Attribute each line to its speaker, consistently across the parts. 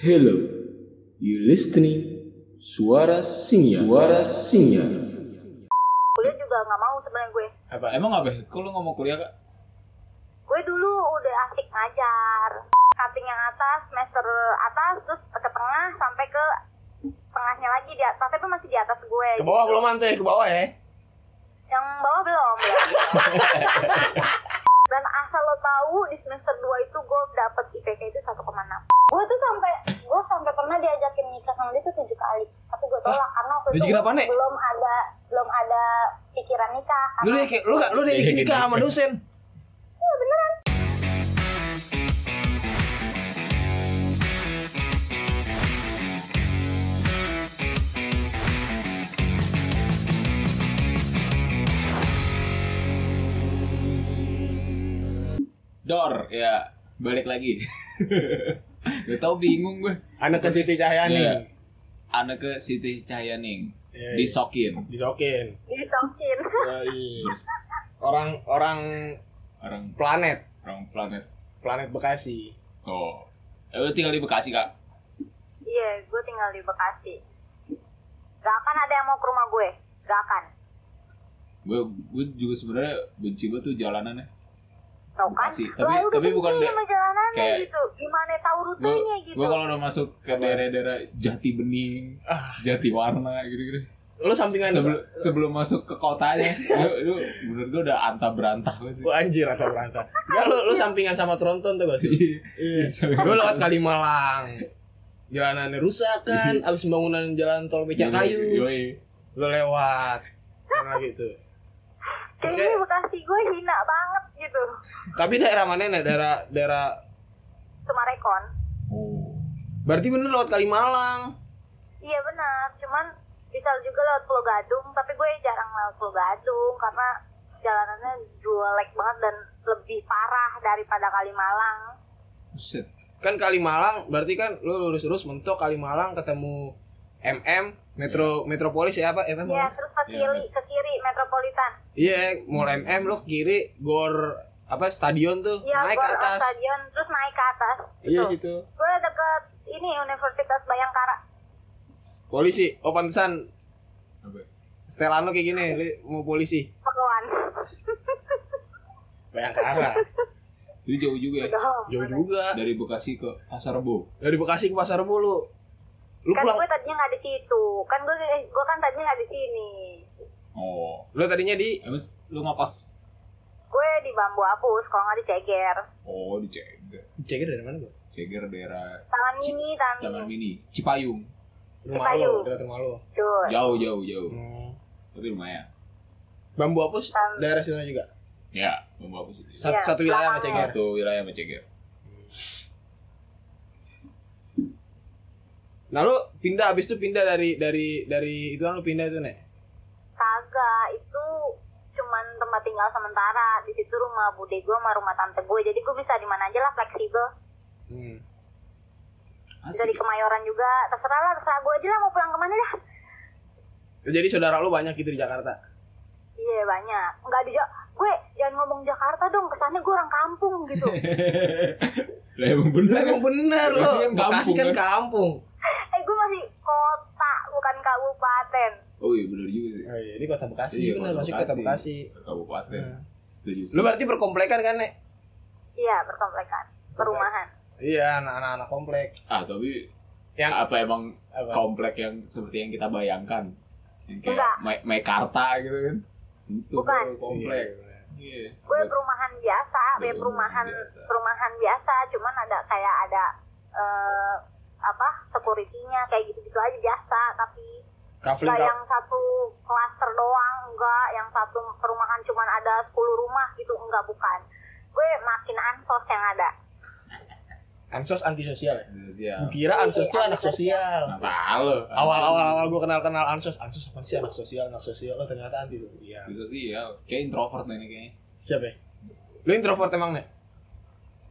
Speaker 1: Hello, you listening? Suara Singa. Suara Singa.
Speaker 2: kuliah juga nggak mau sebenarnya gue
Speaker 3: apa emang apa kok lu ngomong kuliah kak
Speaker 2: gue dulu udah asik ngajar cutting yang atas semester atas terus ke tengah sampai ke tengahnya lagi di atas tapi masih di atas gue
Speaker 4: Ke bawah belum mantai, ke bawah ya.
Speaker 2: yang bawah belum belum. dan asal lo tahu di semester 2 itu gue dapet IPK itu 1,6 gue tuh sampai gue sampai pernah diajakin nikah sama dia tuh tujuh kali tapi gue tolak karena waktu itu
Speaker 4: diajakin apaan, Nek?
Speaker 2: belum ada belum ada pikiran nikah
Speaker 4: Lu
Speaker 2: karena
Speaker 4: deh ya, kayak lu gak lu deh kayak gini kah sama dosen.
Speaker 3: dor ya balik lagi gak tau bingung gue
Speaker 4: Anak ke Siti
Speaker 3: Iya.
Speaker 4: Cahyani.
Speaker 3: anak ke Siti Cahyaning
Speaker 4: Iya, iya.
Speaker 3: disokin
Speaker 4: Disokin.
Speaker 2: disokin
Speaker 4: Yoi. Orang orang
Speaker 3: orang
Speaker 4: planet,
Speaker 3: orang planet
Speaker 4: planet Bekasi.
Speaker 3: oh eh, lu tinggal di Bekasi kak
Speaker 2: Iya, gue tinggal di Bekasi. Gak akan ada yang mau ke rumah gue, gak akan.
Speaker 3: gue gue juga sebenarnya benci banget tuh jalanannya
Speaker 2: Tau kan?
Speaker 3: Bekasi.
Speaker 2: Lah,
Speaker 3: Tapi-
Speaker 2: udah
Speaker 3: tapi
Speaker 2: benci
Speaker 3: bukan de-
Speaker 2: sama jalanannya
Speaker 3: kayak-
Speaker 2: gitu. Gimana tahu
Speaker 3: gue
Speaker 2: rutenya gitu.
Speaker 3: gue kalau udah masuk ke daerah-daerah Jati Bening
Speaker 4: Ah.
Speaker 3: Jati Warna gitu-gitu
Speaker 4: Lu sampingan
Speaker 3: sebelum sebelum masuk ke kotanya lu lu menurut gue udah antah berantah banget
Speaker 4: Gua anjir atau berantah. Enggak lu lu sampingan sama Tronton tuh gak sih?
Speaker 3: sih.
Speaker 4: Iya. Lu lewat Kalimalang. Jalanannya rusak kan, abis bangunan jalan
Speaker 3: Iya,
Speaker 4: tol becak kayu.
Speaker 3: Yoi.
Speaker 4: Lu lewat. Mana gitu.
Speaker 2: Kayaknya Bekasi gue hina banget gitu.
Speaker 4: Tapi daerah mana nih? Daerah daerah
Speaker 2: Cuma rekon.
Speaker 3: Oh.
Speaker 4: Berarti bener lewat Kalimalang.
Speaker 2: Iya benar, cuman bisa juga lewat Pulau Gadung, tapi gue jarang lewat Pulau Gadung karena jalanannya jelek banget dan lebih parah daripada Kalimalang.
Speaker 3: Buset.
Speaker 4: kan Kalimalang berarti kan lu lurus lurus mentok Kalimalang ketemu MM Metro Metropolis ya apa MM
Speaker 2: Iya,
Speaker 4: apa?
Speaker 2: terus ke kiri, ke kiri Metropolitan.
Speaker 4: iya mall MM lu kiri gor apa stadion tuh
Speaker 2: Iya,
Speaker 4: naik ke
Speaker 2: gor
Speaker 4: atas
Speaker 2: stadion terus naik ke atas.
Speaker 4: iya
Speaker 2: gitu.
Speaker 4: situ
Speaker 2: Gue deket ini Universitas Bayangkara.
Speaker 4: polisi oh pantesan
Speaker 3: Apa?
Speaker 4: setelan lu kayak gini lu mau polisi
Speaker 2: Peluan.
Speaker 4: Bayangkara
Speaker 3: Jadi jauh juga ya
Speaker 2: Gitu.
Speaker 4: Eh, jauh juga
Speaker 3: dari Bekasi ke Pasar Bo.
Speaker 4: dari Bekasi ke Pasar Bulu lu
Speaker 2: Kan
Speaker 4: pulang
Speaker 2: gue tadinya nggak di situ. Kan gue gue kan tadinya nggak di sini.
Speaker 3: Oh.
Speaker 4: lu tadinya di
Speaker 3: Emang lu ngekos?
Speaker 2: Gue di Bambu Apus, kalau nggak di Ceger.
Speaker 3: Oh, di Ceger.
Speaker 4: Ceger dari mana gua?
Speaker 3: Ceger daerah
Speaker 2: Taman mini, taman
Speaker 3: Taman
Speaker 2: mini. Gitu.
Speaker 3: Mini, Cipayung.
Speaker 4: Rumah
Speaker 2: Cipayu.
Speaker 4: lu, dekat rumah lu.
Speaker 2: Cuy.
Speaker 3: Jauh, jauh, jauh.
Speaker 4: Hmm.
Speaker 3: Tapi lumayan.
Speaker 4: Bambu Apus
Speaker 2: Tam-
Speaker 4: daerah situ juga.
Speaker 3: Ya, Bambu Apus itu.
Speaker 4: Satu,
Speaker 2: Iya,
Speaker 4: satu wilayah sama
Speaker 2: belakangnya.
Speaker 4: Ceger.
Speaker 3: Satu wilayah sama Ceger.
Speaker 4: Nah lu pindah abis itu pindah dari dari dari itu kan lu pindah itu nek.
Speaker 2: Kagak itu cuman tempat tinggal sementara. Di situ rumah bude gue sama rumah tante gue. Jadi gue bisa di mana aja lah fleksibel.
Speaker 4: Hmm.
Speaker 2: Bisa di
Speaker 3: Asik.
Speaker 2: Kemayoran juga. Terserah lah, terserah gue aja lah mau pulang kemana dah.
Speaker 4: Jadi saudara lu banyak gitu di Jakarta.
Speaker 2: Iya banyak. Enggak di Ja- gue jangan ngomong Jakarta dong, kesannya gue orang kampung gitu.
Speaker 3: Lah emang bener.
Speaker 4: Emang bener lu.
Speaker 3: Bekasi kan
Speaker 4: Bekasi kan
Speaker 3: kampung, kan?
Speaker 4: kampung.
Speaker 2: eh gue masih kota, bukan kabupaten.
Speaker 3: Oh iya bener juga sih.
Speaker 4: Oh, iya, ini kota Bekasi
Speaker 3: Iya,
Speaker 4: bener
Speaker 3: kota
Speaker 4: masih kota
Speaker 3: Bekasi.
Speaker 4: Bekasi.
Speaker 3: Kabupaten.
Speaker 4: Hmm.
Speaker 3: Setuju.
Speaker 4: Lu berarti berkomplekan kan nek?
Speaker 2: Iya, berkomplekan. Perumahan.
Speaker 4: Iya anak-anak komplek.
Speaker 3: ah, tapi
Speaker 4: Yang
Speaker 3: apa emang
Speaker 4: apa?
Speaker 3: komplek yang seperti yang kita bayangkan? Yang kayak
Speaker 2: Enggak.
Speaker 3: Ma- Mekarta gitu kan. Itu
Speaker 2: Bukan.
Speaker 3: baru komplek. Iya.
Speaker 2: Gue perumahan biasa,
Speaker 3: Iya,
Speaker 2: kayak perumahan
Speaker 3: biasa.
Speaker 2: perumahan biasa, cuman ada kayak ada eh apa? security-nya kayak gitu-gitu aja biasa, tapi
Speaker 4: Kafling
Speaker 2: enggak
Speaker 4: kaf-
Speaker 2: yang satu klaster doang, enggak yang satu perumahan cuman ada 10 rumah gitu, enggak bukan. Gue makin ansos yang ada.
Speaker 4: ansos
Speaker 3: Iya.
Speaker 4: antisosial ya.
Speaker 3: Siap.
Speaker 4: Gua kira ansos tuh anak sosial.
Speaker 3: Nggak Nah, tahu.
Speaker 4: Awal-awal awal gua kenal-kenal ansos, ansos apa sih anak sosial, anak sosial. Oh ternyata antisosial.
Speaker 3: Bisa sih ya. Kayak introvert nih ini kayaknya.
Speaker 4: Siapa ya? Lu introvert emang nek?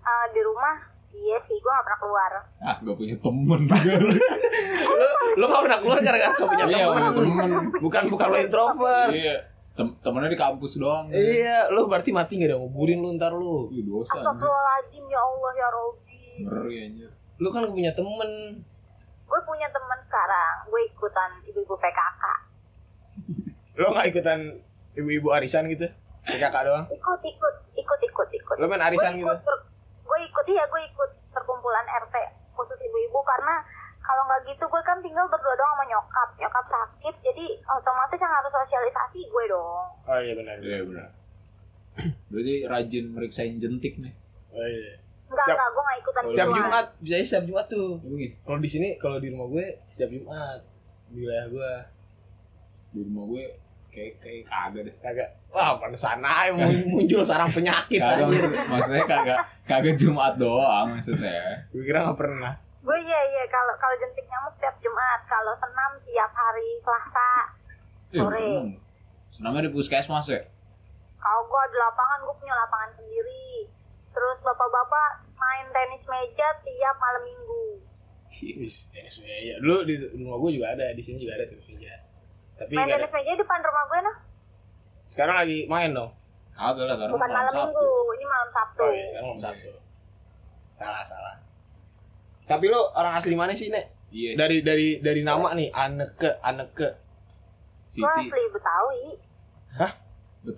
Speaker 2: Eh, di rumah iya sih, gue gak pernah keluar.
Speaker 3: Ah, gak punya temen.
Speaker 4: lu lu gak pernah keluar gara-gara gak
Speaker 3: Iya,
Speaker 4: punya
Speaker 3: punya
Speaker 4: teman.
Speaker 3: temen.
Speaker 4: Bukan bukan lu introvert.
Speaker 3: Iya. Tem- temennya di kampus doang.
Speaker 4: Iya, lu berarti mati gak ada nguburin lu ntar lu.
Speaker 3: Ih, dosa. anjir.
Speaker 2: Astagfirullahaladzim ya Allah ya Robi.
Speaker 3: Ngeri anjir.
Speaker 4: lu kan punya temen
Speaker 2: Gue punya temen sekarang, gue ikutan ibu-ibu PKK.
Speaker 4: lo nggak ikutan ibu-ibu arisan gitu PKK doang
Speaker 2: Ikut, ikut, ikut, ikut, ikut.
Speaker 4: lo main arisan
Speaker 2: gue
Speaker 4: gitu
Speaker 2: ikut, ter- gue ikut, iya gue ikut perkumpulan RT khusus ibu-ibu karena kalau nggak gitu gue kan tinggal berdua doang sama nyokap. Nyokap sakit, jadi otomatis yang harus sosialisasi gue dong.
Speaker 4: oh iya benar
Speaker 3: Iya benar. Berarti rajin meriksain jentik nih.
Speaker 4: oh, iya.
Speaker 2: Enggak,
Speaker 4: Tiap-
Speaker 2: enggak, gue nggak ikutan
Speaker 3: Tiap
Speaker 4: setiap
Speaker 2: gituan.
Speaker 4: Jumat biasanya setiap Jumat tuh
Speaker 3: Apa gitu?
Speaker 4: kalau di sini kalau di rumah gue setiap Jumat di wilayah gue
Speaker 3: Di rumah gue kayak kayak kagak deh.
Speaker 4: kagak wah pantesan aja mun- muncul sarang penyakit
Speaker 3: Kagak
Speaker 4: aja
Speaker 3: maksud- maksudnya kagak kagak Jumat doang maksudnya. Eh,
Speaker 4: gue kira nggak pernah
Speaker 2: Gue iya iya kalau kalau jentik nyamuk tiap Jumat, kalau senam tiap hari Selasa.
Speaker 3: Eh,
Speaker 2: Sore.
Speaker 3: senam. Senamnya di puskesmas ya?
Speaker 2: Kalau gue di lapangan, gue punya lapangan sendiri. Terus bapak-bapak main tenis meja tiap malam minggu.
Speaker 4: Wis, tenis meja. Dulu di rumah gue juga ada, di sini juga ada tenis meja. Tapi
Speaker 2: Main
Speaker 4: nggak ada.
Speaker 2: tenis meja depan rumah nah, gue noh.
Speaker 4: Sekarang lagi main dong.
Speaker 3: Kagak lah karena
Speaker 2: Bukan malam minggu, ini malam Sabtu.
Speaker 4: Oh iya, sekarang nomor satu. Salah, salah. Tapi lu orang asli mana sih, Nek?
Speaker 3: Iya,
Speaker 4: Dari dari dari nama nih, Aneke, Aneke.
Speaker 2: Gue
Speaker 3: Siti
Speaker 2: asli Betawi. Kalau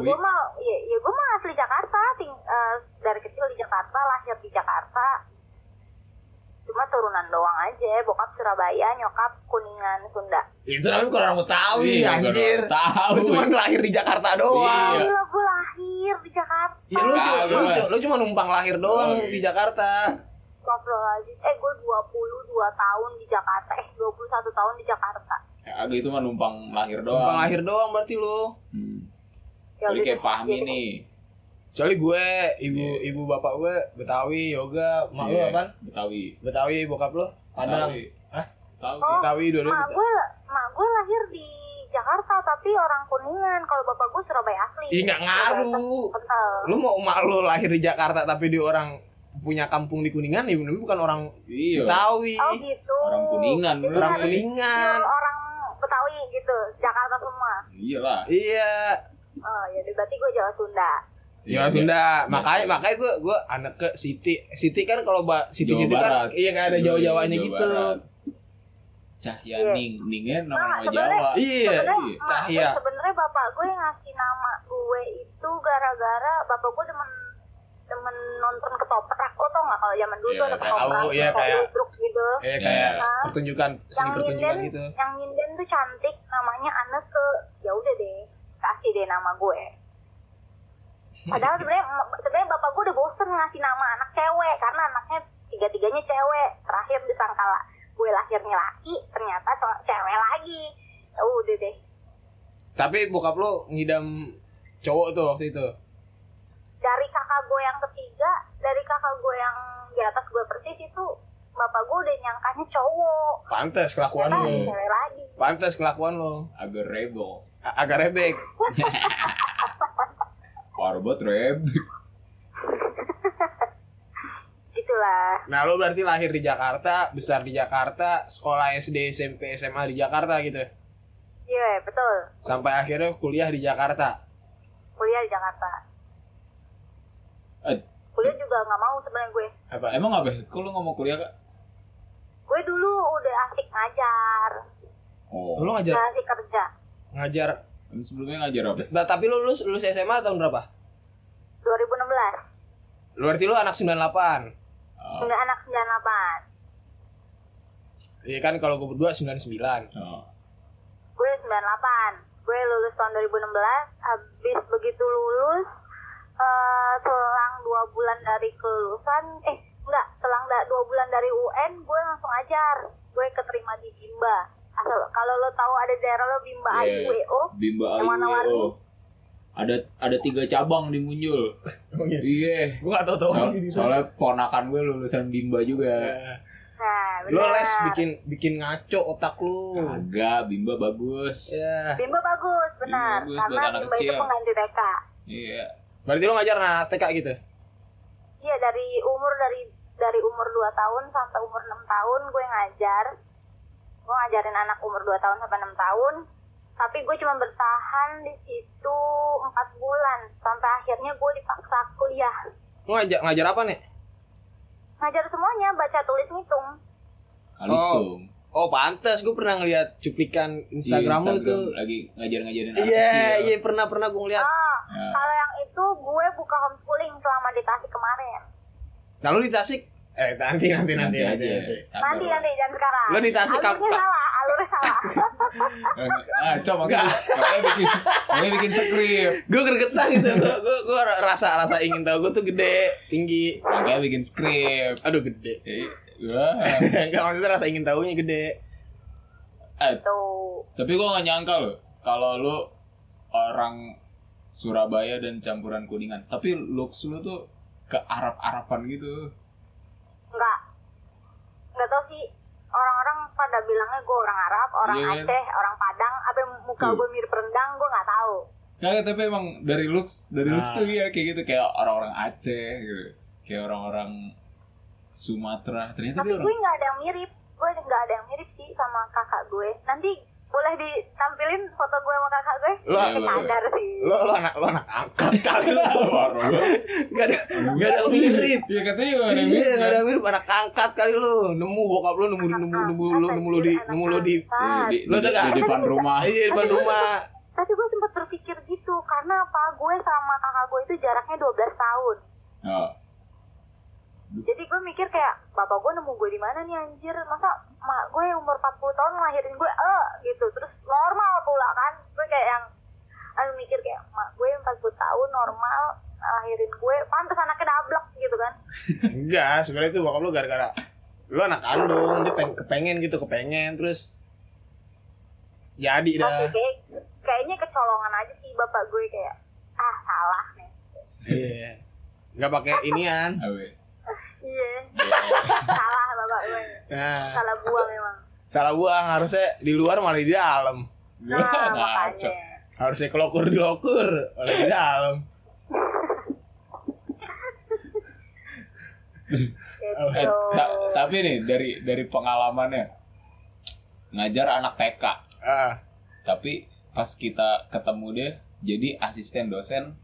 Speaker 3: Betawi.
Speaker 2: gue mah, ya, ya gue mah asli Jakarta. Ting, eh, dari kecil di Jakarta, lahir di Jakarta. Cuma turunan doang aja. Bokap Surabaya, nyokap Kuningan, Sunda.
Speaker 4: Itu namanya bukan orang Betawi,
Speaker 3: Iya, bukan
Speaker 4: anjir.
Speaker 3: orang Tahu.
Speaker 4: Lu ya? cuma lahir di Jakarta doang.
Speaker 3: Iya.
Speaker 2: Gila, gue lahir di Jakarta.
Speaker 4: Ya lu,
Speaker 3: Tahu,
Speaker 4: cuma- lu,
Speaker 3: Mas.
Speaker 4: lu cuma numpang lahir doang
Speaker 3: Oh, iya.
Speaker 4: di Jakarta.
Speaker 2: Astagfirullahaladzim. Eh, gue 22 tahun di Jakarta. Eh, 21 tahun di Jakarta.
Speaker 3: Ya, Kagak itu mah numpang lahir doang.
Speaker 4: Numpang lahir doang berarti lu.
Speaker 3: Hmm.
Speaker 2: Ya
Speaker 3: Jadi
Speaker 2: udah
Speaker 3: kayak
Speaker 2: deh.
Speaker 3: pahmi
Speaker 2: Jadi-
Speaker 3: nih.
Speaker 4: Kecuali gue, ibu
Speaker 3: Iya.
Speaker 4: ibu bapak gue Betawi, yoga, mak lu
Speaker 3: Iya,
Speaker 4: apaan?
Speaker 3: Betawi.
Speaker 4: Betawi bokap lo Padang
Speaker 3: Betawi.
Speaker 4: Hah?
Speaker 3: Betawi.
Speaker 2: Oh,
Speaker 4: Betawi dua-dua
Speaker 2: Mak
Speaker 4: Betawi.
Speaker 2: gue, mak gue lahir di Jakarta, tapi orang Kuningan. Kalau bapak gue Surabaya asli. Gitu,
Speaker 4: Ih nggak ngaruh.
Speaker 2: Kental.
Speaker 4: Lu mau emak lu lahir di Jakarta tapi dia orang punya kampung di Kuningan ya bener bukan orang
Speaker 3: Iya.
Speaker 4: Betawi.
Speaker 2: Oh gitu.
Speaker 3: Orang Kuningan,
Speaker 2: Jadi
Speaker 3: beneran.
Speaker 4: Orang
Speaker 2: harus
Speaker 4: Kuningan.
Speaker 2: pure orang Betawi gitu, Jakarta semua.
Speaker 3: Iya lah.
Speaker 4: Iya.
Speaker 2: Oh ya, udah, berarti gue Jawa Sunda.
Speaker 4: Ya
Speaker 3: Iya.
Speaker 4: Sunda. Makanya makanya gue gue anak ke Siti. Siti kan kalau ba- Siti
Speaker 3: Jawa
Speaker 4: Siti
Speaker 3: Barat.
Speaker 4: kan iya kan ada Jawa-jawanya
Speaker 3: Jawa
Speaker 4: gitu.
Speaker 3: Barat. Cahyaning, ningnya nama
Speaker 2: Nah,
Speaker 3: Jawa. Iya.
Speaker 2: Iya. Sebenarnya,
Speaker 4: Iya.
Speaker 2: mak gue
Speaker 4: Cahya.
Speaker 2: sebenarnya bapak gue yang ngasih nama gue itu gara-gara bapak gue demen demen nonton ketoprak. Lo tau nggak kalau zaman dulu
Speaker 3: Iya,
Speaker 2: tuh ada
Speaker 3: tahu,
Speaker 2: ketoprak,
Speaker 4: iya,
Speaker 2: ketoprak
Speaker 4: kayak-
Speaker 2: ludruk gitu.
Speaker 3: Iya.
Speaker 4: Eh kayak
Speaker 2: Yes.
Speaker 4: pertunjukan seni
Speaker 2: Yang
Speaker 4: pertunjukan
Speaker 2: nyinden-
Speaker 4: gitu.
Speaker 2: Yang nyinden tuh cantik, namanya Aneke. Ya udah deh, kasih deh nama gue. Padahal sebenarnya sebenarnya bapak gue udah bosen ngasih nama anak cewek karena anaknya tiga tiganya cewek. Terakhir di Sangkala gue lahirnya laki, ternyata co- cewek lagi. Ya udah deh.
Speaker 4: Tapi bokap lu ngidam cowok tuh waktu itu.
Speaker 2: Dari kakak gue yang ketiga, dari kakak gue yang di atas gue persis itu bapak gue udah nyangkanya cowok.
Speaker 4: Pantes kelakuan
Speaker 2: Ternyata
Speaker 4: lu.
Speaker 2: cewek lagi.
Speaker 4: Pantes kelakuan lu.
Speaker 3: Agak rebel.
Speaker 4: A- agak rebek.
Speaker 3: Parah banget rebel.
Speaker 2: Gitulah.
Speaker 4: Nah, lo berarti lahir di Jakarta, besar di Jakarta, sekolah SD, SMP, SMA di Jakarta gitu.
Speaker 2: Iya, betul.
Speaker 4: Sampai akhirnya kuliah di Jakarta.
Speaker 2: Kuliah di Jakarta.
Speaker 3: Eh,
Speaker 2: Kuliah juga nggak mau sebenarnya gue.
Speaker 4: Apa?
Speaker 3: Emang apa? Kok lu ngomong kuliah kak?
Speaker 2: Gue dulu udah asik ngajar,
Speaker 3: Oh.
Speaker 4: Lo ngajar
Speaker 2: nggak asik kerja.
Speaker 4: ngajar.
Speaker 3: Emang sebelumnya ngajar apa?
Speaker 4: Ba- tapi lo lulus lulus SMA tahun berapa?
Speaker 2: 2016,
Speaker 4: Lo berarti lo anak 98.
Speaker 3: Ah,
Speaker 2: sembilan anak 98.
Speaker 4: Iya kan kalau gue berdua 99.
Speaker 3: ah.
Speaker 2: Gue 98. Gue lulus tahun 2016, habis begitu lulus eh, selang dua bulan dari kelulusan, eh enggak, selang da- dua bulan dari UN, gue langsung ajar. Gue keterima di Bimba. Asal kalau lo tahu ada daerah lo Bimba
Speaker 3: Iya.
Speaker 2: IUWO,
Speaker 3: Bimba
Speaker 2: Yang warna-warni.
Speaker 3: Ayu. Ada ada tiga cabang di Muncul.
Speaker 4: Gue
Speaker 3: Iya.
Speaker 4: gak tau tau
Speaker 3: Soal- soalnya ponakan gue lulusan Bimba juga.
Speaker 2: Nah,
Speaker 4: Lo
Speaker 2: benar.
Speaker 4: les bikin bikin ngaco otak lo.
Speaker 3: Kagak, Bimba bagus.
Speaker 4: Ya.
Speaker 2: Bimba bagus, benar.
Speaker 3: Bimba bagus buat
Speaker 2: karena
Speaker 3: Iya, anak
Speaker 2: Bimba itu
Speaker 3: kecil.
Speaker 2: pengganti TK.
Speaker 3: Iya.
Speaker 4: Berarti lo ngajar anak TK gitu.
Speaker 2: Iya dari umur dari dari umur 2 tahun sampai umur 6 tahun gue ngajar. Gue ngajarin anak umur 2 tahun sampai 6 tahun. Tapi gue cuma bertahan di situ 4 bulan sampai akhirnya gue dipaksa kuliah.
Speaker 4: Lo ngajar ngajar apa nih?
Speaker 2: Eh ngajar semuanya baca tulis ngitung
Speaker 3: Kalisto.
Speaker 4: Oh pantas, gue pernah ngeliat cuplikan
Speaker 3: Di
Speaker 4: Instagram lu tuh.
Speaker 3: Iya, lagi ngajar-ngajarin anak
Speaker 4: Iya,
Speaker 3: kecil.
Speaker 4: iya pernah pernah gue ngeliat.
Speaker 2: ah
Speaker 3: Ya.
Speaker 2: kalau yang itu gue buka homeschooling selama di Tasik kemarin
Speaker 4: Nah lu di Tasik? Eh nanti nanti
Speaker 3: Nanti
Speaker 4: nanti nanti.
Speaker 3: aja.
Speaker 4: nanti.
Speaker 3: Sabar.
Speaker 2: nanti nanti jangan sekarang
Speaker 4: Lo di Tasik
Speaker 2: alurnya
Speaker 4: kapan?
Speaker 2: salah alurnya salah
Speaker 3: Ah, coba makanya makanya bikin makanya bikin skrip.
Speaker 4: Gue gregetan gitu, gue gue gue rasa rasa ingin tahu gue tuh gede, tinggi.
Speaker 3: Makanya bikin skrip.
Speaker 4: Aduh gede.
Speaker 3: Eh, wah.
Speaker 4: Enggak maksudnya rasa ingin tahunya gede.
Speaker 3: Eh,
Speaker 2: tuh
Speaker 3: tapi gua gak nyangka loh kalau lu orang Surabaya dan campuran kuningan. Tapi looks lu tuh ke Arab-Araban gitu.
Speaker 2: nggak nggak tahu sih orang-orang pada bilangnya gue orang Arab orang
Speaker 3: Iya, kan?
Speaker 2: Aceh orang Padang apa yang muka
Speaker 3: Tuh.
Speaker 2: gue mirip rendang gue nggak tahu
Speaker 3: Kagak, Ya, tapi emang dari looks, dari looks
Speaker 4: Ah.
Speaker 3: tuh iya kayak gitu kayak orang-orang Aceh gitu. Kayak orang-orang Sumatera. Ternyata
Speaker 2: tapi
Speaker 3: dia
Speaker 2: gue
Speaker 3: orang
Speaker 2: nggak ada yang mirip gue nggak ada yang mirip sih sama kakak gue nanti boleh ditampilin foto gue sama kakak gue
Speaker 4: Lo-
Speaker 2: Tapi sadar sih
Speaker 4: Lo lo anak lo anak angkat kali lo. Gak ada gak ada mirip.
Speaker 3: Iya katanya gak ada yang mirip.
Speaker 4: Iya, gak
Speaker 3: kan?
Speaker 4: ada mirip anak angkat kali lo. Nemu bokap lo nemu nemu
Speaker 2: Ah,
Speaker 4: nemu lo nemu lo di nemu lo di
Speaker 3: Iya, di,
Speaker 4: Lo
Speaker 3: di-
Speaker 4: tuh gak-
Speaker 3: di depan rumah.
Speaker 4: Iya, di depan rumah.
Speaker 2: tapi gue sempat berpikir gitu karena apa gue sama kakak gue itu jaraknya 12 tahun
Speaker 3: Oh,
Speaker 2: jadi gue mikir kayak bapak gue nemu gue di mana nih anjir masa mak gue yang umur 40 tahun ngelahirin gue eh gitu terus normal pula kan gue kayak yang aku mikir kayak mak gue 40 tahun normal ngelahirin gue pantas anaknya dablek gitu kan
Speaker 4: Enggak, sebenarnya itu bokap lu gara-gara lu anak kandung, dia peng- kepengen gitu, kepengen terus jadi
Speaker 3: Iya.
Speaker 2: tapi
Speaker 4: dah.
Speaker 2: kayak kayaknya kecolongan aja sih bapak gue kayak ah salah nih
Speaker 4: Iya. Enggak pakai inian.
Speaker 3: awe.
Speaker 2: iya salah bapak gue
Speaker 4: Nah,
Speaker 2: salah gua memang
Speaker 4: salah buang harusnya di luar malah di dalam.
Speaker 3: Iya.
Speaker 2: nah
Speaker 3: Wah, ngaco.
Speaker 2: makanya
Speaker 4: Harusnya kelokur di lokur, malah di dalam.
Speaker 3: Eh,
Speaker 2: gitu
Speaker 3: ta- tapi nih dari dari pengalamannya ngajar anak TK,
Speaker 4: Ah,
Speaker 3: tapi pas kita ketemu dia jadi asisten dosen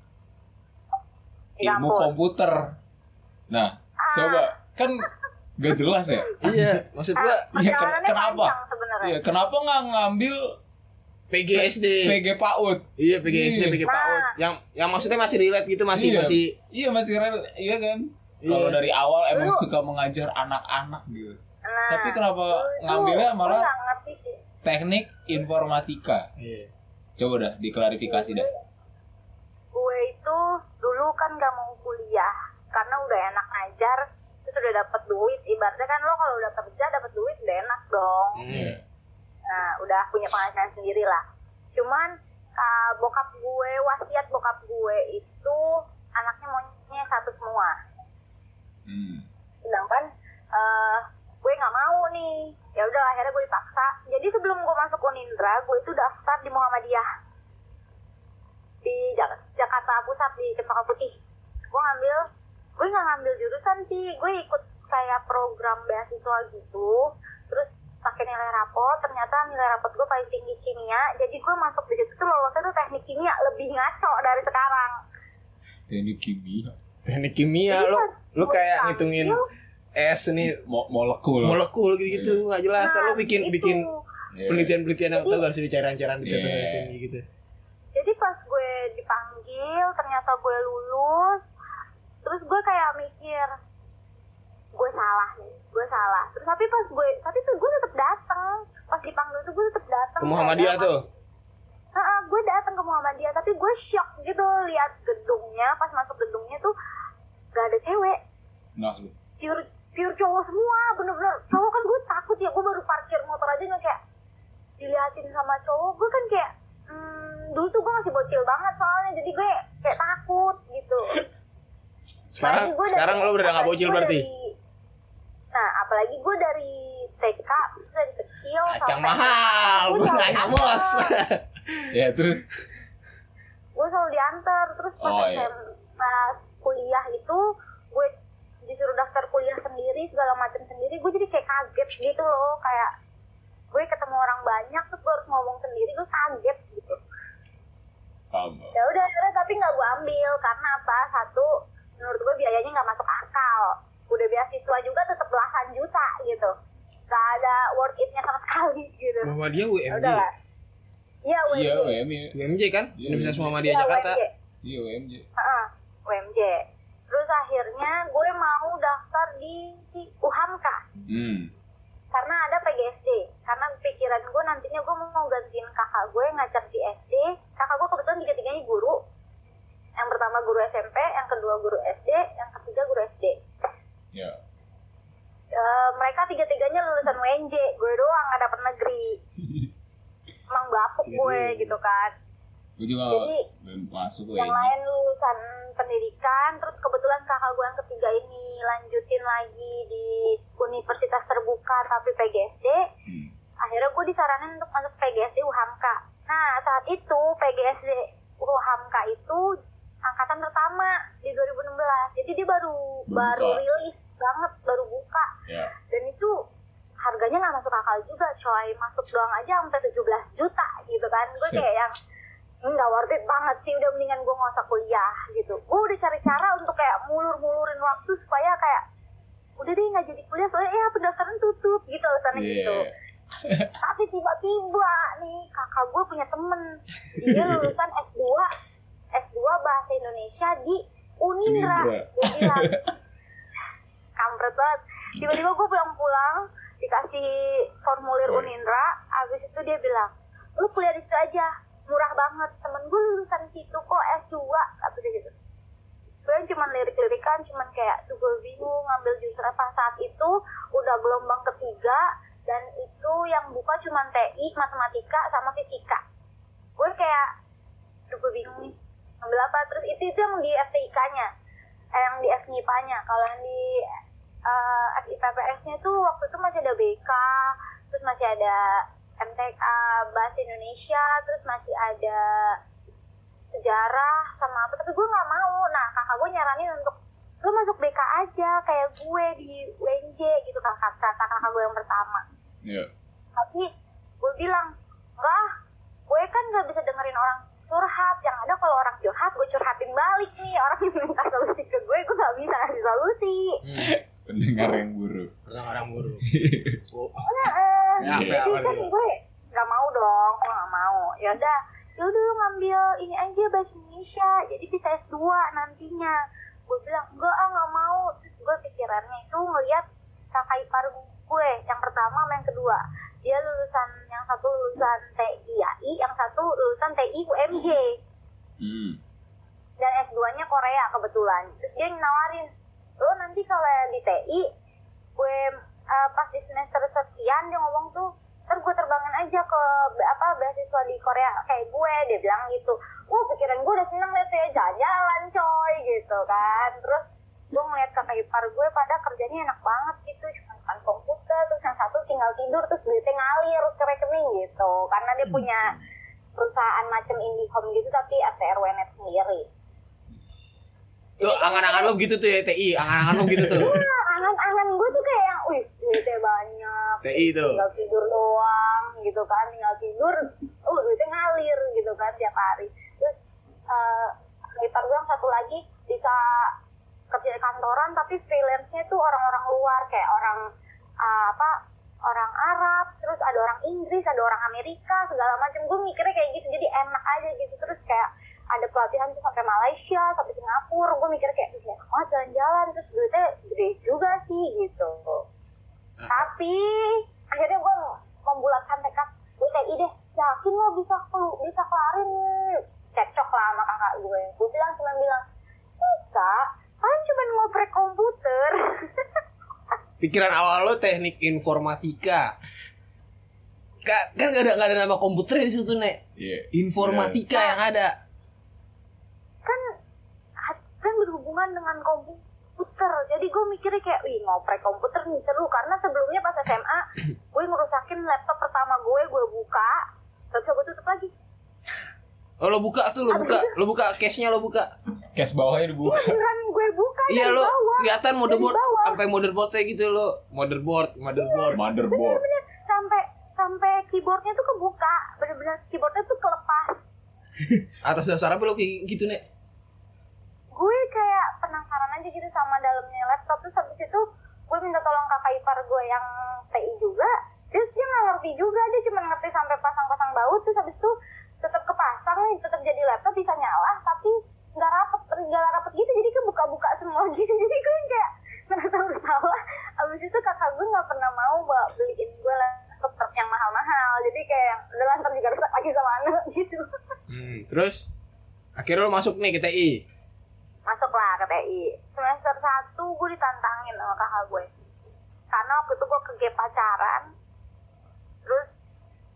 Speaker 2: Di
Speaker 3: ilmu
Speaker 2: kampus.
Speaker 3: komputer. Nah,
Speaker 2: Ah,
Speaker 3: coba kan gak jelas ya.
Speaker 4: iya, maksud gua
Speaker 3: Iya, ken-
Speaker 2: perjalanannya
Speaker 3: kenapa?
Speaker 2: panjang sebenarnya
Speaker 3: Iya, kenapa nggak ngambil
Speaker 4: PGSD.
Speaker 3: PG PAUD?
Speaker 4: Iya, PGSD,
Speaker 3: Iya.
Speaker 4: PG PAUD.
Speaker 2: Nah.
Speaker 4: Yang yang maksudnya masih relate gitu, masih
Speaker 3: Iya.
Speaker 4: masih
Speaker 3: Iya masih keren, iya kan?
Speaker 4: Iya.
Speaker 3: Kalau dari awal emang
Speaker 2: Lu-
Speaker 3: suka mengajar anak-anak gitu.
Speaker 2: Nah,
Speaker 3: Tapi kenapa
Speaker 2: itu
Speaker 3: ngambilnya
Speaker 2: gue
Speaker 3: malah
Speaker 2: nggak ngerti sih
Speaker 3: teknik informatika?
Speaker 4: Iya.
Speaker 3: Coba dah diklarifikasi
Speaker 2: Iya.
Speaker 3: dah.
Speaker 2: gue itu dulu kan gak mau kuliah karena udah enak ngajar terus udah dapet duit ibaratnya kan lo kalau udah kerja dapet duit udah enak dong
Speaker 3: Iya.
Speaker 4: Hmm.
Speaker 2: nah udah punya penghasilan sendiri lah cuman uh, bokap gue wasiat bokap gue itu anaknya maunya satu semua
Speaker 3: Hmm.
Speaker 2: sedangkan eh, gue nggak mau nih ya udah akhirnya gue dipaksa jadi sebelum gue masuk Unindra gue itu daftar di Muhammadiyah di Jak- Jakarta Pusat di Cempaka Putih gue ngambil gue nggak ngambil jurusan sih gue ikut kayak program beasiswa gitu terus pakai nilai rapot ternyata nilai rapot gue paling tinggi kimia jadi gue masuk di situ tuh lolosnya tuh teknik kimia lebih ngaco dari sekarang
Speaker 3: Teknik kimia,
Speaker 4: Teknik
Speaker 3: Iya,
Speaker 4: kimia
Speaker 2: Jadi
Speaker 4: Iya, lo
Speaker 2: pas
Speaker 4: lo
Speaker 2: gue
Speaker 4: kayak
Speaker 2: tampil,
Speaker 4: ngitungin es nih
Speaker 3: Mo molekul.
Speaker 4: molekul gitu-gitu nggak jelas
Speaker 2: nah,
Speaker 4: Ntar lu bikin
Speaker 2: itu.
Speaker 4: bikin
Speaker 3: gitu. Iya.
Speaker 4: penelitian-penelitian yang tuh harus dicari-cari di
Speaker 3: Iya.
Speaker 4: sini gitu
Speaker 2: jadi pas gue dipanggil ternyata gue lulus terus gue kayak mikir gue salah nih gue salah terus tapi pas gue tapi tuh gue tetap datang pas dipanggil tuh gue tetap datang
Speaker 4: ke Muhammadiyah
Speaker 2: Kayak
Speaker 4: tuh
Speaker 2: Heeh, gue datang ke Muhammadiyah tapi gue shock gitu lihat gedungnya pas masuk gedungnya tuh gak ada cewek
Speaker 3: Nah, lu.
Speaker 2: pure pure cowok semua bener-bener cowok kan gue takut ya gue baru parkir motor aja nggak kayak diliatin sama cowok gue kan kayak hmm, dulu tuh gue masih bocil banget soalnya jadi gue kayak takut gitu
Speaker 4: sekarang
Speaker 2: Apalagi gue dari-
Speaker 4: sekarang lo udah nggak
Speaker 2: apalagi
Speaker 4: bocil
Speaker 2: gue
Speaker 4: berarti
Speaker 2: dari- nah apalagi gue dari TK dari kecil
Speaker 4: kacang
Speaker 2: sampai-
Speaker 4: mahal
Speaker 2: Gue
Speaker 4: gue
Speaker 2: selalu
Speaker 4: nanya bos
Speaker 2: dianter.
Speaker 3: Ya terus
Speaker 2: gue selalu diantar terus pas
Speaker 3: Oh, iya.
Speaker 2: SM pas kuliah itu gue disuruh daftar kuliah sendiri segala macam sendiri gue jadi kayak kaget gitu loh kayak gue ketemu orang banyak terus gue harus ngomong sendiri gue kaget gitu
Speaker 3: paham.
Speaker 2: ya udah akhirnya tapi nggak gue ambil karena apa satu menurut gue biayanya nggak masuk akal udah beasiswa juga tetap belasan juta gitu gak ada worth it-nya sama sekali gitu
Speaker 4: Muhammadiyah
Speaker 2: Ya
Speaker 4: UMJ.
Speaker 2: udah lah iya UMJ
Speaker 3: Iya UMJ.
Speaker 4: UMJ kan?
Speaker 3: Iya,
Speaker 4: Universitas
Speaker 3: UMJ.
Speaker 4: Muhammadiyah
Speaker 2: Iya,
Speaker 4: Jakarta.
Speaker 2: UMJ.
Speaker 3: Iya UMJ.
Speaker 2: Heeh, UMJ terus akhirnya gue mau daftar di, di UHAMKA
Speaker 3: Hmm.
Speaker 2: karena ada PGSD karena pikiran gue nantinya gue mau gantiin kakak gue ngajar di SD kakak gue kebetulan tiga-tiganya guru yang pertama guru SMP yang kedua guru SD yang ketiga guru SD
Speaker 3: Ya.
Speaker 2: Eh, mereka tiga-tiganya lulusan WNJ gue doang gak dapet negeri emang bapuk gue gitu kan
Speaker 3: Gue juga
Speaker 2: Jadi,
Speaker 3: belum masuk UMJ.
Speaker 2: yang lain lulusan pendidikan terus kebetulan kakak gue yang ketiga ini lanjutin lagi di universitas terbuka tapi PGSD
Speaker 3: Hmm.
Speaker 2: akhirnya gue disaranin untuk masuk PGSD UHAMKA. Nah saat itu PGSD UHAMKA itu angkatan pertama di 2016, jadi dia baru
Speaker 3: Buka.
Speaker 2: baru rilis banget, baru buka
Speaker 3: Ya.
Speaker 2: dan itu harganya nggak masuk akal juga coy masuk doang aja sampai 17 juta gitu kan gue
Speaker 3: Sip.
Speaker 2: kayak yang "Hmm, nggak worth it banget sih udah mendingan gue nggak usah kuliah gitu gue udah cari cara untuk kayak mulur-mulurin waktu supaya kayak udah deh nggak jadi kuliah soalnya ya pendaftaran tutup gitu alasannya
Speaker 3: Iya.
Speaker 2: gitu tapi tiba-tiba nih kakak gue punya temen dia lulusan S2 S2 bahasa Indonesia di Unindra
Speaker 3: Unindra.
Speaker 2: gue bilang kampret banget tiba-tiba gue pulang-pulang dikasih formulir
Speaker 3: Woi.
Speaker 2: Unindra abis itu dia bilang lu kuliah di situ aja murah banget temen gue lulusan situ kok S2 kata dia gitu gue cuman lirik-lirikan cuman kayak tuh gue bingung ngambil jurusan apa saat itu udah gelombang ketiga dan itu yang buka cuman TI matematika sama fisika gue kayak aduh gue bingung nih ngambil apa terus itu itu yang di FTIK nya eh, yang di FNIPA nya kalau yang di eh, FIPPS nya tuh waktu itu masih ada BK terus masih ada MTK Bahasa Indonesia terus masih ada sejarah sama apa tapi gue nggak mau nah kakak gue nyaranin untuk lu masuk BK aja kayak gue di UNJ gitu kan kata kakak gue yang pertama
Speaker 3: Iya.
Speaker 2: tapi gue bilang enggak ah, gue kan nggak bisa dengerin orang curhat yang ada kalau orang curhat gue curhatin balik nih orang yang minta solusi ke gue gue nggak bisa ngasih solusi
Speaker 4: Hmm,
Speaker 3: Pendengar yang buruk.
Speaker 4: pertama orang buruk. Oh,
Speaker 2: Heeh.
Speaker 4: Ya, apa
Speaker 3: Iya.
Speaker 4: ya,
Speaker 2: jadi
Speaker 4: apa
Speaker 2: kan
Speaker 4: dulu?
Speaker 2: gue nggak mau dong gue nggak mau ya udah ya udah lu ngambil ini aja bahasa Indonesia jadi bisa S2 nantinya gue bilang enggak ah nggak mau terus gue pikirannya itu ngelihat kakak ipar gue yang pertama sama yang kedua dia lulusan yang satu lulusan TIAI yang satu lulusan TI UMJ
Speaker 3: Hmm.
Speaker 2: dan S2-nya Korea kebetulan. Terus dia nawarin, lo nanti kalau di TI, gue eh, pas di semester sekian dia ngomong tuh, ntar gue terbangin aja ke be- apa beasiswa di Korea kayak gue, dia bilang gitu. Wah pikiran gue udah seneng liat tuh ya jalan-jalan coy gitu kan. Terus gue ngeliat kakak ipar gue pada kerjanya enak banget gitu cuma depan komputer terus yang satu tinggal tidur terus duitnya ngalir ke rekening gitu karena dia punya perusahaan macam Indihome gitu tapi ATRWNet sendiri
Speaker 4: Tuh angan-angan lo gitu tuh ya TI, angan-angan lo gitu tuh.
Speaker 2: Nah, angan-angan gue tuh kayak yang, wih, duitnya banyak,
Speaker 4: TI tuh.
Speaker 2: tinggal tidur doang gitu kan, tinggal tidur, oh duitnya ngalir gitu kan tiap hari. Terus eh ipar gue yang satu lagi bisa kerja di kantoran tapi freelance-nya tuh orang-orang luar kayak orang eh, apa orang Arab, terus ada orang Inggris, ada orang Amerika, segala macam. Gue mikirnya kayak gitu, jadi enak aja gitu. Terus kayak ada pelatihan tuh sampai Malaysia, sampai Singapura. Gue mikir kayak, "Ih, enak banget jalan-jalan. Terus duitnya gede juga sih gitu. Tapi akhirnya gue membulatkan tekad, gue TI deh, yakin lo bisa kelu- bisa kelarin nih." cekcok lah sama kakak gue. Gue bilang cuma bilang, bisa, kan cuma ngoprek komputer.
Speaker 4: Pikiran awal lo teknik informatika. Ka- Kan gak ada, gak ada nama komputernya di situ, Nek.
Speaker 3: Iya.
Speaker 4: Informatika
Speaker 2: Iya.
Speaker 4: yang ada.
Speaker 2: kan kan berhubungan dengan komputer jadi gue mikirnya kayak wih ngoprek komputer nih seru karena sebelumnya pas SMA gue ngerusakin laptop pertama gue gue buka terus gue tutup lagi
Speaker 4: Oh, lo buka tuh, lo buka. Lo buka case-nya lo buka.
Speaker 3: Cash bawahnya dibuka.
Speaker 2: beneran gue buka
Speaker 4: Iya,
Speaker 2: dari
Speaker 4: lo
Speaker 2: bawah
Speaker 4: kelihatan motherboard
Speaker 2: Dari bawah.
Speaker 4: sampai motherboardnya gitu lo. Motherboard, motherboard.
Speaker 3: Motherboard.
Speaker 2: sampai sampai keyboardnya tuh kebuka bener-bener keyboardnya tuh kelepas
Speaker 4: Atas dasar apa lo kayak gitu, Nek?
Speaker 2: gue kayak penasaran aja gitu sama dalamnya laptop terus habis itu gue minta tolong kakak ipar gue yang TI juga terus dia nggak ngerti juga dia cuma ngerti sampai pasang-pasang baut terus habis itu tetap kepasang nih tetap jadi laptop bisa nyala tapi nggak rapet nggak rapet gitu jadi kebuka-buka semua gitu jadi gue kayak merasa bersalah habis itu kakak gue nggak pernah mau bawa beliin gue laptop yang mahal-mahal jadi kayak udah lantar juga rusak lagi sama anak gitu
Speaker 4: Hmm, terus akhirnya lo masuk nih ke TI.
Speaker 2: masuklah ke TI semester 1 gue ditantangin sama kakak gue karena waktu itu gue ke gap pacaran terus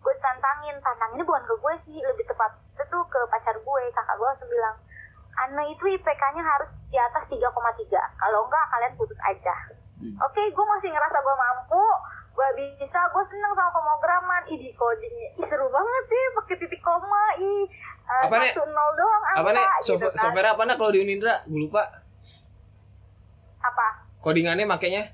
Speaker 2: gue ditantangin tantanginnya bukan ke gue sih lebih tepat itu ke pacar gue kakak gue langsung bilang Ana itu IPK-nya harus di atas 3,3 kalau enggak kalian putus aja
Speaker 3: Hmm.
Speaker 2: oke gue masih ngerasa gue mampu gue bisa gue seneng sama pemrograman ih di codingnya ih seru banget deh pakai titik koma ih eh,
Speaker 4: Apa, Nek?
Speaker 2: satu nol doang angka
Speaker 4: Apa nih?
Speaker 2: gitu
Speaker 4: Software,
Speaker 2: kan.
Speaker 4: software apa nih kalau di Unindra? Gue lupa.
Speaker 2: apa
Speaker 4: Codingannya makainya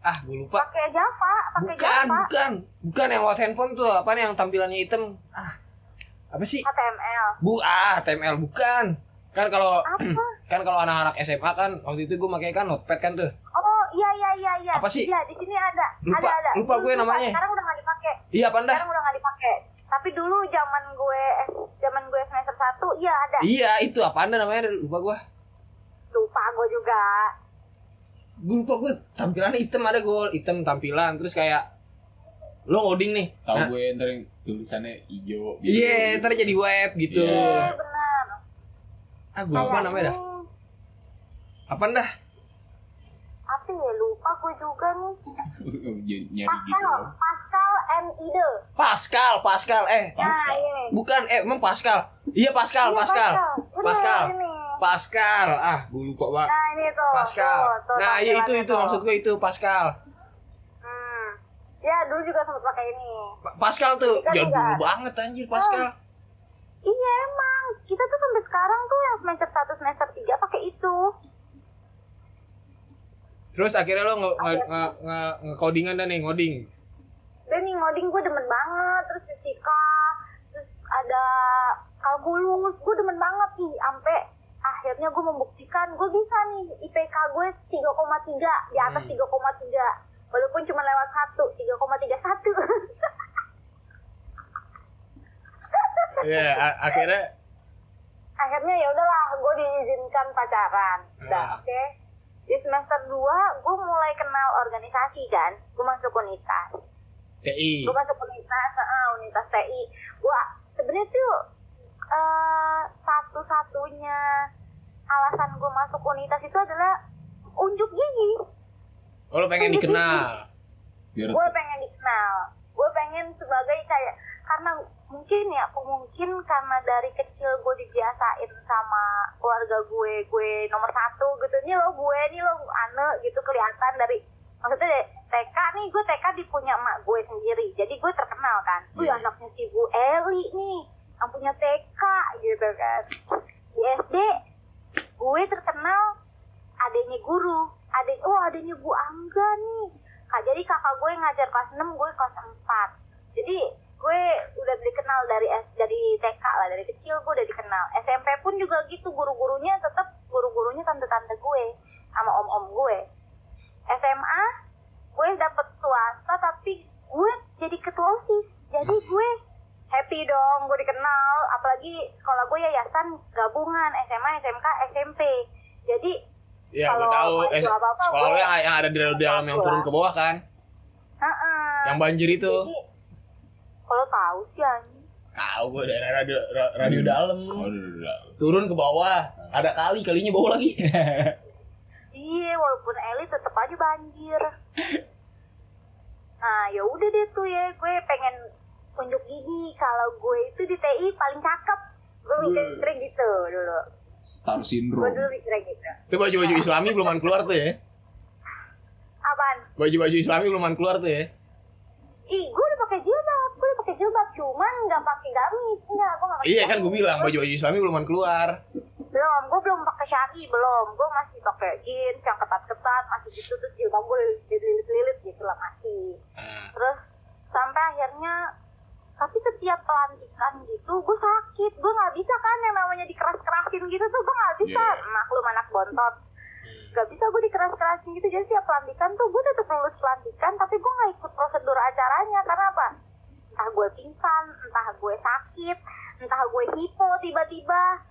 Speaker 4: Ah, gue lupa.
Speaker 2: pakai Java, pakai
Speaker 4: Bukan,
Speaker 2: Java,
Speaker 4: bukan. Bukan yang buat handphone tuh, apa nih yang tampilannya hitam? Ah. Apa sih?
Speaker 2: HTML.
Speaker 4: Bu, ah, TML bukan. Kan kalau
Speaker 2: Apa?
Speaker 4: kan kalau anak-anak SMA kan waktu itu gue pakai kan notepad kan tuh.
Speaker 2: Oh, iya iya iya iya.
Speaker 4: Apa sih?
Speaker 2: Iya, di sini ada.
Speaker 4: Lupa-
Speaker 2: ada ada.
Speaker 4: lupa
Speaker 2: Dulu
Speaker 4: gue namanya.
Speaker 2: Sekarang udah nggak dipakai.
Speaker 4: Iya, panda.
Speaker 2: Sekarang udah nggak dipakai. Tapi dulu zaman gue S- zaman gue semester 1, iya ada.
Speaker 4: Iya, itu apa anda namanya? Lupa gue.
Speaker 2: Lupa gue juga.
Speaker 4: Gue lupa gue tampilannya hitam ada gue hitam tampilan terus kayak lo ngoding nih.
Speaker 3: Tahu
Speaker 4: Nah,
Speaker 3: gue ntar yang tulisannya hijau. biru.
Speaker 4: Iya, ntar jadi web gitu.
Speaker 3: Iya.
Speaker 2: Eh, benar.
Speaker 4: Ah, gue lupa namanya dah.
Speaker 2: Hmm,
Speaker 4: Apa dah?
Speaker 2: Apa ya? Lupa gue juga nih.
Speaker 3: Jadi
Speaker 4: Iya,
Speaker 3: nyari gitu.
Speaker 2: Pascal, Pascal and Ide.
Speaker 4: Pascal, Pascal. Eh,
Speaker 2: E. Nah,
Speaker 3: Pascal.
Speaker 2: ini.
Speaker 4: bukan. Eh, emang Pascal. Iya Pascal,
Speaker 2: Iya,
Speaker 4: Pascal,
Speaker 2: Benar,
Speaker 4: Pascal,
Speaker 2: ini.
Speaker 4: Pascal. Ah, gue lupa banget.
Speaker 2: Nah, ini tuh.
Speaker 4: Pascal.
Speaker 2: Tuh, tuh,
Speaker 4: Nah, iya itu
Speaker 2: tampilannya
Speaker 4: itu
Speaker 2: tuh.
Speaker 4: maksud gue itu Pascal.
Speaker 2: Hmm. Ya, dulu juga sempat pakai ini.
Speaker 4: Pa- Pascal tuh
Speaker 2: Kan Ah.
Speaker 4: jadul
Speaker 2: enggak.
Speaker 4: banget anjir Pascal.
Speaker 2: Iya emang, kita tuh sampai sekarang tuh yang semester 1, semester 3 pakai itu.
Speaker 4: Terus akhirnya lo nge nge nge- nge- nge-codingan dah nih ngoding.
Speaker 2: Dan nih ngoding gue demen banget, terus fisika, terus ada kalkulus, gue demen banget ih, sampai akhirnya gue membuktikan gue bisa nih IPK gue 3,3 di atas
Speaker 4: Hmm.
Speaker 2: 3,3 walaupun cuma lewat satu 3,31
Speaker 4: Iya, a- akhirnya
Speaker 2: akhirnya ya udahlah gue diizinkan pacaran udah
Speaker 4: Ah.
Speaker 2: oke di semester 2 gue mulai kenal organisasi kan gue masuk unitas
Speaker 4: TI.
Speaker 2: gue masuk unitas ah, unitas TI gue sebenarnya tuh eh, satu-satunya alasan gue masuk unitas itu adalah unjuk gigi
Speaker 4: Oh, lo pengen dikenal.
Speaker 3: Biar
Speaker 2: gue pengen dikenal gue pengen sebagai kayak karena mungkin ya mungkin karena dari kecil gue dibiasain sama keluarga gue gue nomor satu gitu nih lo gue nih lo ane gitu kelihatan dari maksudnya dari TK nih gue TK dipunya emak gue sendiri jadi gue terkenal kan gue
Speaker 3: Iya.
Speaker 2: anaknya si Bu Eli nih yang punya TK gitu kan di SD gue terkenal adanya guru adek oh adanya Bu Angga nih kak jadi kakak gue ngajar kelas 6 gue kelas 4 jadi gue udah dikenal dari S- dari TK lah dari kecil gue udah dikenal SMP pun juga gitu guru-gurunya tetap guru-gurunya tante-tante gue sama om-om gue SMA gue dapet swasta tapi gue jadi ketua osis jadi gue happy dong gue dikenal apalagi sekolah gue yayasan gabungan SMA SMK SMP jadi
Speaker 4: Iya, gue
Speaker 2: Kalau
Speaker 4: tahu.
Speaker 2: kalau
Speaker 4: Eh,
Speaker 2: apa-apa,
Speaker 4: sekolah lo
Speaker 2: gue-
Speaker 4: yang, yang ada di dalam yang turun ke bawah kan?
Speaker 2: heeh.
Speaker 4: Yang banjir itu.
Speaker 2: Jadi, kalau tahu sih anjing.
Speaker 4: Tahu gue daerah radio, ra- radio
Speaker 3: Hmm.
Speaker 4: dalam.
Speaker 3: Aduh,
Speaker 4: Turun ke bawah. Ada kali, kalinya bawah lagi.
Speaker 2: Iya, walaupun elit tetap aja banjir. Nah, ya udah deh tuh ya, gue pengen unjuk gigi kalau gue itu di TI paling cakep. Gue
Speaker 4: Iya.
Speaker 2: mikirnya gitu dulu.
Speaker 3: star
Speaker 2: Gue
Speaker 3: syndrome.
Speaker 2: dulu mikirnya gitu.
Speaker 4: Itu baju-baju islami beluman keluar tuh ya.
Speaker 2: Apaan?
Speaker 4: Baju-baju islami beluman keluar tuh ya.
Speaker 2: Ih, gue udah pakai jilbab, gue udah pakai jilbab, cuman nggak pakai gamis, enggak, gue nggak pakai.
Speaker 4: Iya kan gue
Speaker 2: gamis.
Speaker 4: bilang baju-baju islami beluman keluar.
Speaker 2: belum gue belum pakai syari belum gue masih pakai jeans yang ketat-ketat masih gitu terus jilbab gue lilit-lilit gitu lah masih
Speaker 4: Nah,
Speaker 2: terus sampai akhirnya tapi tapi setiap pelantikan gitu gue sakit gue nggak bisa kan yang namanya dikeras kerasin gitu tuh gue nggak bisa
Speaker 3: Iya.
Speaker 2: maklum anak bontot nggak bisa gue dikeras kerasin gitu jadi setiap pelantikan tuh gue tetap lulus pelantikan tapi gue nggak ikut prosedur acaranya karena apa entah gue pingsan entah gue sakit entah gue hipo tiba-tiba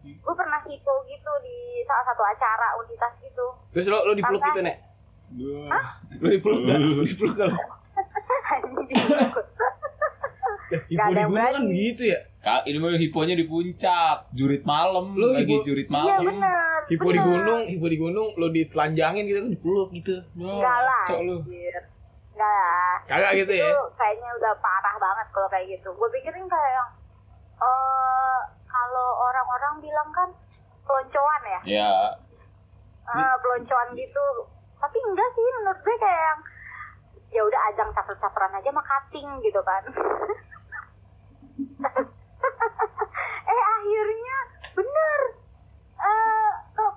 Speaker 2: gue pernah hipo gitu di salah satu acara unitas gitu
Speaker 5: Terus lo lo dipeluk gitu, Nek.
Speaker 3: Gua-
Speaker 5: Lo dipeluk gak? Lo dipeluk gak? Ibu
Speaker 2: Gak ada yang
Speaker 5: ibu kan
Speaker 2: berani.
Speaker 5: gitu ya.
Speaker 3: Ka- ini mah hiponya di puncak, jurit malam,
Speaker 5: Lu
Speaker 3: lagi
Speaker 5: hipo-
Speaker 3: jurit
Speaker 2: iya
Speaker 3: malam.
Speaker 2: bener
Speaker 5: Hipo di
Speaker 2: bener.
Speaker 5: gunung, hipo di gunung lo ditelanjangin gitu kan dipeluk gitu.
Speaker 3: Wah,
Speaker 2: Enggak lah,
Speaker 3: cok lu.
Speaker 2: anjir. Enggak lah.
Speaker 5: Kagak gitu ya.
Speaker 2: Itu kayaknya udah parah banget kalau kayak gitu. Gue pikirin kayak yang eh kalau orang-orang bilang kan peloncoan ya,
Speaker 3: Ya,
Speaker 2: Eh, peloncoan gitu. Tapi enggak sih menurut gue kayak yang ya udah ajang caper-caperan aja mah cutting gitu kan. eh akhirnya bener eh kok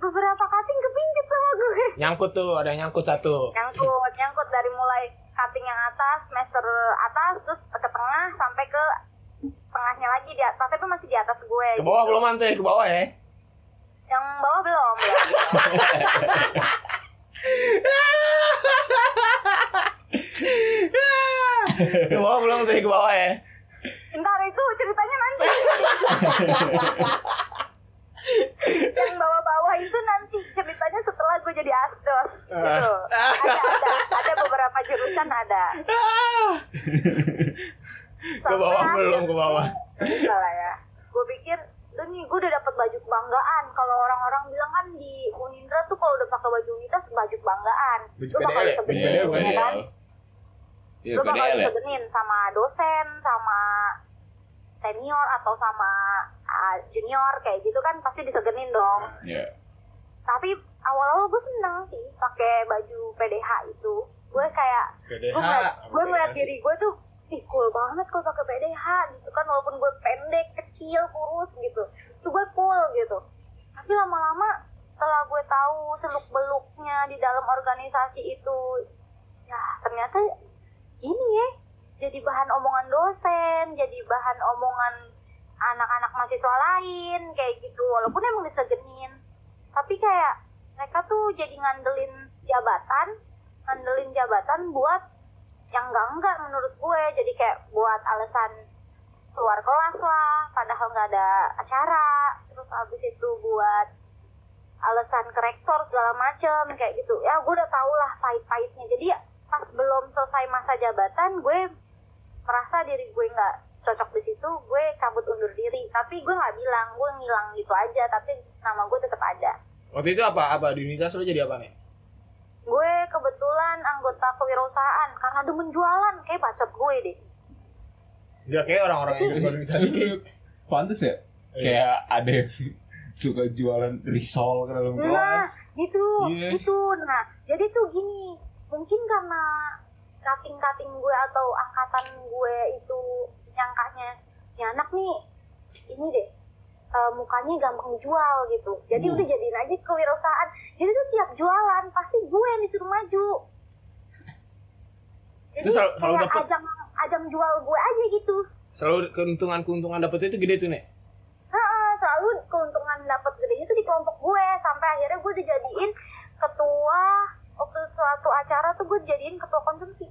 Speaker 2: beberapa cutting kepincut sama gue
Speaker 4: Nyangkut tuh, ada yang nyangkut satu.
Speaker 2: nyangkut nyangkut dari mulai cutting yang atas semester atas terus ke tengah sampai ke tengahnya lagi di atas tapi masih di atas gue
Speaker 4: Ke bawah belum mantai, ke bawah ya.
Speaker 2: yang bawah belum ya. belum.
Speaker 4: Ke bawah belum mantai, ke bawah ya.
Speaker 2: ntar itu ceritanya nanti yang bawah-bawah itu nanti ceritanya setelah gue jadi asdos gitu ada ada ada beberapa jurusan ada
Speaker 4: Ke bawah
Speaker 2: Sampai
Speaker 4: belum, ke bawah.
Speaker 2: ya, Enggak lah ya gue pikir lu nih gue udah dapat baju kebanggaan kalau orang-orang bilang kan di Unindra tuh kalau udah pakai baju unitas baju kebanggaan
Speaker 4: Baju
Speaker 2: lu bakal
Speaker 4: PDL ya? Baju
Speaker 3: PDL,
Speaker 2: disebutin ya kan
Speaker 3: PDL. Iya,
Speaker 2: lu bakal
Speaker 3: PDL ya.
Speaker 2: disegenin sama dosen sama senior atau sama ah, junior kayak gitu kan pasti disegenin dong
Speaker 3: Iya.
Speaker 2: tapi awal-awal gue seneng sih pakai baju PDH itu gue kayak
Speaker 4: PDH.
Speaker 2: gue ngeliat, gue ngeliat gitu.
Speaker 4: sih?
Speaker 2: diri gue tuh ih cool banget kalau pakai PDH gitu kan walaupun gue pendek kecil kurus gitu tuh gue cool gitu tapi lama-lama setelah gue tahu seluk beluknya di dalam organisasi itu ya ternyata ini ya jadi bahan omongan dosen jadi bahan omongan anak-anak mahasiswa lain kayak gitu walaupun emang disegenin tapi kayak mereka tuh jadi ngandelin jabatan ngandelin jabatan buat yang enggak enggak menurut gue jadi kayak buat alasan keluar kelas lah padahal nggak ada acara terus abis itu buat alasan ke rektor segala macem kayak gitu ya gue udah tau lah pahit-pahitnya jadi ya, pas belum selesai masa jabatan gue merasa diri gue nggak cocok di situ gue cabut undur diri tapi gue nggak bilang gue ngilang gitu aja tapi nama gue tetap ada
Speaker 4: Waktu itu apa? Apa di unitas lo jadi apa nih?
Speaker 2: gue kebetulan anggota kewirausahaan karena demen jualan kayak bacot gue deh
Speaker 4: Enggak kayak orang-orang yang ikut organisasi kayak
Speaker 3: Iya. Pantes ya?
Speaker 4: Iya.
Speaker 3: Kayak ada yang suka jualan risol ke dalam
Speaker 2: Nah,
Speaker 3: kelas.
Speaker 2: gitu,
Speaker 3: Iya.
Speaker 2: gitu. Nah, jadi tuh gini, mungkin karena kating-kating gue atau angkatan gue itu nyangkanya, ya anak nih, ini deh, eh, mukanya gampang dijual gitu. Jadi
Speaker 3: Hmm.
Speaker 2: udah jadiin aja kewirausahaan. Jadi tuh tiap jualan pasti gue yang disuruh maju. Jadi
Speaker 4: Itu selalu- selalu
Speaker 2: kayak
Speaker 4: dapet.
Speaker 2: ajang, ajang jual gue aja gitu.
Speaker 4: selalu keuntungan-keuntungan dapetnya itu gede tuh, Nek.
Speaker 2: Heeh, selalu keuntungan dapat gedenya tuh di kelompok gue sampai akhirnya gue dijadiin ketua waktu suatu acara tuh gue dijadiin ketua konsumsi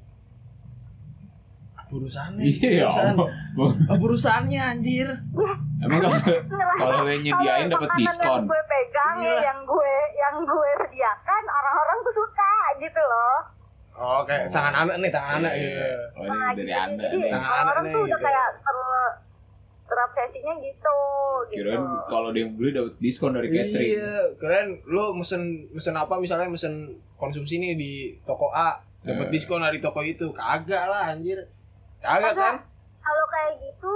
Speaker 4: Perusahaannya.
Speaker 3: Iya, ya
Speaker 4: perusahaan.
Speaker 3: Allah.
Speaker 4: Oh, perusahaannya anjir.
Speaker 3: Emang kalau- kalau lo yang nyediain
Speaker 2: Nah. Kalau
Speaker 3: dapat
Speaker 2: makanan
Speaker 3: diskon.
Speaker 2: yang gue pegang ya
Speaker 4: Iya.
Speaker 2: yang gue yang gue sediakan orang-orang tuh suka gitu loh
Speaker 4: Oh, kayak
Speaker 3: Oh.
Speaker 4: tangan anak nih, tangan anak gitu.
Speaker 3: Iya. Oh, ini
Speaker 2: Nah,
Speaker 3: dari
Speaker 2: gitu.
Speaker 3: anda
Speaker 2: jadi
Speaker 3: nih.
Speaker 4: Tangan
Speaker 2: orang-orang
Speaker 4: aneh
Speaker 2: tuh udah
Speaker 4: gitu.
Speaker 2: kayak ter terobsesinya gitu gitu
Speaker 3: Kirain kalau dia yang beli dapat diskon dari catering.
Speaker 4: Iya, kalian lo mesen mesen apa misalnya mesen konsumsi nih di toko A dapat
Speaker 3: Eh.
Speaker 4: diskon dari toko itu. Kagak lah anjir.
Speaker 2: Kagak.
Speaker 4: Kagak kan?
Speaker 2: kalau kayak gitu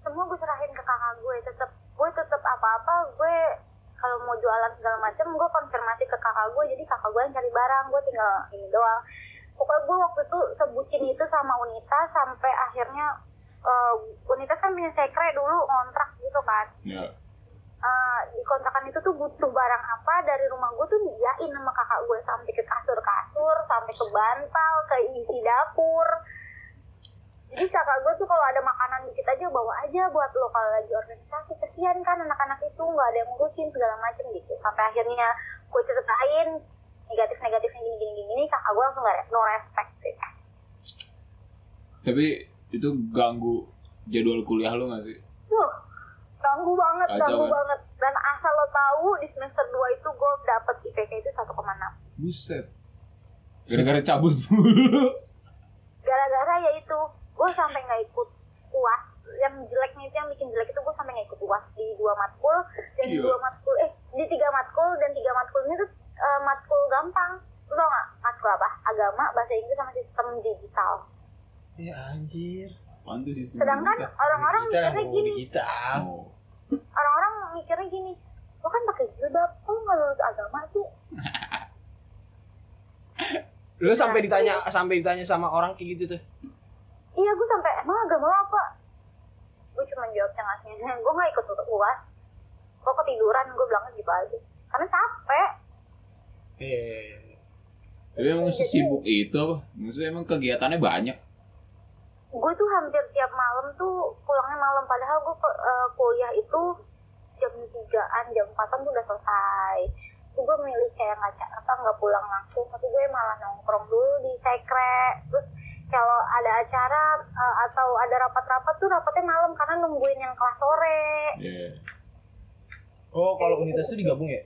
Speaker 2: semua gue serahin ke kakak gue tetep gue tetep apa-apa gue kalau mau jualan segala macem gue konfirmasi ke kakak gue jadi kakak gue yang cari barang gue tinggal ini doang pokoknya gue waktu itu sebutin itu sama Unita sampai akhirnya eh, Unitas kan punya sekre dulu ngontrak gitu kan
Speaker 3: Iya.
Speaker 2: Eh, di kontrakan itu tuh butuh barang apa dari rumah gue tuh diiyain sama kakak gue sampai ke kasur-kasur sampai ke bantal ke isi dapur jadi kakak gue tuh kalau ada makanan dikit aja bawa aja buat lo kalau lagi organisasi kesian kan anak-anak itu nggak ada yang ngurusin segala macem gitu sampai akhirnya gue ceritain negatif negatifnya gini gini gini kakak gue langsung nggak no respect sih
Speaker 3: Tapi itu ganggu jadwal kuliah lu gak sih?
Speaker 2: Duh, ganggu banget,
Speaker 3: Kacau,
Speaker 2: ganggu
Speaker 3: kan?
Speaker 2: banget. Dan asal lo tahu di semester 2 itu gue dapet IPK itu 1,6.
Speaker 3: Buset. Gara-gara cabut mulu.
Speaker 2: Gara-gara ya itu, gue sampai nggak ikut UAS. Yang jeleknya itu yang bikin jelek itu gue sampai nggak ikut UAS di dua matkul dan di
Speaker 3: Gila.
Speaker 4: Iya.
Speaker 2: dua matkul eh di tiga matkul dan tiga matkul ini tuh eh, matkul gampang. Lo tau nggak matkul apa? Agama, bahasa Inggris sama sistem digital.
Speaker 4: Ya anjir.
Speaker 3: Mantu sih.
Speaker 2: Sedangkan orang-orang
Speaker 4: Kita yang
Speaker 2: mikirnya
Speaker 4: ngomong
Speaker 2: gini,
Speaker 4: digital.
Speaker 3: Oh.
Speaker 2: orang-orang mikirnya gini lo kan pakai jilbab kok lo nggak lulus agama sih
Speaker 4: Lu sampai ditanya sampai ditanya sama orang kayak gitu tuh.
Speaker 2: iya gue sampai emang agama lo apa gue cuma jawab tengahnya gue nggak ikut untuk uas gue ketiduran gue bilang gitu aja karena capek
Speaker 4: Iya.
Speaker 3: Tapi emang sesibuk itu apa? Maksudnya emang kegiatannya banyak.
Speaker 2: gue tuh hampir tiap malam tuh pulangnya malam padahal gue ke- eh, kuliah itu jam tigaan jam empatan tuh udah selesai Terus gue milih kayak nggak ca- apa nggak pulang langsung tapi gue malah nongkrong dulu di sekre terus kalau ada acara eh, atau ada rapat-rapat tuh rapatnya malam karena nungguin yang kelas sore
Speaker 3: Iya.
Speaker 5: Oh, kalau unitas itu digabung ya?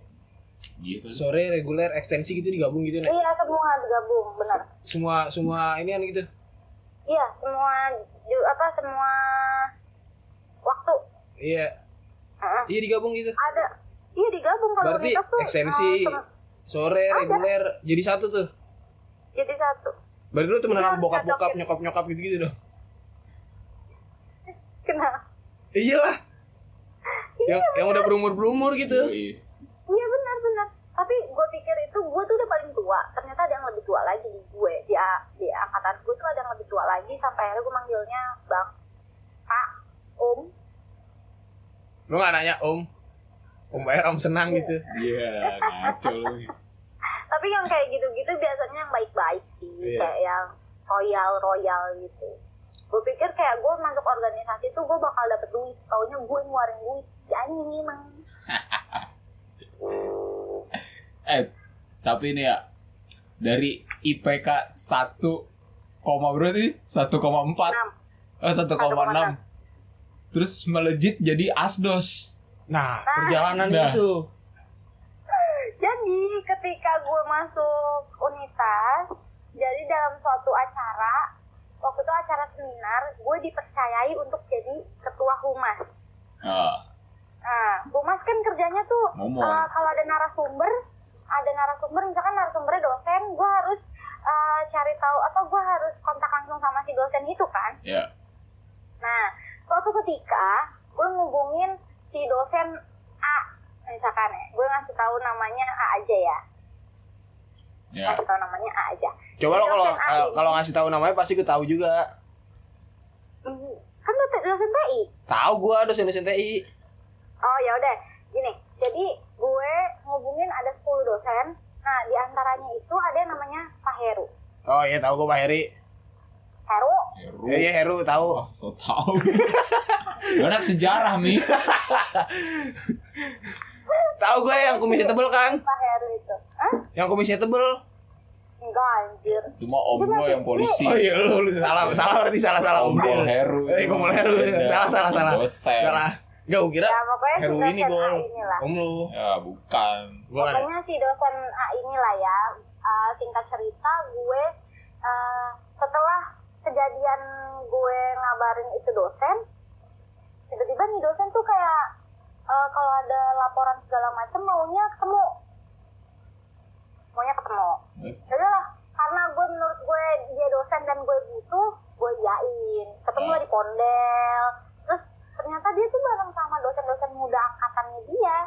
Speaker 3: Iya kan?
Speaker 5: Sore reguler ekstensi gitu digabung gitu nek.
Speaker 4: ya?
Speaker 2: iya semua digabung benar
Speaker 5: Semua semua ini kan gitu.
Speaker 2: iya semua ju- apa semua waktu
Speaker 5: Iya,
Speaker 2: Heeh.
Speaker 5: iya digabung gitu.
Speaker 2: ada iya digabung kalau
Speaker 5: Berarti
Speaker 2: unitas tuh eh,
Speaker 5: ekstensi.
Speaker 2: temen-
Speaker 5: Sore reguler jadi satu tuh.
Speaker 2: jadi satu
Speaker 5: Berarti lu temenan sama
Speaker 2: Iya,
Speaker 5: bokap-bokap,
Speaker 2: cocokin.
Speaker 5: nyokap-nyokap gitu-gitu dong.
Speaker 2: kenapa
Speaker 5: Iyalah. Yang yang udah berumur-berumur gitu.
Speaker 3: Yoi.
Speaker 2: Iya benar-benar. Tapi gue pikir itu gue tuh udah paling tua. Ternyata ada yang lebih tua lagi di gue. Di, a- di angkatan gue tuh ada yang lebih tua lagi. Sampai akhirnya gue manggilnya bang, pak, om.
Speaker 5: Lu gak nanya om. Om Air, om senang gitu.
Speaker 3: Iya, ngaco lu.
Speaker 2: Tapi yang kayak gitu-gitu biasanya yang baik-baik sih.
Speaker 5: Iya.
Speaker 2: Kayak yang royal-royal gitu. Gue pikir kayak gue masuk organisasi tuh gue bakal dapet duit. Taunya gue ngeluarin duit. Si anjing emang.
Speaker 3: Eh, tapi ini ya dari IPK 1 koma berarti 1,4
Speaker 2: Enam.
Speaker 3: eh 1,6 terus melejit jadi asdos
Speaker 5: Nah, perjalanan
Speaker 3: Nah.
Speaker 5: itu.
Speaker 2: Jadi ketika gue masuk unitas, jadi dalam suatu acara, waktu itu acara seminar, gue dipercayai untuk jadi ketua humas.
Speaker 3: nah,
Speaker 2: Nah, humas kan kerjanya tuh
Speaker 3: Ngomong.
Speaker 2: eh, kalau ada narasumber, ada narasumber, misalkan narasumbernya dosen, gue harus eh, cari tahu atau gue harus kontak langsung sama si dosen itu kan.
Speaker 3: ya
Speaker 2: Nah, suatu ketika gue ngubungin si dosen A, misalkan ya, gue ngasih tahu namanya A aja ya.
Speaker 3: ya
Speaker 2: kasih tahu namanya A aja.
Speaker 4: Coba lo kalau eh,
Speaker 2: Dosen A ini.
Speaker 4: kalau ngasih tahu namanya pasti gue tahu juga.
Speaker 2: Hmm, Kan lu te- dosen TI.
Speaker 4: Tahu gua dosen-dosen TI.
Speaker 2: Oh ya udah, gini. Jadi gue ngubungin ada 10 dosen. Nah, di antaranya itu ada yang namanya Pak Heru.
Speaker 4: Oh iya tahu gua Pak Heri.
Speaker 2: Heru,
Speaker 3: Heru
Speaker 5: Ya, Eh,
Speaker 4: Iya iya, Heru tahu.
Speaker 3: Ya, Wah, so tau Lu anak sejarah mi
Speaker 4: Tahu gua yang kumisnya tebel kan?
Speaker 2: Pak Heru itu. Hah?
Speaker 4: Yang kumisnya tebel.
Speaker 2: Enggak anjir.
Speaker 3: cuma om gua yang polisi
Speaker 5: Oh iya, lu, lu salah, salah berarti salah salah om
Speaker 3: Kompol
Speaker 5: Air.
Speaker 3: Heru
Speaker 5: Eh, Kompol Heru.
Speaker 3: Beda.
Speaker 5: Salah, salah, salah.
Speaker 3: Iya. dosen
Speaker 5: Salah. Gak, gua kira
Speaker 2: Ya pokoknya si
Speaker 5: Heru
Speaker 2: dosen
Speaker 5: ini,
Speaker 2: A
Speaker 5: Gol.
Speaker 2: inilah.
Speaker 5: om lu.
Speaker 3: ya bukan
Speaker 5: Gua nggak-
Speaker 2: Pokoknya si dosen A inilah ya. Eh, singkat cerita gue eh, setelah kejadian gue ngabarin itu dosen, tiba-tiba nih dosen tuh kayak eh, kalau ada laporan segala macem maunya ketemu, maunya ketemu.
Speaker 3: Eh.
Speaker 2: Yaudah Ya lah, karena gue menurut gue dia dosen dan gue butuh, gue yain. Ketemu
Speaker 3: Hmm.
Speaker 2: lah di pondel. Terus ternyata dia tuh bareng sama dosen-dosen muda angkatannya dia,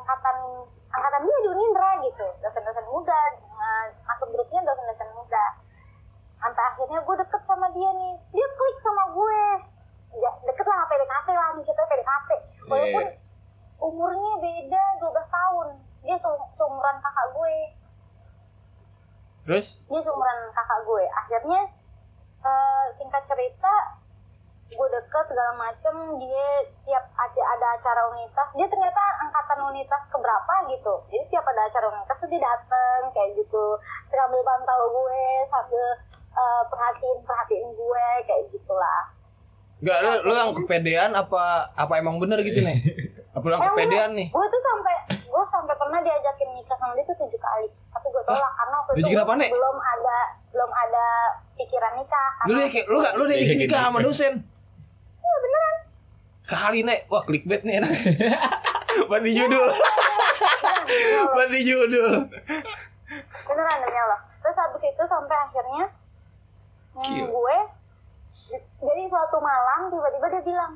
Speaker 2: angkatan angkatan dia di Unindra gitu, dosen-dosen muda, eh, masuk grupnya dosen-dosen muda sampai akhirnya gue deket sama dia nih dia klik sama gue ya, deket lah PDKT lah nih kita PDKT walaupun
Speaker 3: Iya.
Speaker 2: umurnya beda 12 tahun dia se- seumuran kakak gue
Speaker 5: Terus?
Speaker 2: dia seumuran kakak gue akhirnya eh, singkat cerita gue deket segala macem dia tiap ada ada acara unitas dia ternyata angkatan unitas keberapa gitu jadi tiap ada acara unitas tuh dia dateng kayak gitu sambil pantau gue sambil eh, perhatiin perhatiin gue kayak gitulah
Speaker 5: Enggak, lu, lu yang kepedean apa apa emang bener gitu nih? Apa lu yang kepedean nih?
Speaker 2: gue tuh sampai gue sampai pernah diajakin nikah sama dia tuh tujuh kali tapi gue tolak karena waktu itu
Speaker 5: diajakin apaan, Nek?
Speaker 2: belum ada belum ada pikiran nikah
Speaker 5: Lu
Speaker 2: karena
Speaker 5: deh kayak- lu gak lu deh
Speaker 3: Iya,
Speaker 5: nikah
Speaker 3: gitu.
Speaker 5: sama dosen.
Speaker 2: Iya,
Speaker 5: Kali nek, wah clickbait nih enak. Banti judul, banti judul.
Speaker 2: beneran demi Allah terus habis itu sampai akhirnya hmm,
Speaker 3: Gila.
Speaker 2: gue jadi suatu malam tiba-tiba dia bilang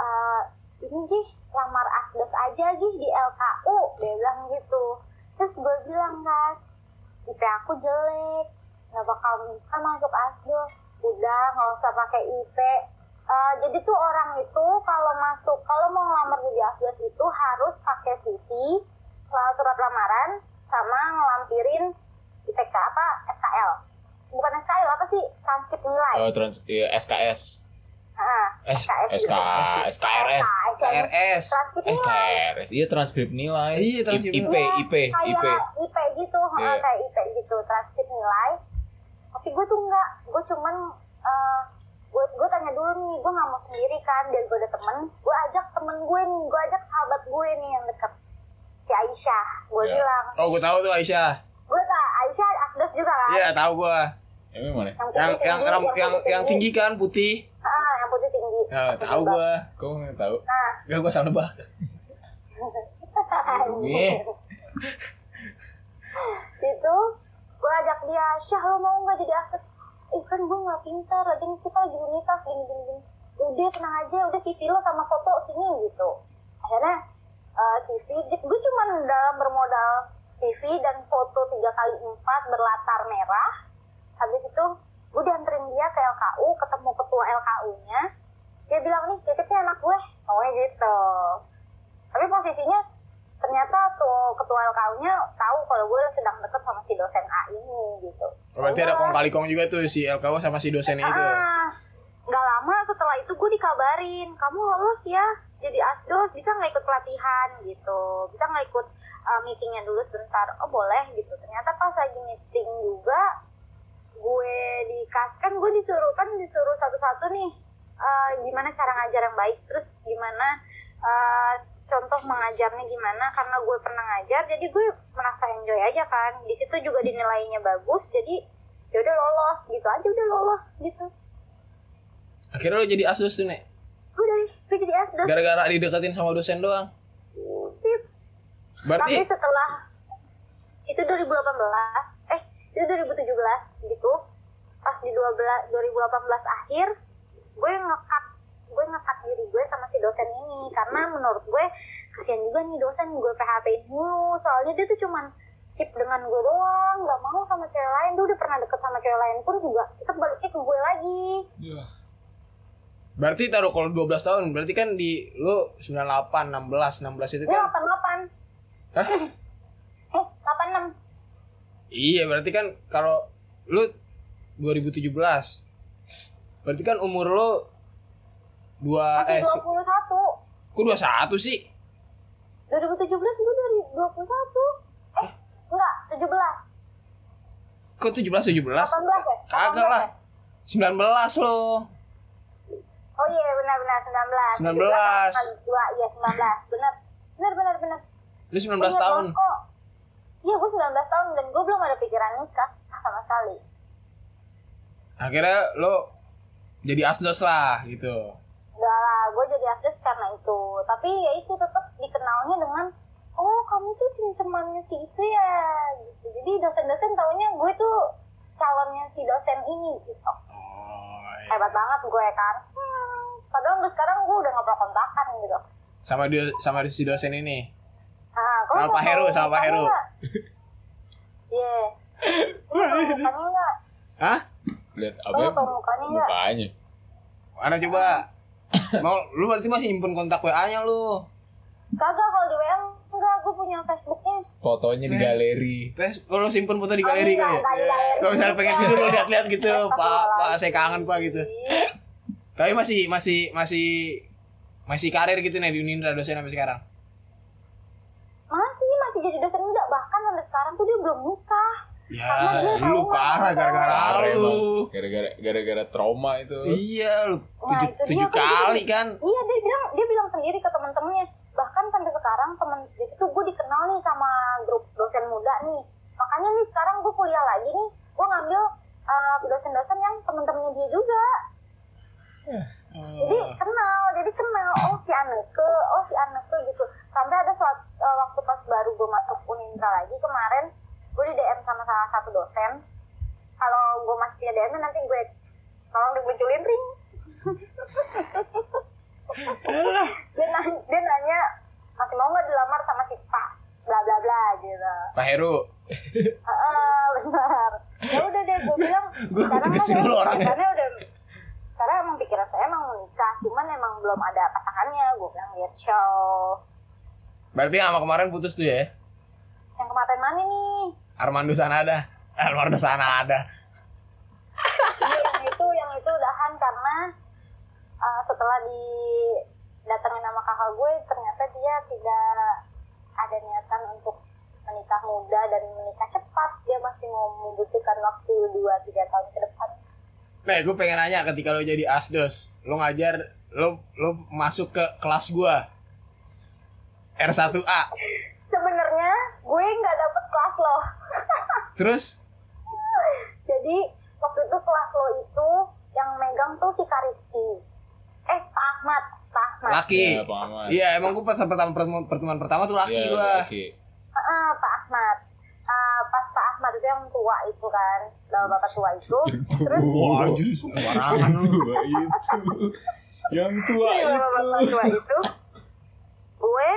Speaker 2: "Eh, ini gih lamar asdos aja gih di LKU dia bilang gitu terus gue bilang kan IP aku jelek nggak bakal bisa masuk asdos udah nggak usah pakai IP Eh, jadi tuh orang itu kalau masuk kalau mau ngelamar jadi asdos itu harus pakai CV eh, surat lamaran sama ngelampirin IPK apa SKL bukan SKL apa sih transkrip nilai
Speaker 3: Oh, trans iya, SKS.
Speaker 2: Ah,
Speaker 3: Eh,
Speaker 5: S-
Speaker 2: SKS
Speaker 3: SK, SKRS.
Speaker 5: KRS.
Speaker 2: transkrip
Speaker 3: Eh,
Speaker 2: nilai
Speaker 3: KRS. Iya, transkrip nilai.
Speaker 5: Iya, transkrip
Speaker 3: IP,
Speaker 2: Iya,
Speaker 3: IP, IP.
Speaker 2: kayak IP gitu heeh,
Speaker 3: Iya.
Speaker 2: kayak IP gitu transkrip nilai tapi gue tuh enggak gue cuman eh, gue gue tanya dulu nih gue nggak mau sendiri kan dan gue ada temen gue ajak temen gue nih gue ajak sahabat gue nih yang deket si Aisyah gue
Speaker 3: Iya.
Speaker 2: bilang
Speaker 4: Oh, gue tahu tuh Aisyah.
Speaker 2: gue tak Aisyah asdos juga kan
Speaker 4: Iya, tahu gua.
Speaker 3: Emang Ya, mana?
Speaker 2: putih
Speaker 4: Yang yang
Speaker 2: tinggi,
Speaker 4: yang yang, yang tinggi kan putih.
Speaker 2: Ah, yang putih tinggi
Speaker 4: Ya, tahu gua.
Speaker 3: Kau nggak tahu?
Speaker 2: nah
Speaker 4: Gak gua salah nebak.
Speaker 3: Iya.
Speaker 2: itu gue ajak dia Syah lo mau nggak jadi aset ih kan gue nggak pintar lagi kita lagi unitas gini gini gini udah tenang aja udah CV lo sama foto sini gitu akhirnya eh, CV gue cuman dalam bermodal CV dan foto tiga kali empat berlatar merah habis itu gue dianterin dia ke LKU ketemu ketua LKU nya dia bilang nih titipnya anak gue oh gitu tapi posisinya ternyata tuh ketua LKU-nya tahu kalau gue sedang deket sama si dosen A ini gitu.
Speaker 4: Oh, Berarti ada kong kali kong juga tuh si LKW sama si dosennya itu.
Speaker 2: Ah, nggak lama setelah itu gue dikabarin, kamu lulus ya jadi asdos, bisa nggak ikut pelatihan gitu, bisa nggak ikut uh, meetingnya dulu sebentar, oh boleh gitu. Ternyata pas lagi meeting juga, gue dikas kan gue disuruh kan disuruh satu-satu nih, uh, gimana cara ngajar yang baik, terus gimana uh, contoh mengajarnya gimana, karena gue pernah ngajar, jadi gue merasa enjoy aja kan. Di situ juga dinilainya bagus, jadi ya udah lolos gitu aja udah lolos gitu
Speaker 5: Akhirnya lu jadi asus tuh nek.
Speaker 2: gue dari gue jadi asdos
Speaker 5: Gara-gara dideketin sama dosen doang.
Speaker 2: sip tapi
Speaker 5: Berarti
Speaker 2: setelah itu 2018 eh itu 2017 gitu pas di 12 2018 akhir gue ngekat gue ngekat diri gue sama si dosen ini karena menurut gue kasihan juga nih dosen gue PHP dulu soalnya dia tuh cuman keep dengan gue doang nggak mau sama cewek lain dia udah pernah deket sama cewek lain pun juga tetap baliknya ke gue lagi
Speaker 3: Iya.
Speaker 5: berarti taruh kalau 12 tahun, berarti kan di lu 98, 16, 16 itu
Speaker 2: gue
Speaker 5: kan.
Speaker 2: 88
Speaker 5: Hah?
Speaker 2: eh 86
Speaker 5: Iya, berarti kan kalau lu 2017. Berarti kan umur lu 2
Speaker 2: Masih
Speaker 5: eh si-
Speaker 2: 21.
Speaker 5: kok 21 sih?
Speaker 2: 2017 gue dari 21. Eh, enggak, 17.
Speaker 5: Kok 17 17?
Speaker 2: 18 ya?
Speaker 5: Kagak lah. 19 lo.
Speaker 2: 18. Oh iya, benar-benar 19.
Speaker 5: 19.
Speaker 2: 2, iya 19. Benar. Benar, benar, benar.
Speaker 5: Lu 19
Speaker 2: Iya,
Speaker 5: tahun.
Speaker 2: kok. Iya, gue 19 tahun dan gue belum ada pikiran nikah sama sekali.
Speaker 5: Akhirnya lo jadi asdos lah gitu.
Speaker 2: Enggak lah, gue jadi asdes karena itu. Tapi ya itu tetap dikenalnya dengan oh kamu tuh cem-cemannya si itu ya. Gitu. Jadi dosen-dosen taunya gue tuh calonnya si dosen ini gitu.
Speaker 5: Oh, iya.
Speaker 2: Hebat banget gue kan. Hmm, padahal gue sekarang gue udah nggak pernah kontakan gitu.
Speaker 5: Sama dia sama si dosen ini.
Speaker 2: Nah, kalau
Speaker 4: Sama
Speaker 2: mau
Speaker 4: Pak Heru,
Speaker 2: tahu
Speaker 4: sama Pak
Speaker 2: mukanya
Speaker 4: Heru.
Speaker 2: nggak? Iya. Lu tau mukanya nggak?
Speaker 4: Hah?
Speaker 3: Lihat
Speaker 2: Lu
Speaker 3: apa? ya?
Speaker 2: tau mukanya nggak?
Speaker 3: Mukanya.
Speaker 4: Mana coba?
Speaker 5: Mau lu berarti masih nyimpen kontak WA-nya lu.
Speaker 2: Kagak kalau di WM enggak, gue punya Facebooknya.
Speaker 3: Fotonya di
Speaker 5: Yes.
Speaker 3: galeri.
Speaker 5: Pes, lu simpen foto
Speaker 2: Ah,
Speaker 5: di galeri
Speaker 2: iya,
Speaker 5: kali ya?
Speaker 2: Enggak, enggak di galeri. Iya.
Speaker 5: Kalau misalnya pengen gitu lu lihat-lihat gitu, Pak, Pak saya kangen Pak gitu.
Speaker 2: Ih,
Speaker 4: Tapi masih masih masih masih karir gitu nih di Unindra dosen sampai sekarang.
Speaker 2: masih masih jadi dosen muda bahkan sampai sekarang tuh dia belum nikah Karena
Speaker 4: Ya,
Speaker 2: dia
Speaker 4: lu
Speaker 2: trauma.
Speaker 4: parah gara-gara
Speaker 3: Parah
Speaker 4: lu.
Speaker 3: gara-gara gara-gara trauma itu
Speaker 4: Iya, lu
Speaker 2: Wah,
Speaker 4: tujuh,
Speaker 2: itu dia kan
Speaker 4: tujuh
Speaker 2: jadi-
Speaker 4: kali kan.
Speaker 2: iya dia bilang dia bilang sendiri ke temen-temennya bahkan sampai sekarang temen jadi tuh gue dikenal nih sama grup dosen muda nih makanya nih sekarang gue kuliah lagi nih gue ngambil eh, dosen-dosen yang temen-temennya dia juga jadi kenal jadi kenal oh si Aneke oh si Aneke gitu sampai ada suatu eh, waktu pas baru gue masuk Unindra lagi kemarin gue di DM sama salah satu dosen kalau gue masih di DM nanti gue tolong dimunculin ring dia, nanya, dia nanya masih mau nggak dilamar sama si Pak bla bla bla gitu
Speaker 4: Pak Heru,
Speaker 2: Heeh, benar ya udah deh gue bilang
Speaker 4: Gua tegesin
Speaker 2: saya
Speaker 4: lu orangnya.
Speaker 2: pikirannya udah karena emang pikiran saya emang menikah cuman emang belum ada pasangannya gue bilang ya ciao
Speaker 4: berarti sama kemarin putus tuh ya?
Speaker 2: yang kemarin mana nih
Speaker 4: Armando Sanada. Armando Sanada.
Speaker 2: Iya, yang itu yang itu udahan karena eh, setelah didatengin sama kakak gue ternyata dia tidak ada niatan untuk menikah muda dan menikah cepat dia masih mau membutuhkan waktu 2-3 tahun ke depan
Speaker 4: Nah, gue pengen nanya ketika lo jadi asdos, lo ngajar, lo lo masuk ke kelas gua R1A.
Speaker 2: sebenarnya gue nggak dapet kelas loh
Speaker 4: Terus
Speaker 2: jadi waktu itu kelas lo itu yang megang tuh si Kariski eh Pak Ahmad Pak Ahmad
Speaker 4: laki.
Speaker 3: ya paman
Speaker 4: Iya, emang gue pas pertama pertemuan, pertemuan pertama tuh laki
Speaker 3: Iya,
Speaker 4: gua.
Speaker 3: laki.
Speaker 2: Heeh, Pak Ahmad. Ah, pas Pak Ahmad itu yang tua itu kan, bapak-bapak tua itu. terus
Speaker 4: Wah, anjir sembarangan lu.
Speaker 3: tua itu yang tua
Speaker 2: iya,
Speaker 5: Iya,
Speaker 2: bapak-bapak
Speaker 3: itu
Speaker 2: tua itu, gue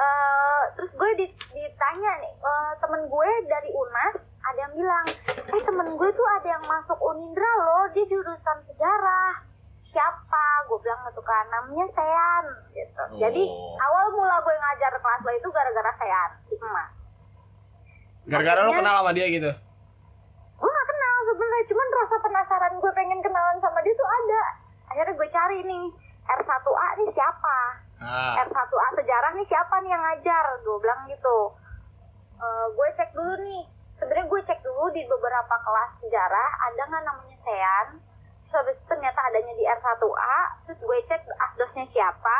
Speaker 2: eh, terus gue di- ditanya nih eh, temen gue dari Unas ada yang bilang, eh temen gue tuh ada yang masuk Unindra loh, dia jurusan sejarah. Siapa? Gue bilang gitu kan, namanya Sean. Gitu. Jadi
Speaker 3: Oh.
Speaker 2: awal mula gue ngajar kelas lo itu gara-gara Sean, si emak.
Speaker 4: Gara-gara
Speaker 2: Iya.
Speaker 4: lo kenal sama dia gitu.
Speaker 2: gue gak kenal sebenarnya cuman rasa penasaran gue pengen kenalan sama dia tuh ada akhirnya gue cari nih R1A nih siapa
Speaker 4: Nah,
Speaker 2: R1A sejarah nih siapa nih yang ngajar gue bilang gitu Eh, gue cek dulu nih sebenarnya gue cek dulu di beberapa kelas sejarah ada nggak namanya Sean terus habis itu ternyata adanya di R1A terus gue cek asdosnya siapa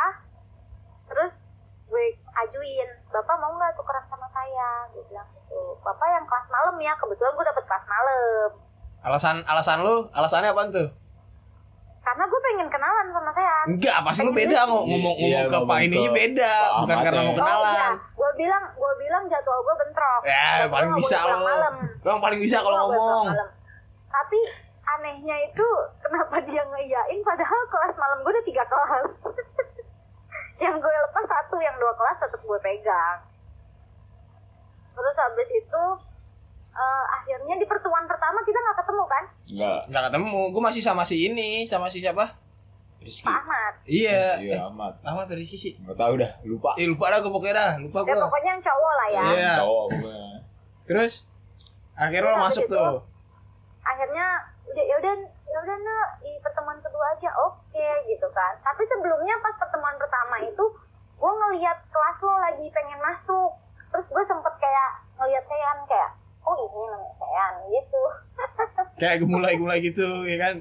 Speaker 2: terus gue ajuin bapak mau nggak tukeran sama saya gue bilang gitu bapak yang kelas malam ya kebetulan gue dapet kelas malam
Speaker 4: alasan alasan lu, alasannya apaan tuh?
Speaker 2: karena gue pengen kenalan sama saya Oh,
Speaker 4: Enggak, pasti lu beda ngomong ngomong,
Speaker 3: Iya,
Speaker 4: ke Pak
Speaker 3: ngomong
Speaker 4: ininya
Speaker 3: ke
Speaker 4: beda,
Speaker 3: Pak
Speaker 4: bukan
Speaker 3: Ahmad
Speaker 4: karena
Speaker 3: ya.
Speaker 2: oh
Speaker 4: mau
Speaker 2: iya
Speaker 4: kenalan.
Speaker 2: gue bilang gue bilang jadwal gue bentrok
Speaker 4: Ya,
Speaker 2: Jadwal
Speaker 4: paling
Speaker 2: gua
Speaker 4: bisa
Speaker 2: pulang
Speaker 4: lo.
Speaker 2: malam.
Speaker 4: Lo yang paling bisa
Speaker 2: Gua
Speaker 4: kalau
Speaker 2: nggak boleh
Speaker 4: ngomong.
Speaker 2: pulang malam. tapi anehnya itu kenapa dia ngeiyain padahal kelas malam gue udah tiga kelas yang gue lepas satu yang dua kelas tetap gue pegang terus habis itu eh, akhirnya di pertemuan pertama kita nggak ketemu kan
Speaker 3: enggak
Speaker 4: Enggak ketemu, gue masih sama si ini, sama si siapa?
Speaker 3: Rizky
Speaker 2: Pak Ahmad
Speaker 4: Iya.
Speaker 3: iya amat
Speaker 4: Eh, Ahmad dari sisi.
Speaker 3: nggak tahu dah lupa
Speaker 4: Eh lupa dah gue pokoknya dah, lupa
Speaker 2: ya
Speaker 4: gue.
Speaker 2: pokoknya yang cowok lah ya
Speaker 4: Iya.
Speaker 3: cowok gue
Speaker 4: Terus akhirnya lo
Speaker 2: Terus
Speaker 4: masuk
Speaker 2: habis itu,
Speaker 4: tuh.
Speaker 2: akhirnya udah ya udah ya udah Nak, di pertemuan kedua aja oke gitu kan tapi sebelumnya pas pertemuan pertama itu gue ngelihat kelas lo lagi pengen masuk terus gue sempet kayak ngelihat Sean kayak oh ini namanya Sean gitu
Speaker 4: Kayak mulai mulai gitu, ya kan?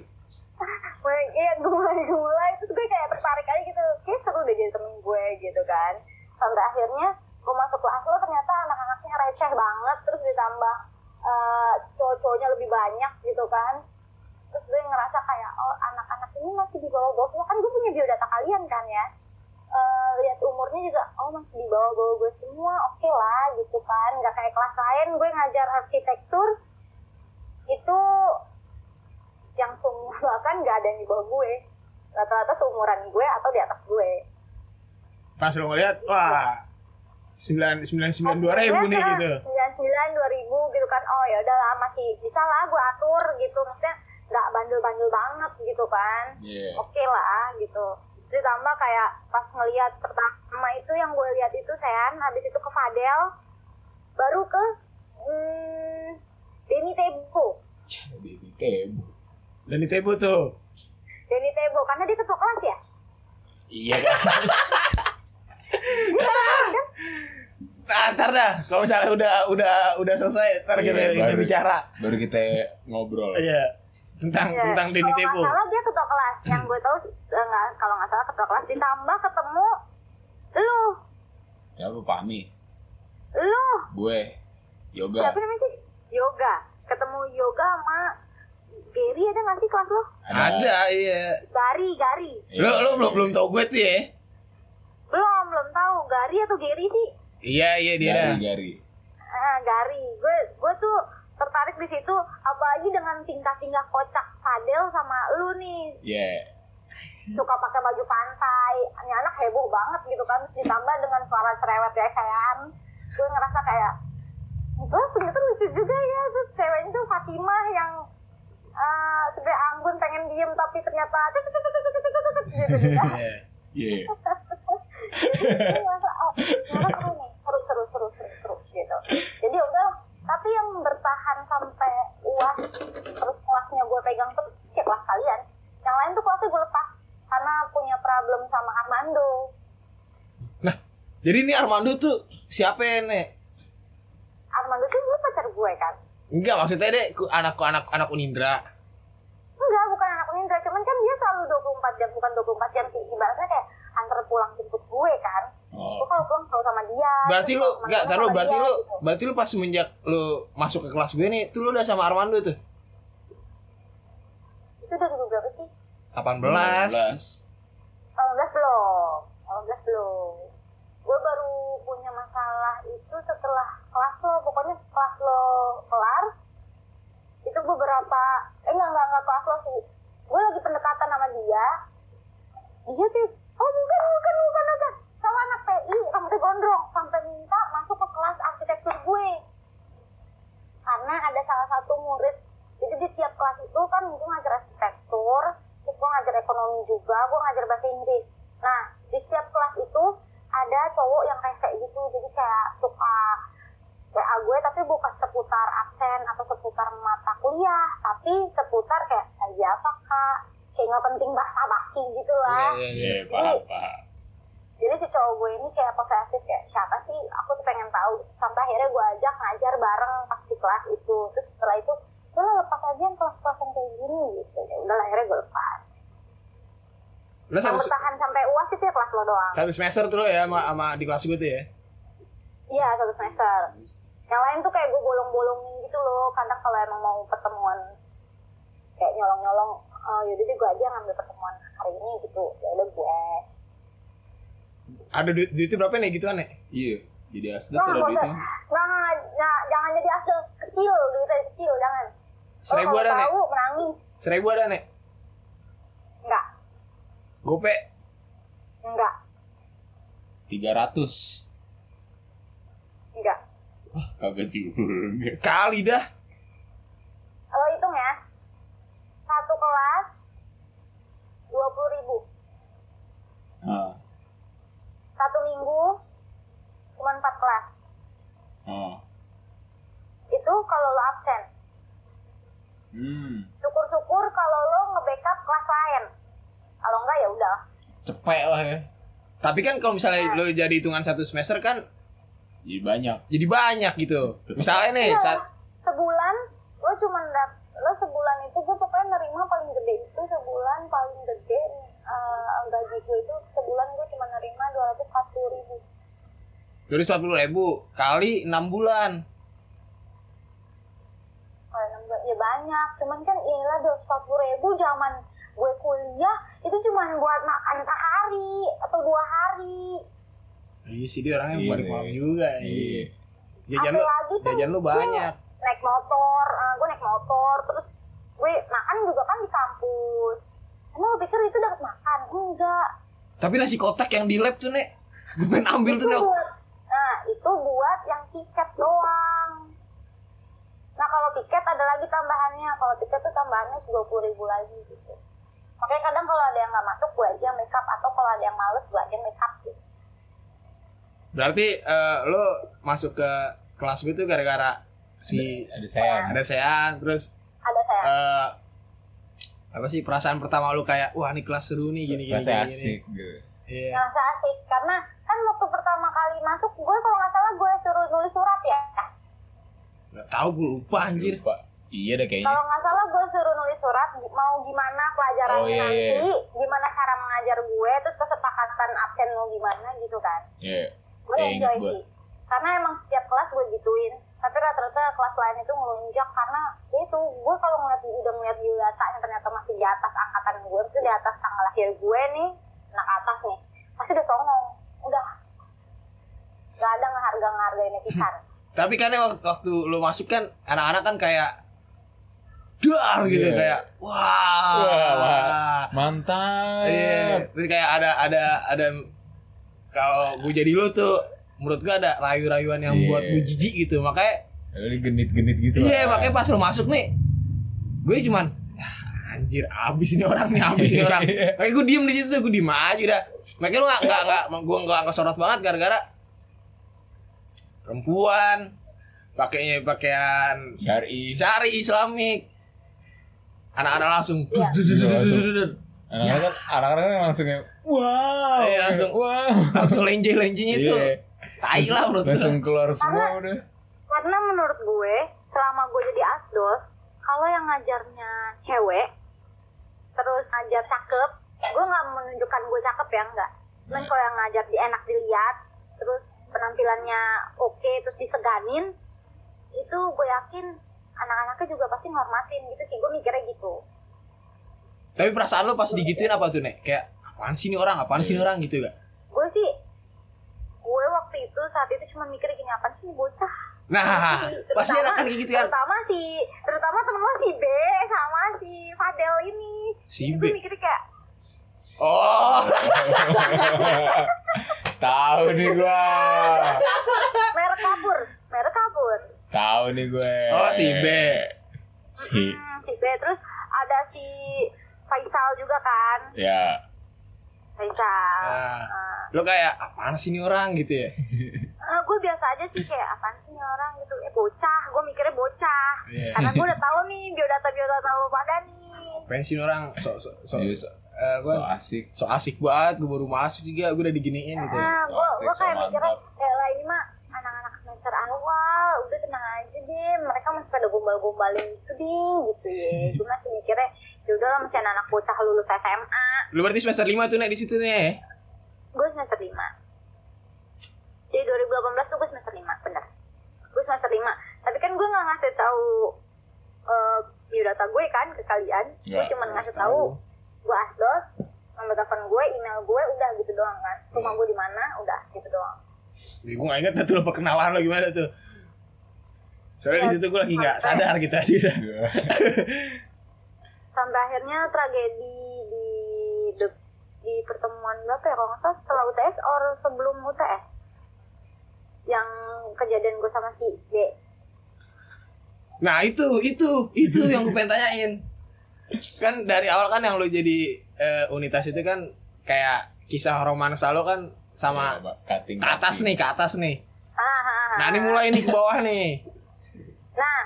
Speaker 2: gue iya gue mulai gue mulai terus gue kayak tertarik aja gitu kayak seru deh jadi temen gue gitu kan sampai akhirnya gue masuk kelas lo ternyata anak-anaknya receh banget terus ditambah eh, cowok-cowoknya lebih banyak gitu kan terus gue ngerasa kayak oh anak-anak ini masih di bawah bawah kan gue punya biodata kalian kan ya Eh, lihat umurnya juga oh masih di bawah bawah gue semua oke lah gitu kan nggak kayak kelas lain gue ngajar arsitektur itu yang seumuran bahkan nggak ada yang di bawah gue rata-rata seumuran gue atau di atas gue
Speaker 4: Pas lo ngeliat, wah, sembilan sembilan sembilan dua ribu nih
Speaker 2: Iya.
Speaker 4: gitu.
Speaker 2: sembilan eh, sembilan dua ribu gitu kan oh ya udahlah masih bisa lah gue atur gitu maksudnya nggak bandel-bandel banget gitu kan
Speaker 3: iya
Speaker 2: oke lah gitu terus ditambah kayak pas ngelihat pertama itu yang gue lihat itu Sean habis itu ke Fadel baru ke hmm, Denny Tebo
Speaker 3: jadi tebo
Speaker 4: Dan di Tebo tuh.
Speaker 2: Denny Tebo karena dia ketua kelas ya
Speaker 3: Iya kan?
Speaker 4: Nah, ntar dah kalau misalnya udah udah udah selesai ntar
Speaker 3: Iya,
Speaker 4: kita, kita
Speaker 3: baru.
Speaker 4: bicara.
Speaker 3: Baru kita ngobrol.
Speaker 4: Iya. Tentang
Speaker 2: Iya.
Speaker 4: tentang Denny Hmm.
Speaker 2: kalau nggak
Speaker 4: Tebo.
Speaker 2: salah dia ketua kelas yang gue tahu sih, eh, nggak kalau nggak salah ketua kelas ditambah ketemu lu
Speaker 3: Ya lu pahami.
Speaker 2: lu
Speaker 3: Gue yoga
Speaker 2: siapa namanya sih yoga ketemu yoga sama Gary ada nggak sih kelas lo
Speaker 4: Ada, iya.
Speaker 2: Gary Gary
Speaker 3: Iya.
Speaker 4: Lu lu belum belum tau gue tuh ya.
Speaker 2: belum belum tahu Gary atau Gary sih
Speaker 4: Iya, iya dia. dah.
Speaker 3: Gari, gari.
Speaker 2: Eh, Gary gue gue tuh tertarik di situ apalagi dengan tingkah-tingkah kocak Fadel sama lu nih
Speaker 3: Iya.
Speaker 2: suka pakai baju pantai ini anak heboh banget gitu kan Terus ditambah dengan suara cerewet ya kayaan gue ngerasa kayak gue ternyata lucu juga ya terus cewek itu Fatimah yang eh sebenarnya anggun pengen diem tapi ternyata tut, tut, tut, tut, tut, tut, tut, tut, gitu gitu
Speaker 4: Iya.
Speaker 3: Iya.
Speaker 2: Jadi gue ngerasa, oh, ternyata seru nih seru seru seru seru seru gitu jadi udah tapi yang bertahan sampai uas terus kelasnya gue pegang tuh sih kelas kalian yang lain tuh kelasnya gue lepas karena punya problem sama Armando
Speaker 4: Nah, Jadi ini Armando tuh siapa ya, Nek?
Speaker 2: Armando tuh lu pacar gue kan?
Speaker 4: Enggak, maksudnya deh ku- anak anak anak Unindra.
Speaker 2: Enggak, bukan anak Unindra, cuman kan dia selalu 24 jam, bukan 24 jam sih, ibaratnya kayak antar pulang jemput gue kan. Gue
Speaker 3: Oh.
Speaker 2: kalau pulang selalu sama dia.
Speaker 4: Berarti
Speaker 2: terus
Speaker 4: lu
Speaker 2: kalau
Speaker 4: enggak,
Speaker 2: kemana-mana
Speaker 4: tar lu
Speaker 2: sama
Speaker 4: berarti
Speaker 2: dia,
Speaker 4: lu
Speaker 2: gitu.
Speaker 4: berarti lu pas semenjak lu masuk ke kelas gue nih, tuh lu udah sama Armando tuh.
Speaker 2: Itu dari gue berapa sih?
Speaker 4: 18.
Speaker 3: 18.
Speaker 2: 18 belum, 18 belum. Gue baru punya masalah itu setelah kelas lo, pokoknya kelas lo kelar, itu beberapa, eh enggak, enggak, enggak kelas lo sih. Gue lagi pendekatan sama dia, dia sih, oh bukan, bukan, bukan, bukan. Sama anak PI, rambutnya gondrong, sampai minta masuk ke kelas arsitektur gue. Karena ada salah satu murid, jadi di tiap kelas itu kan gue ngajar arsitektur, terus gue ngajar ekonomi juga, gue ngajar bahasa Inggris. Nah, di setiap kelas itu ada cowok yang kayak kayak gitu, jadi kayak suka WA gue tapi bukan seputar absen atau seputar mata kuliah, tapi seputar kayak aja apa kak, kayak nggak penting bahasa basi gitu
Speaker 4: Iya,
Speaker 2: lah.
Speaker 4: iya, iya.
Speaker 3: Iya, paham, paham.
Speaker 2: Jadi si cowok gue ini kayak posesif kayak siapa sih? Aku tuh pengen tahu. Sampai akhirnya gue ajak ngajar bareng pas di kelas itu. Terus setelah itu, gue lepas aja yang kelas-kelas yang kayak gini gitu. Ya udah lah, akhirnya gue lepas.
Speaker 4: Lu
Speaker 2: Yang
Speaker 4: satu,
Speaker 2: bertahan sampai uas itu ya kelas lo doang.
Speaker 4: satu semester tuh lu ya sama, sama di kelas gue tuh ya.
Speaker 2: Iya satu semester. Yang lain tuh kayak gue bolong-bolongin gitu loh. Kadang kalau emang mau pertemuan kayak nyolong-nyolong, oh, yaudah deh gue aja ngambil pertemuan hari ini gitu. Ya udah gue.
Speaker 4: Ada duit duitnya berapa nih gituan, Nek?
Speaker 3: Iya. Jadi asdas
Speaker 2: Nah,
Speaker 3: ada
Speaker 2: nggak usah.
Speaker 3: duitnya.
Speaker 2: Jangan, ja- jangan jadi asdos kecil, duitnya kecil, jangan. Lo
Speaker 4: Seribu ada,
Speaker 2: kalau
Speaker 4: Nek?
Speaker 2: Oh, tahu menangis.
Speaker 4: Seribu ada, Nek?
Speaker 2: Enggak,
Speaker 4: Gope.
Speaker 2: enggak,
Speaker 3: 300.
Speaker 2: enggak.
Speaker 3: Kagak juga.
Speaker 4: Kali dah.
Speaker 2: Lo hitung ya. Satu kelas 20 ribu.
Speaker 3: Ah.
Speaker 2: Satu minggu cuma empat kelas.
Speaker 3: Oh.
Speaker 2: Itu kalau lo absen.
Speaker 3: Hmm.
Speaker 2: Syukur-syukur kalau lo nge-backup kelas lain. Kalau enggak ya udah.
Speaker 3: Cepet lah ya.
Speaker 4: Tapi kan kalau
Speaker 2: Iya.
Speaker 4: misalnya lu jadi hitungan satu semester kan
Speaker 3: Jadi banyak.
Speaker 4: jadi banyak gitu.
Speaker 3: Betul.
Speaker 4: Misalnya
Speaker 2: Iya.
Speaker 4: nih, saat
Speaker 2: Sebulan lo cuma dap lo sebulan itu gue pokoknya nerima paling gede itu sebulan paling gede eh, gaji gue itu sebulan gue cuma nerima 240 ribu.
Speaker 4: Jadi 40 ribu kali 6 bulan.
Speaker 2: Kalau enam bulan, ya banyak, cuman kan ialah dua ribu zaman gue kuliah itu cuman buat makan sehari atau dua hari.
Speaker 4: Iya sih dia orangnya
Speaker 3: Iya,
Speaker 4: balik
Speaker 3: Nek.
Speaker 4: malam juga. Iya.
Speaker 3: Iya.
Speaker 4: Jajan lu,
Speaker 2: Apalagi tuh
Speaker 4: jajan lu
Speaker 2: gue
Speaker 4: banyak.
Speaker 2: Naik motor, eh, gue naik motor, terus gue makan juga kan di kampus. Emang lo pikir itu dapat makan? Enggak.
Speaker 4: Tapi nasi kotak yang di lab tuh, Nek. Gue pengen ambil tuh,
Speaker 2: itu
Speaker 4: Nek.
Speaker 2: buat, nah itu buat yang tiket doang. Nah kalau tiket ada lagi tambahannya, kalau tiket tuh tambahannya dua ribu lagi gitu. Makanya kadang kalau ada yang nggak masuk gue aja yang make up atau kalau ada yang males gue aja yang make up gitu.
Speaker 4: Berarti eh, lu masuk ke kelas gue tuh gara-gara si
Speaker 3: Ada sayang. Ah,
Speaker 4: ada sean terus
Speaker 2: Ada saya.
Speaker 4: eh apa sih perasaan pertama lu kayak wah ini kelas seru nih gini gini
Speaker 3: Rasanya
Speaker 4: gini, gini.
Speaker 3: asik gitu.
Speaker 4: Iya.
Speaker 2: ngerasa asik Nah, karena kan waktu pertama kali masuk gue kalau nggak salah gue suruh nulis surat ya
Speaker 4: Nggak tahu gue lupa anjir.
Speaker 3: Lupa. Iya deh kayaknya.
Speaker 2: kalau nggak salah gue suruh nulis surat gi- mau gimana pelajarannya
Speaker 3: Oh, iya, iya.
Speaker 2: nanti gimana cara mengajar gue terus kesepakatan absen mau gimana gitu kan
Speaker 3: Iya.
Speaker 2: gue
Speaker 3: Iya, ingat
Speaker 2: enjoy
Speaker 3: gua.
Speaker 2: sih karena emang setiap kelas gue gituin tapi rata-rata kelas lain itu melunjak karena ya itu gue kalau ngeliat udah ngeliat di data yang ternyata masih di atas angkatan gue itu di atas tanggal lahir gue nih anak atas nih masih udah songong udah nggak ada ngeharga ngehargainnya pisan
Speaker 4: Tapi kan ya waktu, waktu lu masuk kan anak-anak kan kayak dar gitu
Speaker 3: Iya.
Speaker 4: kayak wah.
Speaker 3: Wah, Ah. Mantap.
Speaker 4: Iya. Terus kayak ada ada ada kalau gue jadi lu tuh menurut gue ada rayu-rayuan yang
Speaker 3: Iya.
Speaker 4: buat gue jijik gitu. Makanya
Speaker 3: Lu genit-genit gitu.
Speaker 4: Iya,
Speaker 3: lah.
Speaker 4: makanya pas lu masuk nih, gue cuman "Ah, anjir abis ini orang nih abis ini orang makanya gue diem di situ gue diem aja udah makanya lu nggak nggak nggak gue nggak kesorot banget gara-gara perempuan pakainya pakaian
Speaker 3: Syari.
Speaker 4: syari islamik anak-anak langsung
Speaker 2: Iya.
Speaker 3: Anak-anak kan anak-anak kan langsung yang wow.
Speaker 4: Iya, langsung.
Speaker 3: wow.
Speaker 4: langsung lenje lenjenya itu
Speaker 3: Iya.
Speaker 4: tai lah menurut gue.
Speaker 3: Langsung keluar semua udah.
Speaker 2: karena menurut gue selama gue jadi asdos kalau yang ngajarnya cewek terus ngajar cakep gue nggak menunjukkan gue cakep ya enggak cuman kalau yang ngajar di enak dilihat terus penampilannya oke terus diseganin itu gue yakin anak-anaknya juga pasti ngormatin gitu sih gue mikirnya gitu
Speaker 4: tapi perasaan lu pas digituin apa tuh nek kayak apaan sih ini orang apaan
Speaker 3: Iya.
Speaker 4: sih ini orang gitu gak
Speaker 2: gue sih gue waktu itu saat itu cuma mikir gini apa sih ini bocah
Speaker 4: nah
Speaker 2: Terutama-
Speaker 4: pasti anak kan kayak gitu kan
Speaker 2: terutama si terutama temen lo si B sama si Fadel ini
Speaker 4: si
Speaker 2: gue
Speaker 4: B
Speaker 2: mikirnya kayak
Speaker 4: oh
Speaker 3: Tahu nih gua.
Speaker 2: merek kabur merek kabur
Speaker 3: Tahu nih gue.
Speaker 4: Oh si B.
Speaker 3: Si
Speaker 2: Hmm, si B terus ada si Faisal juga kan
Speaker 3: ya.
Speaker 2: Faisal
Speaker 4: Nah,
Speaker 2: Eh,
Speaker 4: lo kayak apaan sih ini orang gitu ya?
Speaker 2: eh, gue biasa aja sih kayak apaan sih ini orang gitu eh bocah gue mikirnya bocah
Speaker 4: Iya.
Speaker 2: karena gue udah tahu nih biodata biodata lo pada nih
Speaker 4: Apaan sih ini orang? So so so,
Speaker 3: Iya,
Speaker 4: so,
Speaker 3: so-
Speaker 4: eh,
Speaker 3: So
Speaker 4: apa?
Speaker 3: asik.
Speaker 4: so asik banget, gue baru masuk juga, gue udah diginiin gitu. Ya.
Speaker 2: Nah, gue
Speaker 3: asik,
Speaker 2: gue kayak
Speaker 3: so
Speaker 2: mikirnya
Speaker 3: mantap.
Speaker 2: ya lah ini mah anak-anak semester awal udah tenang aja deh mereka masih pada gombal-gombalin gitu deh gitu ya gue masih mikirnya ya udahlah masih anak bocah lulus SMA
Speaker 4: Lu berarti semester 5 tuh nek di situ nih ya?
Speaker 2: gue semester 5 jadi 2018 tuh gue semester 5 bener gue semester 5 tapi kan gue nggak ngasih tahu eh biodata gue kan ke kalian gue
Speaker 3: Nggak,
Speaker 2: cuma ngasih tahu gue asdos nomor telepon gue email gue udah gitu doang kan rumah gue di mana udah gitu doang
Speaker 4: Jadi gue gak inget dah tuh lo perkenalan lo gimana tuh. Soalnya di situ gue lagi gak sadar gitu aja udah.
Speaker 2: sampai akhirnya tragedi di di, di pertemuan berapa ya kalau nggak salah setelah UTS or sebelum UTS yang kejadian gue sama si D
Speaker 4: Nah itu, itu, itu yang gue pengen tanyain. Kan dari awal kan yang lo jadi eh, unitas itu kan kayak kisah romansa lo kan sama
Speaker 3: Iya, cutting.
Speaker 4: ke atas nih, ke atas nih.
Speaker 2: Ah, Hahaha.
Speaker 4: Nah ini mulai nih ke bawah nih.
Speaker 2: Nah,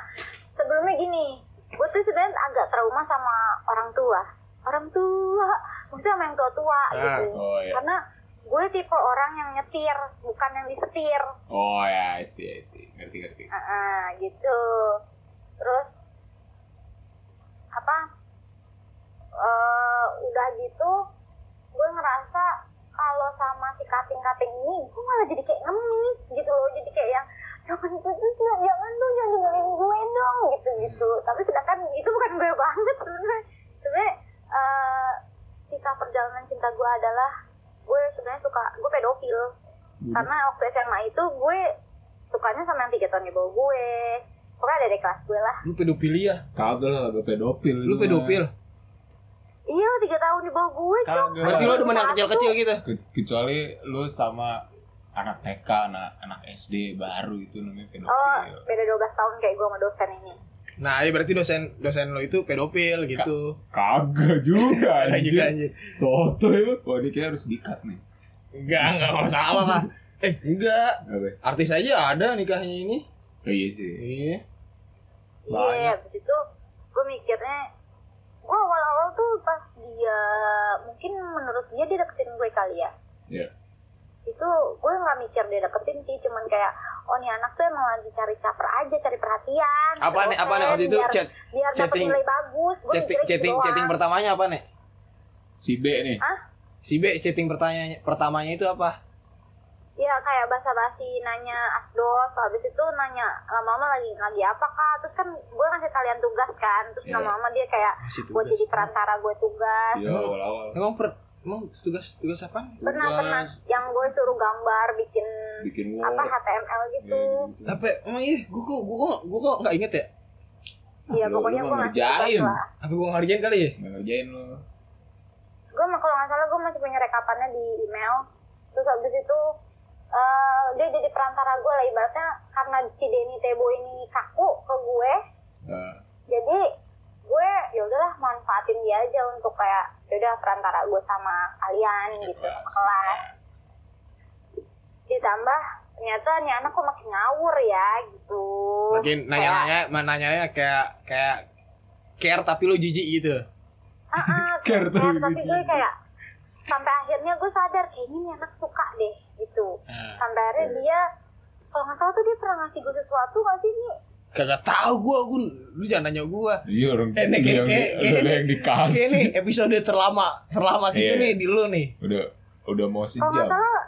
Speaker 2: sebelumnya gini, gue tuh sebenarnya agak trauma sama orang tua. Orang tua, maksudnya sama yang tua-tua
Speaker 4: Ah,
Speaker 2: gitu.
Speaker 3: Oh ya.
Speaker 2: Karena gue tipe orang yang nyetir, bukan yang disetir.
Speaker 3: Oh ya, I see, I see. Ngerti, ngerti.
Speaker 2: Ah, ah, gitu. Terus, apa, eh, udah gitu, gue ngerasa kalau sama si kating-kating ini, gue malah jadi kayak ngemis gitu loh. Jadi kayak yang, jangan jangan jangan dong jangan ninggalin gue dong gitu gitu tapi sedangkan itu bukan gue banget sebenarnya sebenarnya eh, cerita perjalanan cinta gue adalah gue sebenarnya suka gue pedofil karena waktu SMA itu gue sukanya sama yang tiga tahun di bawah gue pokoknya ada di kelas gue lah
Speaker 4: Lu ya? pedofilia,
Speaker 3: Kagak lah, gue pedofil.
Speaker 4: lu
Speaker 3: mah.
Speaker 4: pedofil.
Speaker 2: iya lu tiga tahun di bawah gue
Speaker 3: Kagak.
Speaker 2: Cok.
Speaker 4: Berarti lo demen yang kecil-kecil gitu.
Speaker 3: Ke- Kecuali lu sama anak TK, anak, anak SD baru itu namanya
Speaker 2: oh
Speaker 4: Iya.
Speaker 3: pedofil.
Speaker 2: beda 12 tahun kayak gue sama dosen ini
Speaker 4: Nah, ya berarti dosen dosen lo itu pedofil gitu.
Speaker 3: Kagak juga,
Speaker 4: Ada Iya juga
Speaker 3: anjir.
Speaker 4: anjir.
Speaker 3: Soto ya. Wah, ini kayaknya harus dikat nih.
Speaker 4: Enggak, enggak masalah lah. Eh, enggak.
Speaker 3: Apa? ya?
Speaker 4: Artis aja ada nikahnya ini.
Speaker 3: Oh, iya sih.
Speaker 4: Iya.
Speaker 2: Iya,
Speaker 4: Banyak.
Speaker 2: abis itu gue mikirnya, gue awal-awal tuh kali ya
Speaker 3: Iya.
Speaker 2: itu gue nggak mikir dia deketin sih cuman kayak oh nih anak tuh emang lagi cari caper aja cari perhatian
Speaker 4: Apa nih apa nih
Speaker 2: dosen,
Speaker 4: waktu itu
Speaker 2: biar,
Speaker 4: chat
Speaker 2: biar dapat
Speaker 4: chatting-
Speaker 2: nilai bagus gue
Speaker 4: chatting
Speaker 2: mikirnya gitu
Speaker 4: chatting
Speaker 2: doang.
Speaker 4: chatting pertamanya apa nih?
Speaker 3: Si B nih.
Speaker 4: Si B chatting pertanyaan pertamanya itu apa?
Speaker 2: ya kayak basa-basi nanya asdos habis itu nanya "Eh, mama lagi lagi apa kak terus kan gue ngasih kalian tugas kan terus
Speaker 3: Iya.
Speaker 2: mama dia kayak
Speaker 4: Masih
Speaker 2: gue jadi perantara gue tugas
Speaker 3: Iya, awal-awal.
Speaker 4: Emang per, emang tugas tugas apa?
Speaker 2: pernah pernah
Speaker 3: Tugas,
Speaker 2: yang gue suruh gambar bikin
Speaker 3: bikin wall.
Speaker 2: apa HTML gitu
Speaker 3: Iya, gitu-gitu.
Speaker 4: Apa emang iya? Gue kok gue kok gue kok nggak inget ya?
Speaker 2: Iya
Speaker 3: Lu-
Speaker 2: pokoknya
Speaker 3: lu
Speaker 2: gue
Speaker 3: nggak
Speaker 2: ngasih tugas
Speaker 3: ngerjain.
Speaker 2: lah
Speaker 4: Apa gue ngerjain kali ya?
Speaker 3: Nggak ngerjain lo.
Speaker 2: gue mah kalau nggak salah gue masih punya rekapannya di email terus habis itu eh, dia jadi perantara gue lah ibaratnya karena si Denny Tebo ini kaku ke gue
Speaker 3: Nah,
Speaker 2: jadi gue ya udahlah manfaatin dia aja untuk kayak ya udah perantara gue sama
Speaker 4: Iya,
Speaker 2: kalian gitu sama kelas ditambah ternyata nih anak kok makin ngawur ya gitu
Speaker 4: Makin nanya-nanya, nanya-nanya kayak kayak care tapi lu jijik gitu.
Speaker 2: ah ah,
Speaker 4: Care tapi
Speaker 2: care, tapi gue
Speaker 4: gitu.
Speaker 2: kayak sampai akhirnya gue sadar kayaknya nih anak suka deh gitu
Speaker 4: Ah.
Speaker 2: sampai akhirnya dia kalau nggak salah tuh dia pernah ngasih gue sesuatu nggak sih nih
Speaker 4: Kagak tahu gue, gue lu jangan nanya gue.
Speaker 3: Iya orang
Speaker 4: Eh, nih, kayak-
Speaker 3: yang,
Speaker 4: kayak-
Speaker 3: ada
Speaker 4: kayak-
Speaker 3: yang
Speaker 4: Oke
Speaker 3: dikasih.
Speaker 4: nih episode terlama terlama gitu
Speaker 3: Iya.
Speaker 4: nih di lu nih.
Speaker 3: Udah udah mau
Speaker 4: Oh,
Speaker 2: kalau
Speaker 3: sejam.
Speaker 2: nggak salah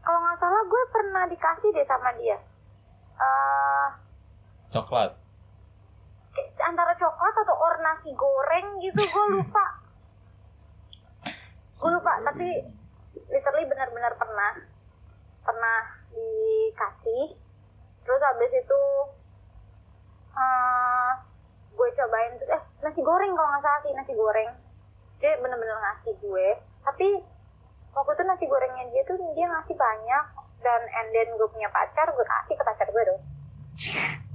Speaker 2: kalau nggak salah gue pernah dikasih deh sama dia eh
Speaker 3: Coklat.
Speaker 2: antara coklat atau or nasi goreng gitu gue lupa gue lupa tapi literally benar-benar pernah pernah dikasih terus habis itu eh gue cobain tuh eh nasi goreng kalau nggak salah sih nasi goreng dia bener-bener ngasih gue tapi waktu itu nasi gorengnya dia tuh dia ngasih banyak dan and then gue punya pacar gue kasih ke pacar gue dong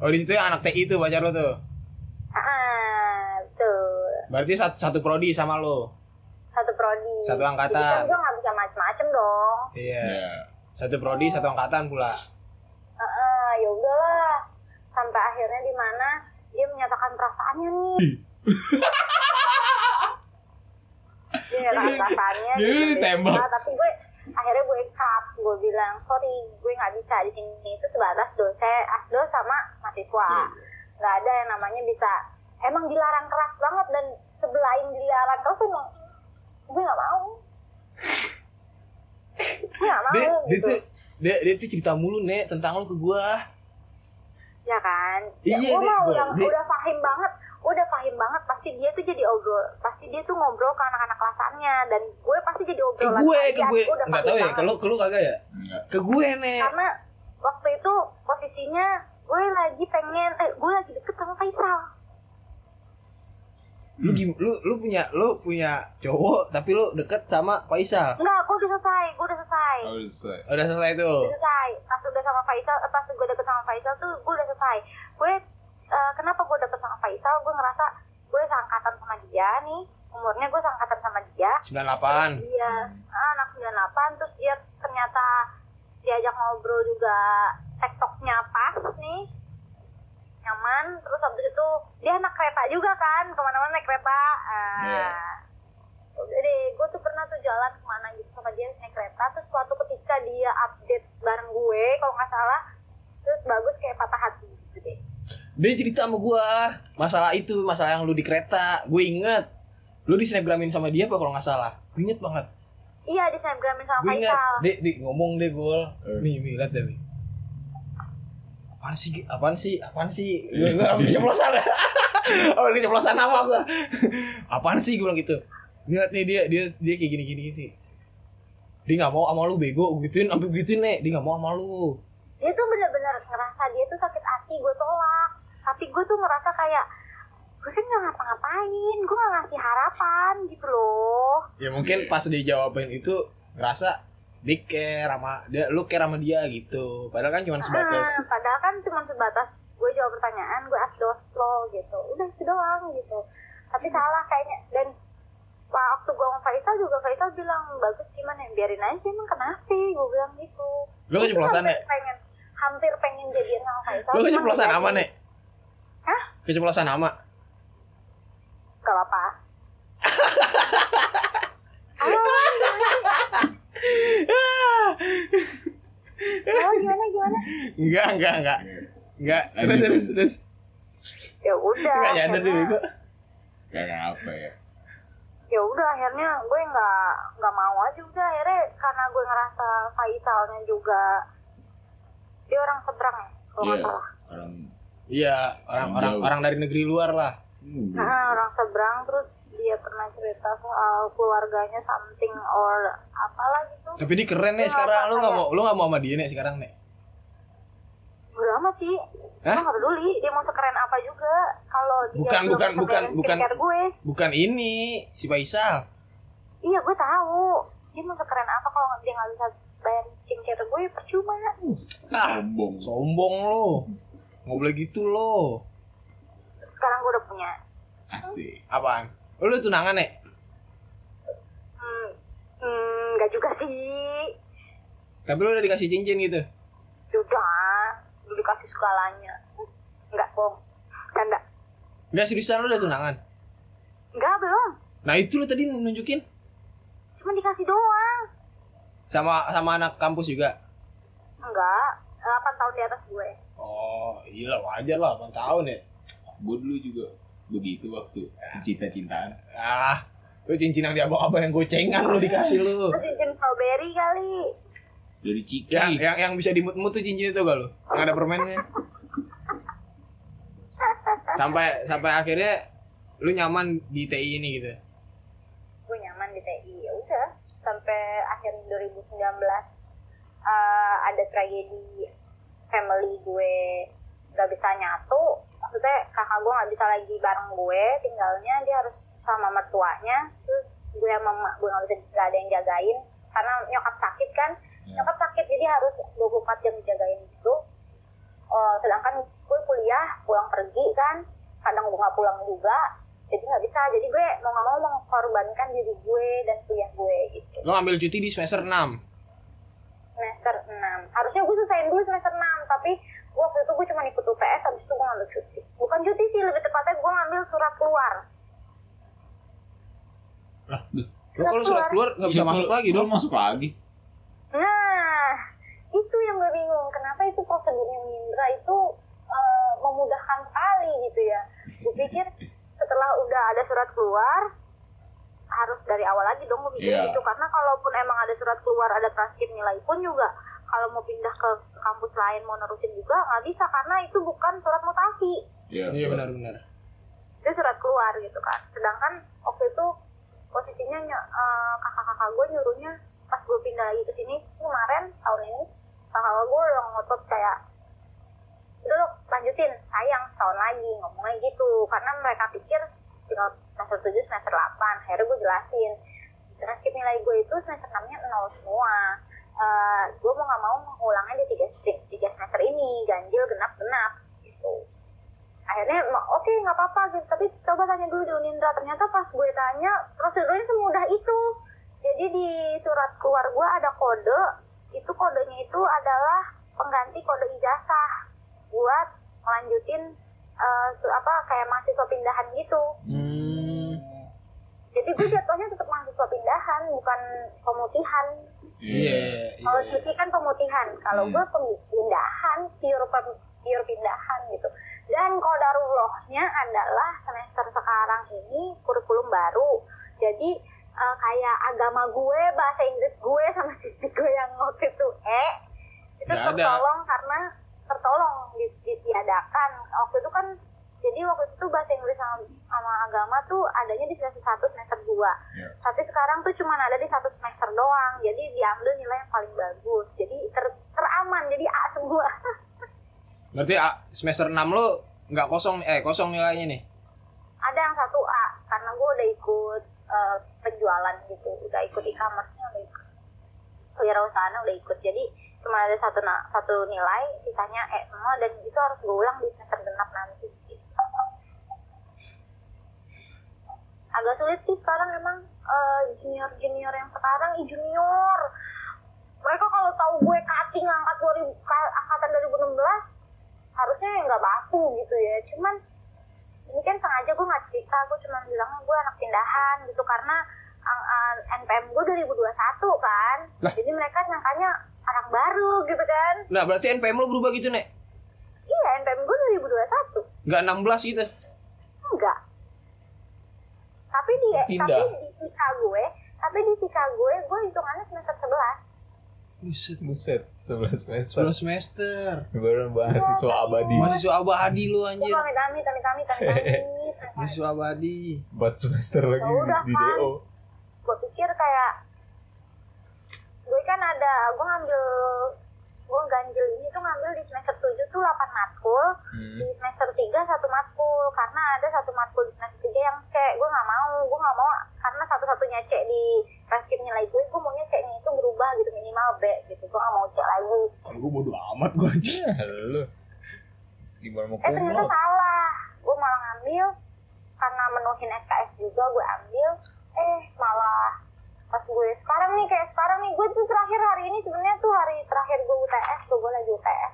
Speaker 4: Oh di situ yang anak TI itu pacar lu tuh.
Speaker 2: ah betul
Speaker 4: Berarti satu, satu prodi sama lu.
Speaker 2: satu prodi
Speaker 4: Satu angkatan.
Speaker 2: Jadi kan gue nggak bisa macem-macem dong
Speaker 4: Iya.
Speaker 3: Iya.
Speaker 4: Satu prodi satu angkatan pula.
Speaker 2: Heeh, ya udahlah sampai akhirnya di mana dia menyatakan perasaannya nih dia menyatakan perasaannya
Speaker 3: Jadi
Speaker 2: gitu.
Speaker 3: ditembak.
Speaker 2: Nah, tapi gue akhirnya gue cut gue bilang sorry gue nggak bisa di sini itu sebatas dosen asdo sama
Speaker 4: Iya.
Speaker 2: mahasiswa nggak ada yang namanya bisa emang dilarang keras banget dan sebelain dilarang keras emang gue nggak mau gue nggak mau
Speaker 4: Dia, dia
Speaker 2: gitu
Speaker 4: tuh dia, dia tuh cerita mulu nek tentang lu ke gue.
Speaker 2: ya kan ya, gue
Speaker 4: Iya, Dek,
Speaker 2: mah
Speaker 4: gua-
Speaker 2: udah
Speaker 4: Dek.
Speaker 2: udah paham banget udah paham banget pasti dia tuh jadi obrol pasti dia tuh ngobrol ke anak-anak kelasannya dan gue pasti jadi
Speaker 4: ke
Speaker 2: obrolan
Speaker 4: gue
Speaker 2: kalian.
Speaker 4: ke gue
Speaker 2: udah
Speaker 4: nggak
Speaker 2: paham
Speaker 4: tahu ya
Speaker 2: banget.
Speaker 4: ke lu ke lu kagak ya
Speaker 3: Enggak.
Speaker 4: ke gue nek
Speaker 2: karena waktu itu posisinya gue lagi pengen eh gue lagi deket sama Faisal
Speaker 4: lu gim- lu lu punya lu punya cowok tapi lu deket sama Faisal
Speaker 2: enggak gue udah selesai gue udah selesai
Speaker 4: Oh.
Speaker 3: Harus selesai.
Speaker 4: udah selesai
Speaker 2: udah
Speaker 4: tuh
Speaker 2: selesai pas udah sama Faisal eh, pas gue deket sama Faisal tuh gue udah selesai gue eh, kenapa gue deket sama Faisal gue ngerasa gue seangkatan sama dia nih umurnya gue seangkatan sama dia
Speaker 4: 98
Speaker 2: Iya, ah, anak 98 terus dia ternyata diajak ngobrol juga tektoknya pas nih nyaman terus habis itu dia anak kereta juga kan kemana-mana naik kereta ah.
Speaker 3: Iya.
Speaker 2: udah deh gue tuh pernah tuh jalan kemana gitu sama dia naik kereta terus suatu ketika dia update bareng gue kalau nggak salah terus bagus kayak patah hati gitu deh
Speaker 4: dia cerita sama gue masalah itu masalah yang lu di kereta gue inget lu di snapgramin sama dia apa kalau nggak salah gue inget banget
Speaker 2: iya di snapgramin sama
Speaker 4: gue inget
Speaker 2: Faisal
Speaker 4: deh deh ngomong deh gol
Speaker 3: Eh.
Speaker 4: nih nih lihat deh nih apaan sih Gi? apaan sih apaan sih gue gue ambil ceplosan oh ini ceplosan nama gue apaan sih gue bilang gitu lihat nih dia dia dia kayak gini gini gini dia nggak mau sama lu bego gituin ambil gituin nih dia nggak mau sama lu
Speaker 2: dia tuh bener-bener ngerasa dia tuh sakit hati gue tolak tapi gue tuh ngerasa kayak gue kan gak ngapa-ngapain gue gak ngasih harapan gitu loh
Speaker 4: ya mungkin pas dia jawabin itu ngerasa dia care sama dia lu care sama dia gitu padahal kan cuma sebatas
Speaker 2: Ah, padahal kan cuma sebatas gue jawab pertanyaan gue asdos lo gitu udah itu doang gitu tapi salah kayaknya dan waktu gue sama Faisal juga Faisal bilang bagus gimana ya biarin aja emang kenapa gue bilang gitu
Speaker 4: Lu keceplosan,
Speaker 2: Hampir pengen hampir pengen jadian sama Faisal
Speaker 4: lu ya?
Speaker 2: cuman
Speaker 4: keceplosan
Speaker 2: jadi-
Speaker 4: ama nek
Speaker 2: Hah?
Speaker 4: keceplosan ama
Speaker 2: Gak apa-apa. Ayo, ayo, ayo.
Speaker 4: Enggak, enggak, enggak. Enggak. Terus
Speaker 3: Lanjutin.
Speaker 4: terus terus.
Speaker 2: ya udah
Speaker 4: Enggak nyadar deh
Speaker 2: akhirnya-
Speaker 4: bego.
Speaker 3: Kayak apa ya?
Speaker 2: ya udah akhirnya gue nggak nggak mau aja udah akhirnya karena gue ngerasa Faisalnya juga dia orang seberang ya kalau nggak
Speaker 3: Iya.
Speaker 2: salah
Speaker 3: Orang
Speaker 4: Iya, orang-orang
Speaker 3: Jauh.
Speaker 4: orang dari negeri luar lah. Ah,
Speaker 2: nah, orang seberang terus dia pernah cerita soal keluarganya something or apalah gitu
Speaker 4: Tapi dia keren
Speaker 2: Iya,
Speaker 4: nih sekarang. Lu enggak
Speaker 2: kayak-
Speaker 4: mau lu enggak mau sama dia nih sekarang nih.
Speaker 2: Bodo amat sih gue
Speaker 4: Hah?
Speaker 2: nggak peduli dia mau sekeren apa juga kalau dia
Speaker 4: Bukan,
Speaker 2: belum
Speaker 4: bukan,
Speaker 2: bisa
Speaker 4: bukan,
Speaker 2: beresin
Speaker 4: bukan.
Speaker 2: skincare gue
Speaker 4: Bukan ini, si Faisal.
Speaker 2: iya gue tahu dia mau sekeren apa kalau dia nggak bisa bayarin skincare gue percuma
Speaker 4: Ah,
Speaker 3: sombong.
Speaker 4: sombong lu. Nggak boleh gitu lo.
Speaker 2: sekarang gue udah punya
Speaker 3: Asik.
Speaker 4: Apaan? Lu udah tunangan nih?
Speaker 2: hmm, hmm nggak juga sih Ya
Speaker 4: Tapi lu udah dikasih cincin gitu.
Speaker 2: Sudah, dulu kasih segalanya. Enggak bohong, canda.
Speaker 4: Enggak seriusan lu udah tunangan.
Speaker 2: Enggak belum,
Speaker 4: Nah, itu lu tadi nunjukin
Speaker 2: cuma dikasih doang.
Speaker 4: sama sama anak kampus juga.
Speaker 2: Enggak, 8 tahun di atas gue.
Speaker 4: Oh, iya lah wajar lah, 8 tahun ya.
Speaker 3: Gue dulu juga begitu waktu cinta-cintaan.
Speaker 4: Ah, lu cincin yang diabang-abang yang gocengan lu dikasih lu.
Speaker 2: Lu cincin strawberry kali.
Speaker 3: Dari Ciki.
Speaker 4: Yang yang yang bisa dimut-mut tuh cincin itu gak lu? Yang ada permennya. Sampai sampai akhirnya lu nyaman di TI ini gitu.
Speaker 2: Gue nyaman di TI, ya udah. Sampai akhir 2019 eh, ada tragedi family gue gak bisa nyatu. Maksudnya kakak gue gak bisa lagi bareng gue, tinggalnya dia harus sama mertuanya. Terus gue sama emak gue gak bisa, gak ada yang jagain. Karena nyokap sakit kan, nyokap sakit jadi harus 24 jam dijagain gitu Eh, sedangkan gue kuliah pulang pergi kan kadang gue nggak pulang juga jadi nggak bisa jadi gue mau nggak mau mengorbankan diri gue dan kuliah gue gitu
Speaker 4: Lu ambil cuti di semester 6.
Speaker 2: semester 6 harusnya gue selesaiin dulu semester 6 tapi waktu itu gue cuma ikut UTS habis itu gue ngambil cuti bukan cuti sih lebih tepatnya gue ngambil surat keluar
Speaker 4: Lu kalau surat keluar gak bisa
Speaker 3: Iya,
Speaker 4: masuk
Speaker 3: kalau-
Speaker 4: lagi
Speaker 3: kalau
Speaker 4: dong.
Speaker 3: masuk lagi.
Speaker 2: Nah, itu yang gue bingung. Kenapa itu prosedurnya Mindra itu eh, memudahkan sekali gitu ya. Gue pikir setelah udah ada surat keluar, harus dari awal lagi dong gue pikir
Speaker 3: Iya.
Speaker 2: gitu. Karena kalaupun emang ada surat keluar, ada transkrip nilai pun juga, kalau mau pindah ke kampus lain, mau nerusin juga, nggak bisa. Karena itu bukan surat mutasi
Speaker 3: Iya,
Speaker 4: Iya benar-benar.
Speaker 2: itu surat keluar gitu kan sedangkan waktu itu posisinya ny- eh, kakak-kakak gue nyuruhnya pas gue pindah lagi ke sini kemarin tahun ini kakak gue udah ngotot kayak udah lo lanjutin sayang setahun lagi ngomongnya gitu karena mereka pikir tinggal semester 7 semester 8 akhirnya gue jelasin transkrip nilai gue itu semester 6 nya nol semua Eh, gue mau nggak mau mengulangnya di tiga, tiga semester ini ganjil genap genap gitu akhirnya ma- oke nggak apa-apa gitu tapi coba tanya dulu di Unindra ternyata pas gue tanya prosedurnya semudah itu jadi di surat keluar gue ada kode itu kodenya itu adalah pengganti kode ijazah buat melanjutin eh, su- apa kayak mahasiswa pindahan gitu
Speaker 4: Hmm.
Speaker 2: jadi gue jatuhnya tetap mahasiswa pindahan bukan pemutihan
Speaker 4: Iya.
Speaker 2: kalau
Speaker 4: iya.
Speaker 2: cuti kan pemutihan kalau
Speaker 3: Hmm.
Speaker 2: gue pemindahan pure pem- pure pindahan gitu dan kodarullahnya adalah semester sekarang ini kurikulum baru jadi eh, kayak agama gue bahasa Inggris gue sama siswi gue yang waktu itu eh itu
Speaker 4: Nggak ada.
Speaker 2: tertolong karena tertolong di- ditiadakan waktu itu kan jadi waktu itu bahasa Inggris sama, sama agama tuh adanya di semester 1 semester 2
Speaker 4: Iya.
Speaker 2: tapi sekarang tuh cuma ada di satu semester doang jadi diambil nilai yang paling bagus jadi ter- teraman jadi A semua
Speaker 4: Berarti ah, semester 6 lu nggak kosong eh kosong nilainya nih.
Speaker 2: ada yang satu A karena gue udah ikut eh, penjualan gitu udah ikut e-commerce-nya udah ikut kewirausahaan udah ikut jadi cuma ada satu na- satu nilai sisanya E semua dan itu harus gue ulang di semester genap nanti gitu. agak sulit sih sekarang emang junior junior yang sekarang i junior mereka kalau tahu gue cutting angkat 2000 ka- angkatan 2016 harusnya ya nggak baku gitu ya cuman ini kan sengaja gue nggak cerita gue cuma bilang gue anak pindahan eh, gitu karena ang- ang- NPM gue 2021 kan jadi mereka nyangkanya anak baru gitu kan
Speaker 4: Nah, berarti NPM lo berubah gitu, Nek?
Speaker 2: iya NPM gue 2021
Speaker 4: Nggak 16 gitu?
Speaker 2: enggak tapi di
Speaker 3: Pindah.
Speaker 2: tapi di sika gue tapi di sika gue gue hitungannya semester 11
Speaker 4: Buset.
Speaker 3: Buset, 11 semester.
Speaker 4: 10 semester.
Speaker 3: Baru
Speaker 4: Iya.
Speaker 3: mahasiswa abadi.
Speaker 4: Mahasiswa abadi lo,
Speaker 2: gue
Speaker 4: anjir.
Speaker 2: amit amit amit amit amit amit, amit
Speaker 4: Mahasiswa abadi.
Speaker 3: 4 semester lagi
Speaker 4: Iya,
Speaker 2: Ya udah,
Speaker 3: di
Speaker 4: kan?
Speaker 2: Pak.
Speaker 3: DO.
Speaker 2: gue pikir kayak gue kan ada gue ngambil gue ganjil ini tuh ngambil di semester 7 tuh 8 matkul di semester 3 satu matkul karena ada satu matkul di semester 3 yang C gue nggak mau gue nggak mau karena satu-satunya C di transkrip nilai gue gue maunya C nya itu berubah gitu minimal B gitu gue nggak mau C lagi
Speaker 6: Kalau gue bodo amat gue anjir.
Speaker 3: Ya, lu. Gimana mau
Speaker 2: eh ternyata
Speaker 3: kumlot?
Speaker 2: salah gue malah ngambil karena menuhin SKS juga gue ambil eh malah pas gue sekarang nih kayak sekarang nih gue tuh terakhir hari ini sebenarnya tuh hari terakhir gue UTS gue, gue lagi UTS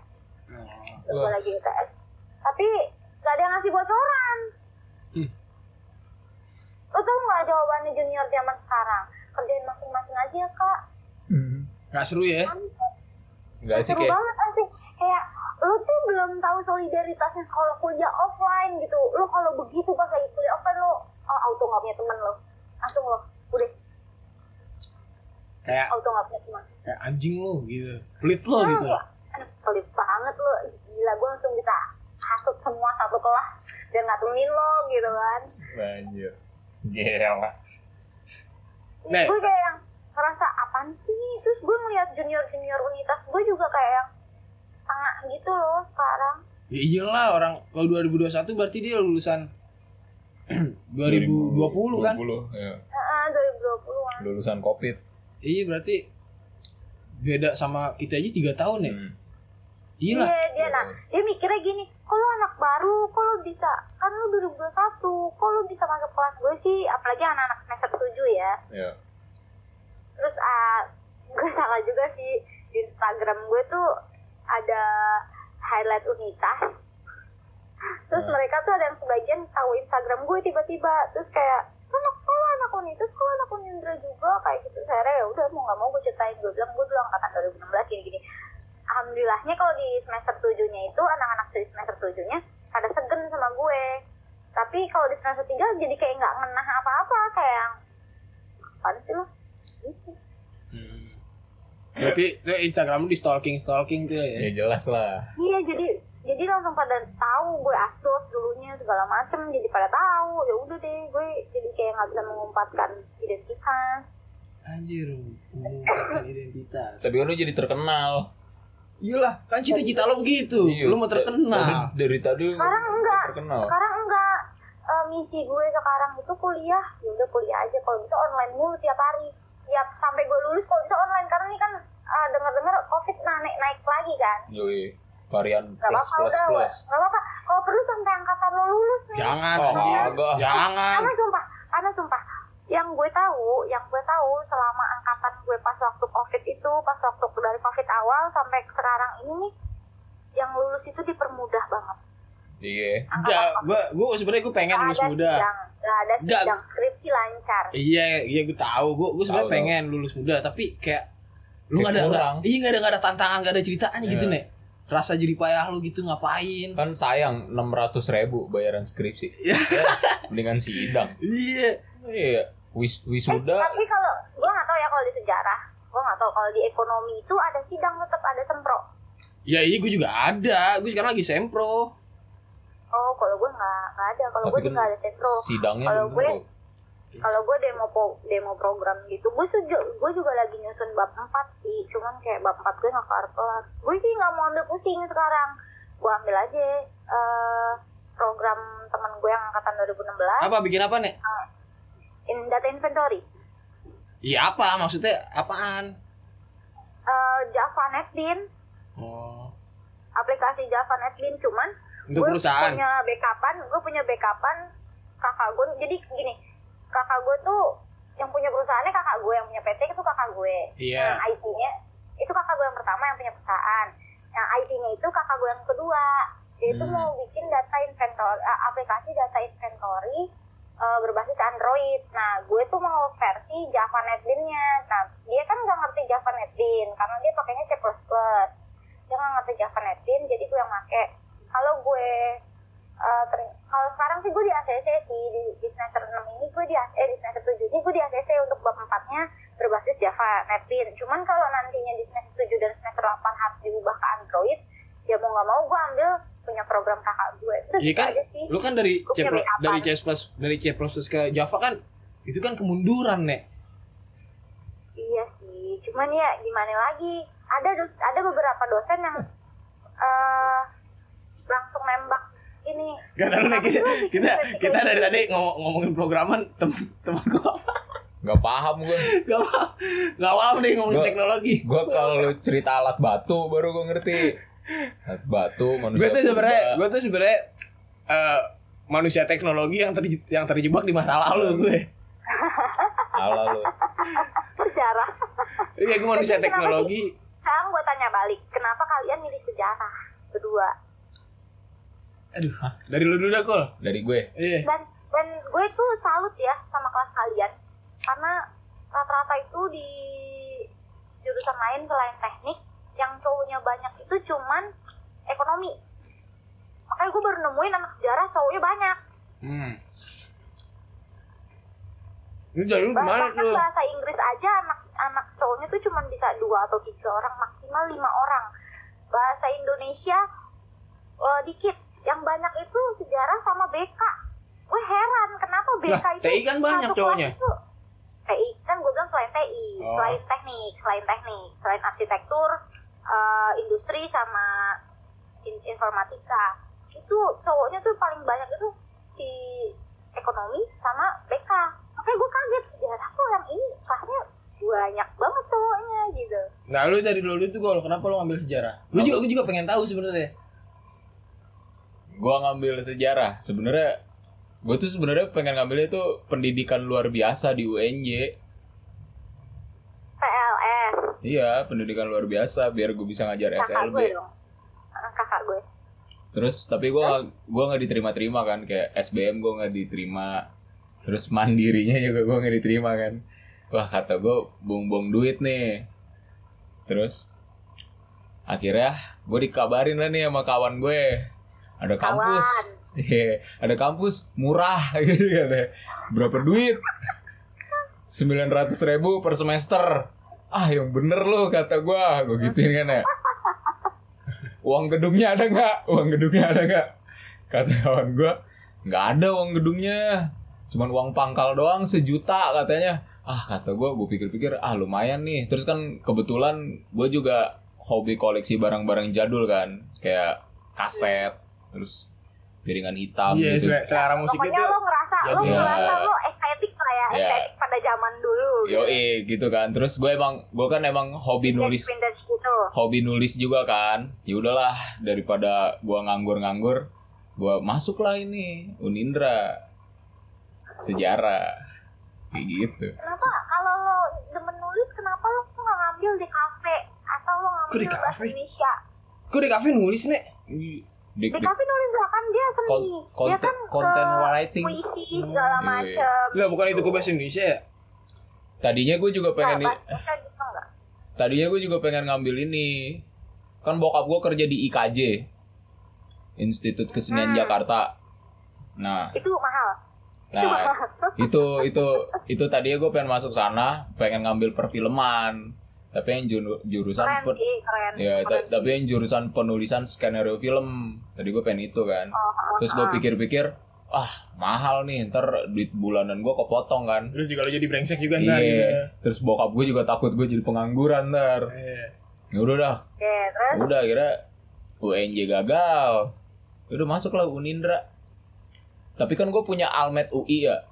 Speaker 2: gue
Speaker 3: Lah,
Speaker 2: lagi UTS tapi gak ada yang ngasih bocoran
Speaker 4: Hmm.
Speaker 2: lo tau nggak jawabannya junior zaman sekarang kerjain masing-masing aja ya, kak Kan
Speaker 3: hmm.
Speaker 4: Nggak seru ya?
Speaker 3: Enggak sih
Speaker 2: seru
Speaker 3: kayak
Speaker 2: banget asik kayak lu tuh belum tahu solidaritasnya kalau kuliah offline gitu lu kalau begitu pas lagi kuliah offline lu oh, auto nggak punya teman lo langsung lo udah
Speaker 6: Kayak
Speaker 2: auto nggak punya teman
Speaker 4: Kayak anjing lo gitu. Pelit lo
Speaker 2: Nah,
Speaker 4: gitu.
Speaker 2: ya, aduh, pelit banget lu gila gue langsung bisa hasut semua satu kelas dan nggak temenin lo gitu kan
Speaker 3: banjir. Gila. Nah.
Speaker 4: Nek.
Speaker 2: gue kayak yang ngerasa apaan sih terus gue ngeliat junior junior unitas gue juga kayak yang tengah gitu loh sekarang
Speaker 4: Ya iyalah orang kalau 2021 berarti dia lulusan 2020 kan?
Speaker 3: 2020, ya.
Speaker 2: Heeh, 2020-an
Speaker 3: Lulusan Covid.
Speaker 4: Iya berarti beda sama kita aja tiga tahun ya.
Speaker 3: Hmm.
Speaker 4: Iya
Speaker 2: Iya
Speaker 4: lah.
Speaker 2: dia nah dia mikirnya gini, kok lu anak baru, kok lu bisa kan lu 2021, kok lu bisa masuk kelas gue sih, apalagi anak-anak semester 7 ya.
Speaker 3: Ya.
Speaker 2: Terus ah, gue salah juga sih di Instagram gue tuh ada highlight unitas. Terus
Speaker 3: Hmm.
Speaker 2: mereka tuh ada yang sebagian tahu Instagram gue tiba-tiba, terus kayak anak kok lu anak unitas, kok lu anak unindra juga kayak gitu. Saya ya udah mau nggak mau gue ceritain gue bilang gue dulu angkatan 2016 gini-gini alhamdulillahnya kalau di semester tujuhnya itu anak-anak di semester tujuhnya pada segen sama gue tapi kalau di semester tiga jadi kayak nggak ngenah apa-apa kayak yang, apaan sih lo Gitu.
Speaker 4: Berarti itu Instagram lu di stalking stalking tuh
Speaker 3: Ya
Speaker 4: ya.
Speaker 3: jelas lah.
Speaker 2: iya jadi jadi langsung pada tahu gue asdos dulunya segala macem jadi pada tahu ya udah deh gue jadi kayak nggak bisa mengumpatkan identitas
Speaker 4: Anjir, mengungkapkan identitas.
Speaker 3: Tapi kan lu jadi terkenal.
Speaker 4: Iyalah, kan cita-cita lo begitu.
Speaker 3: Iya.
Speaker 4: Lu mau terkenal.
Speaker 3: Dari, dari tadi lu
Speaker 2: Sekarang enggak.
Speaker 3: Terkenal.
Speaker 2: sekarang enggak Eh, misi gue sekarang itu kuliah ya udah kuliah aja kalau bisa online mulu tiap hari tiap sampai gue lulus kalau bisa online karena ini kan eh, dengar-dengar covid naik naik lagi kan
Speaker 3: Yoi. Varian
Speaker 2: nggak
Speaker 3: plus
Speaker 2: apa-apa
Speaker 3: plus
Speaker 2: udah
Speaker 3: plus.
Speaker 2: nggak apa-apa kalau perlu sampai angkatan lo lulus nih
Speaker 4: Kan? Ah,
Speaker 6: Jangan.
Speaker 3: Oh,
Speaker 4: Iya.
Speaker 6: anjir.
Speaker 3: kagak.
Speaker 6: Jangan.
Speaker 2: karena sumpah karena sumpah yang gue tahu yang gue tahu selama angkatan gue pas waktu covid itu pas waktu dari covid awal sampai sekarang ini nih yang lulus itu dipermudah banget
Speaker 3: Iya.
Speaker 4: Enggak, gua gua sebenarnya gua pengen
Speaker 2: Nggak
Speaker 4: lulus
Speaker 2: ada
Speaker 4: muda.
Speaker 2: sidang nggak ada
Speaker 4: Nggak.
Speaker 2: sidang skripsi lancar
Speaker 4: Iya, iya gua tahu. Gua gua sebenarnya
Speaker 3: Tahu, tahu.
Speaker 4: pengen lulus muda, tapi kayak
Speaker 3: Kayak
Speaker 4: lu nggak ada
Speaker 3: kurang.
Speaker 4: nggak- iya nggak ada nggak ada tantangan nggak ada ceritanya gitu
Speaker 3: Iya.
Speaker 4: nek rasa jadi payah lu gitu ngapain
Speaker 3: Kan sayang 600 ribu bayaran skripsi.
Speaker 4: Iya.
Speaker 3: Ya, Mendingan sidang.
Speaker 4: iya
Speaker 3: Iya. Wis
Speaker 2: Eh,
Speaker 3: wisuda
Speaker 2: tapi kalau gue nggak tahu ya kalau di sejarah, gue nggak tahu kalau di ekonomi itu ada sidang tetap ada sempro.
Speaker 4: ya iya gua juga ada gua sekarang lagi sempro
Speaker 2: Oh, kalau gue nggak nggak ada, kalau
Speaker 3: Tapi
Speaker 2: gue
Speaker 3: kan
Speaker 2: nggak ada sempro.
Speaker 3: sidangnya
Speaker 2: Kalau
Speaker 3: belum
Speaker 2: gue-
Speaker 3: tentu.
Speaker 2: Kalau gue demo po- demo program gitu, gue setuju. Gue juga lagi nyusun bab 4 sih, cuman kayak bab 4 gue nggak kelar kelar. Gue sih nggak mau ambil pusing sekarang. Gue ambil aja eh, program teman gue yang angkatan 2016
Speaker 4: apa bikin apa nek
Speaker 2: in data inventory.
Speaker 4: iya apa maksudnya apaan
Speaker 2: Eh, Java NetBean,
Speaker 4: oh
Speaker 2: aplikasi Java NetBean cuman
Speaker 4: untuk
Speaker 2: gue
Speaker 4: perusahaan
Speaker 2: punya backupan gue punya backupan kakak gue jadi gini kakak gue tuh yang punya perusahaannya kakak gue yang punya PT itu kakak gue
Speaker 4: Iya.
Speaker 2: nah, IT-nya itu kakak gue yang pertama yang punya perusahaan nah IT-nya itu kakak gue yang kedua dia itu
Speaker 3: Hmm.
Speaker 2: mau bikin data inventory eh, aplikasi data inventory eh, berbasis Android. Nah, gue tuh mau versi Java NetBean-nya. Nah, dia kan nggak ngerti Java Netlin karena dia pakainya C++. Dia nggak ngerti Java Netlin, jadi gue yang make. Kalau gue eh, ter- kalau sekarang sih gue di ACC sih di, di semester 6 ini gue di eh di semester 7 ini gue di ACC untuk bab 4-nya berbasis Java Netlin. Cuman kalau nantinya di semester 7 dan semester 8 harus diubah ke Android, ya mau nggak mau gue ambil punya program kakak gue. Itu
Speaker 5: Iya
Speaker 2: gitu
Speaker 5: kan?
Speaker 2: aja sih.
Speaker 5: Lu kan dari
Speaker 2: Gua
Speaker 5: C
Speaker 2: pilih apa?
Speaker 5: dari C plus dari C plus plus ke Java kan itu kan kemunduran nek.
Speaker 2: Iya sih, cuman ya gimana lagi? Ada dos, ada beberapa dosen yang eh langsung nembak ini.
Speaker 4: Gak tau nih
Speaker 2: Apa
Speaker 4: kita,
Speaker 2: sih lu bikin
Speaker 4: kita,
Speaker 2: kayak gitu?
Speaker 4: kita dari tadi ngomong, ngomongin programan temen, temen gua apa?
Speaker 6: Gak paham gue
Speaker 4: Gak paham, gak paham nih ngomongin
Speaker 6: Gua-
Speaker 4: teknologi
Speaker 6: Gue kalau lu cerita alat batu baru gue ngerti Alat batu manusia
Speaker 4: Gue tuh sebenernya,
Speaker 6: purba.
Speaker 4: gue tuh sebenernya eh, manusia teknologi yang, ter, yang terjebak di masa
Speaker 2: Iya.
Speaker 4: lalu gue
Speaker 6: Ala lu
Speaker 2: sejarah.
Speaker 4: Iya gue manusia
Speaker 2: Jadi kenapa
Speaker 4: teknologi
Speaker 2: Sekarang gue tanya balik, kenapa kalian milih sejarah berdua?
Speaker 4: Aduh, dari lu dulu dah Kul
Speaker 6: Dari gue
Speaker 4: Iya
Speaker 2: Dan dan gue tuh salut ya sama kelas kalian, karena rata-rata itu di jurusan lain selain teknik, yang cowoknya banyak itu cuman ekonomi. Makanya gue baru nemuin anak sejarah cowoknya banyak.
Speaker 4: Hmm.
Speaker 5: Lu dari lu gimana
Speaker 2: bahkan
Speaker 5: tuh?
Speaker 2: bahasa Inggris aja anak anak cowoknya tuh cuma bisa dua atau tiga orang maksimal lima orang bahasa Indonesia eh, dikit yang banyak itu sejarah sama BK gue heran kenapa BK
Speaker 5: Lah,
Speaker 2: itu
Speaker 5: TI kan banyak
Speaker 2: satu kelas
Speaker 5: cowoknya.
Speaker 2: itu- TI kan gue bilang selain TI
Speaker 4: Oh.
Speaker 2: selain teknik selain teknik selain arsitektur eh, industri sama in- informatika itu cowoknya tuh paling banyak itu di ekonomi sama BK makanya gue kaget sejarah kok yang ini kelasnya banyak banget cowoknya gitu
Speaker 5: Nah lu dari dulu tuh kalau kenapa lu ngambil sejarah? Lu juga, gua juga pengen tahu sebenarnya.
Speaker 6: Gue ngambil sejarah sebenarnya Gue tuh sebenarnya pengen ngambilnya tuh pendidikan luar biasa di UNJ
Speaker 2: PLS
Speaker 6: Iya pendidikan luar biasa biar gue bisa ngajar
Speaker 2: kakak
Speaker 6: SLB
Speaker 2: gue dong Eh, kakak gue
Speaker 6: Terus tapi gue gak, gua gak diterima-terima kan Kayak SBM gue gak diterima Terus mandirinya juga gue gak diterima kan Wah kata gue buang-buang duit nih Terus Akhirnya gue dikabarin lah nih sama kawan gue Ada kampus
Speaker 2: Kawan.
Speaker 6: Iya, Ada kampus murah gitu katanya. Berapa duit? 900 ribu per semester Ah yang bener loh kata gue Gue gituin kan ya uang gedungnya ada nggak uang gedungnya ada nggak kata kawan gue nggak ada uang gedungnya cuman uang pangkal doang sejuta katanya ah kata gue gue pikir-pikir ah lumayan nih terus kan kebetulan gue juga hobi koleksi barang-barang jadul kan kayak kaset terus piringan hitam
Speaker 4: Iya,
Speaker 6: gitu
Speaker 4: sel- selera musik
Speaker 2: pokoknya
Speaker 4: itu
Speaker 2: lo ngerasa lo
Speaker 4: jadi-
Speaker 2: ngerasa
Speaker 6: Iya.
Speaker 2: lo estetik lah ya
Speaker 6: Iya.
Speaker 2: estetik pada zaman dulu gitu.
Speaker 6: yoi gitu kan terus gue emang gue kan emang hobi nulis
Speaker 2: vintage gitu
Speaker 6: hobi nulis juga kan ya udahlah daripada gua nganggur-nganggur gua masuklah ini Unindra sejarah kayak gitu
Speaker 2: Kenapa kalau lo demen nulis, kenapa lo nggak ngambil di kafe atau lo
Speaker 5: Kok di
Speaker 2: ngambil bahasa
Speaker 5: kafe?
Speaker 2: Indonesia?
Speaker 5: Gua di kafe nulis nek.
Speaker 6: di,
Speaker 2: Di
Speaker 6: di
Speaker 2: kafe nulis lah kan dia
Speaker 6: kon-
Speaker 2: seni, dia
Speaker 6: konten
Speaker 2: kan
Speaker 6: konten
Speaker 2: ke
Speaker 6: writing
Speaker 2: puisi segala
Speaker 6: Hmm, iya, iya.
Speaker 2: macem.
Speaker 5: Lah bukan itu gua bahasa Indonesia ya?
Speaker 6: tadinya gue juga pengen
Speaker 2: Nah, bahasa bisa nggak?
Speaker 6: tadinya gue juga pengen ngambil ini kan bokap gue kerja di IKJ Institut Kesenian
Speaker 2: Hmm.
Speaker 6: Jakarta nah
Speaker 2: Itu mahal.
Speaker 6: nah itu itu itu tadinya gue pengen masuk sana pengen ngambil perfilman tapi yang juru- jurusan
Speaker 2: keren
Speaker 6: per-
Speaker 2: sih, keren.
Speaker 6: ya
Speaker 2: Keren.
Speaker 6: ta- tapi yang jurusan penulisan skenario film tadi gue pengen itu
Speaker 2: Oh,
Speaker 6: kan
Speaker 2: oh,
Speaker 6: terus gue pikir-pikir ah mahal nih ntar duit bulanan gue kepotong kan
Speaker 4: Terus juga lo jadi brengsek juga
Speaker 6: iya
Speaker 4: ntar gitu.
Speaker 6: terus bokap gue juga takut gue jadi pengangguran ntar
Speaker 4: Iya.
Speaker 6: ya udah dah
Speaker 2: Oke, terus
Speaker 6: udah kira UNJ gagal Ya udah masuklah Unindra tapi kan gue punya almet UI ya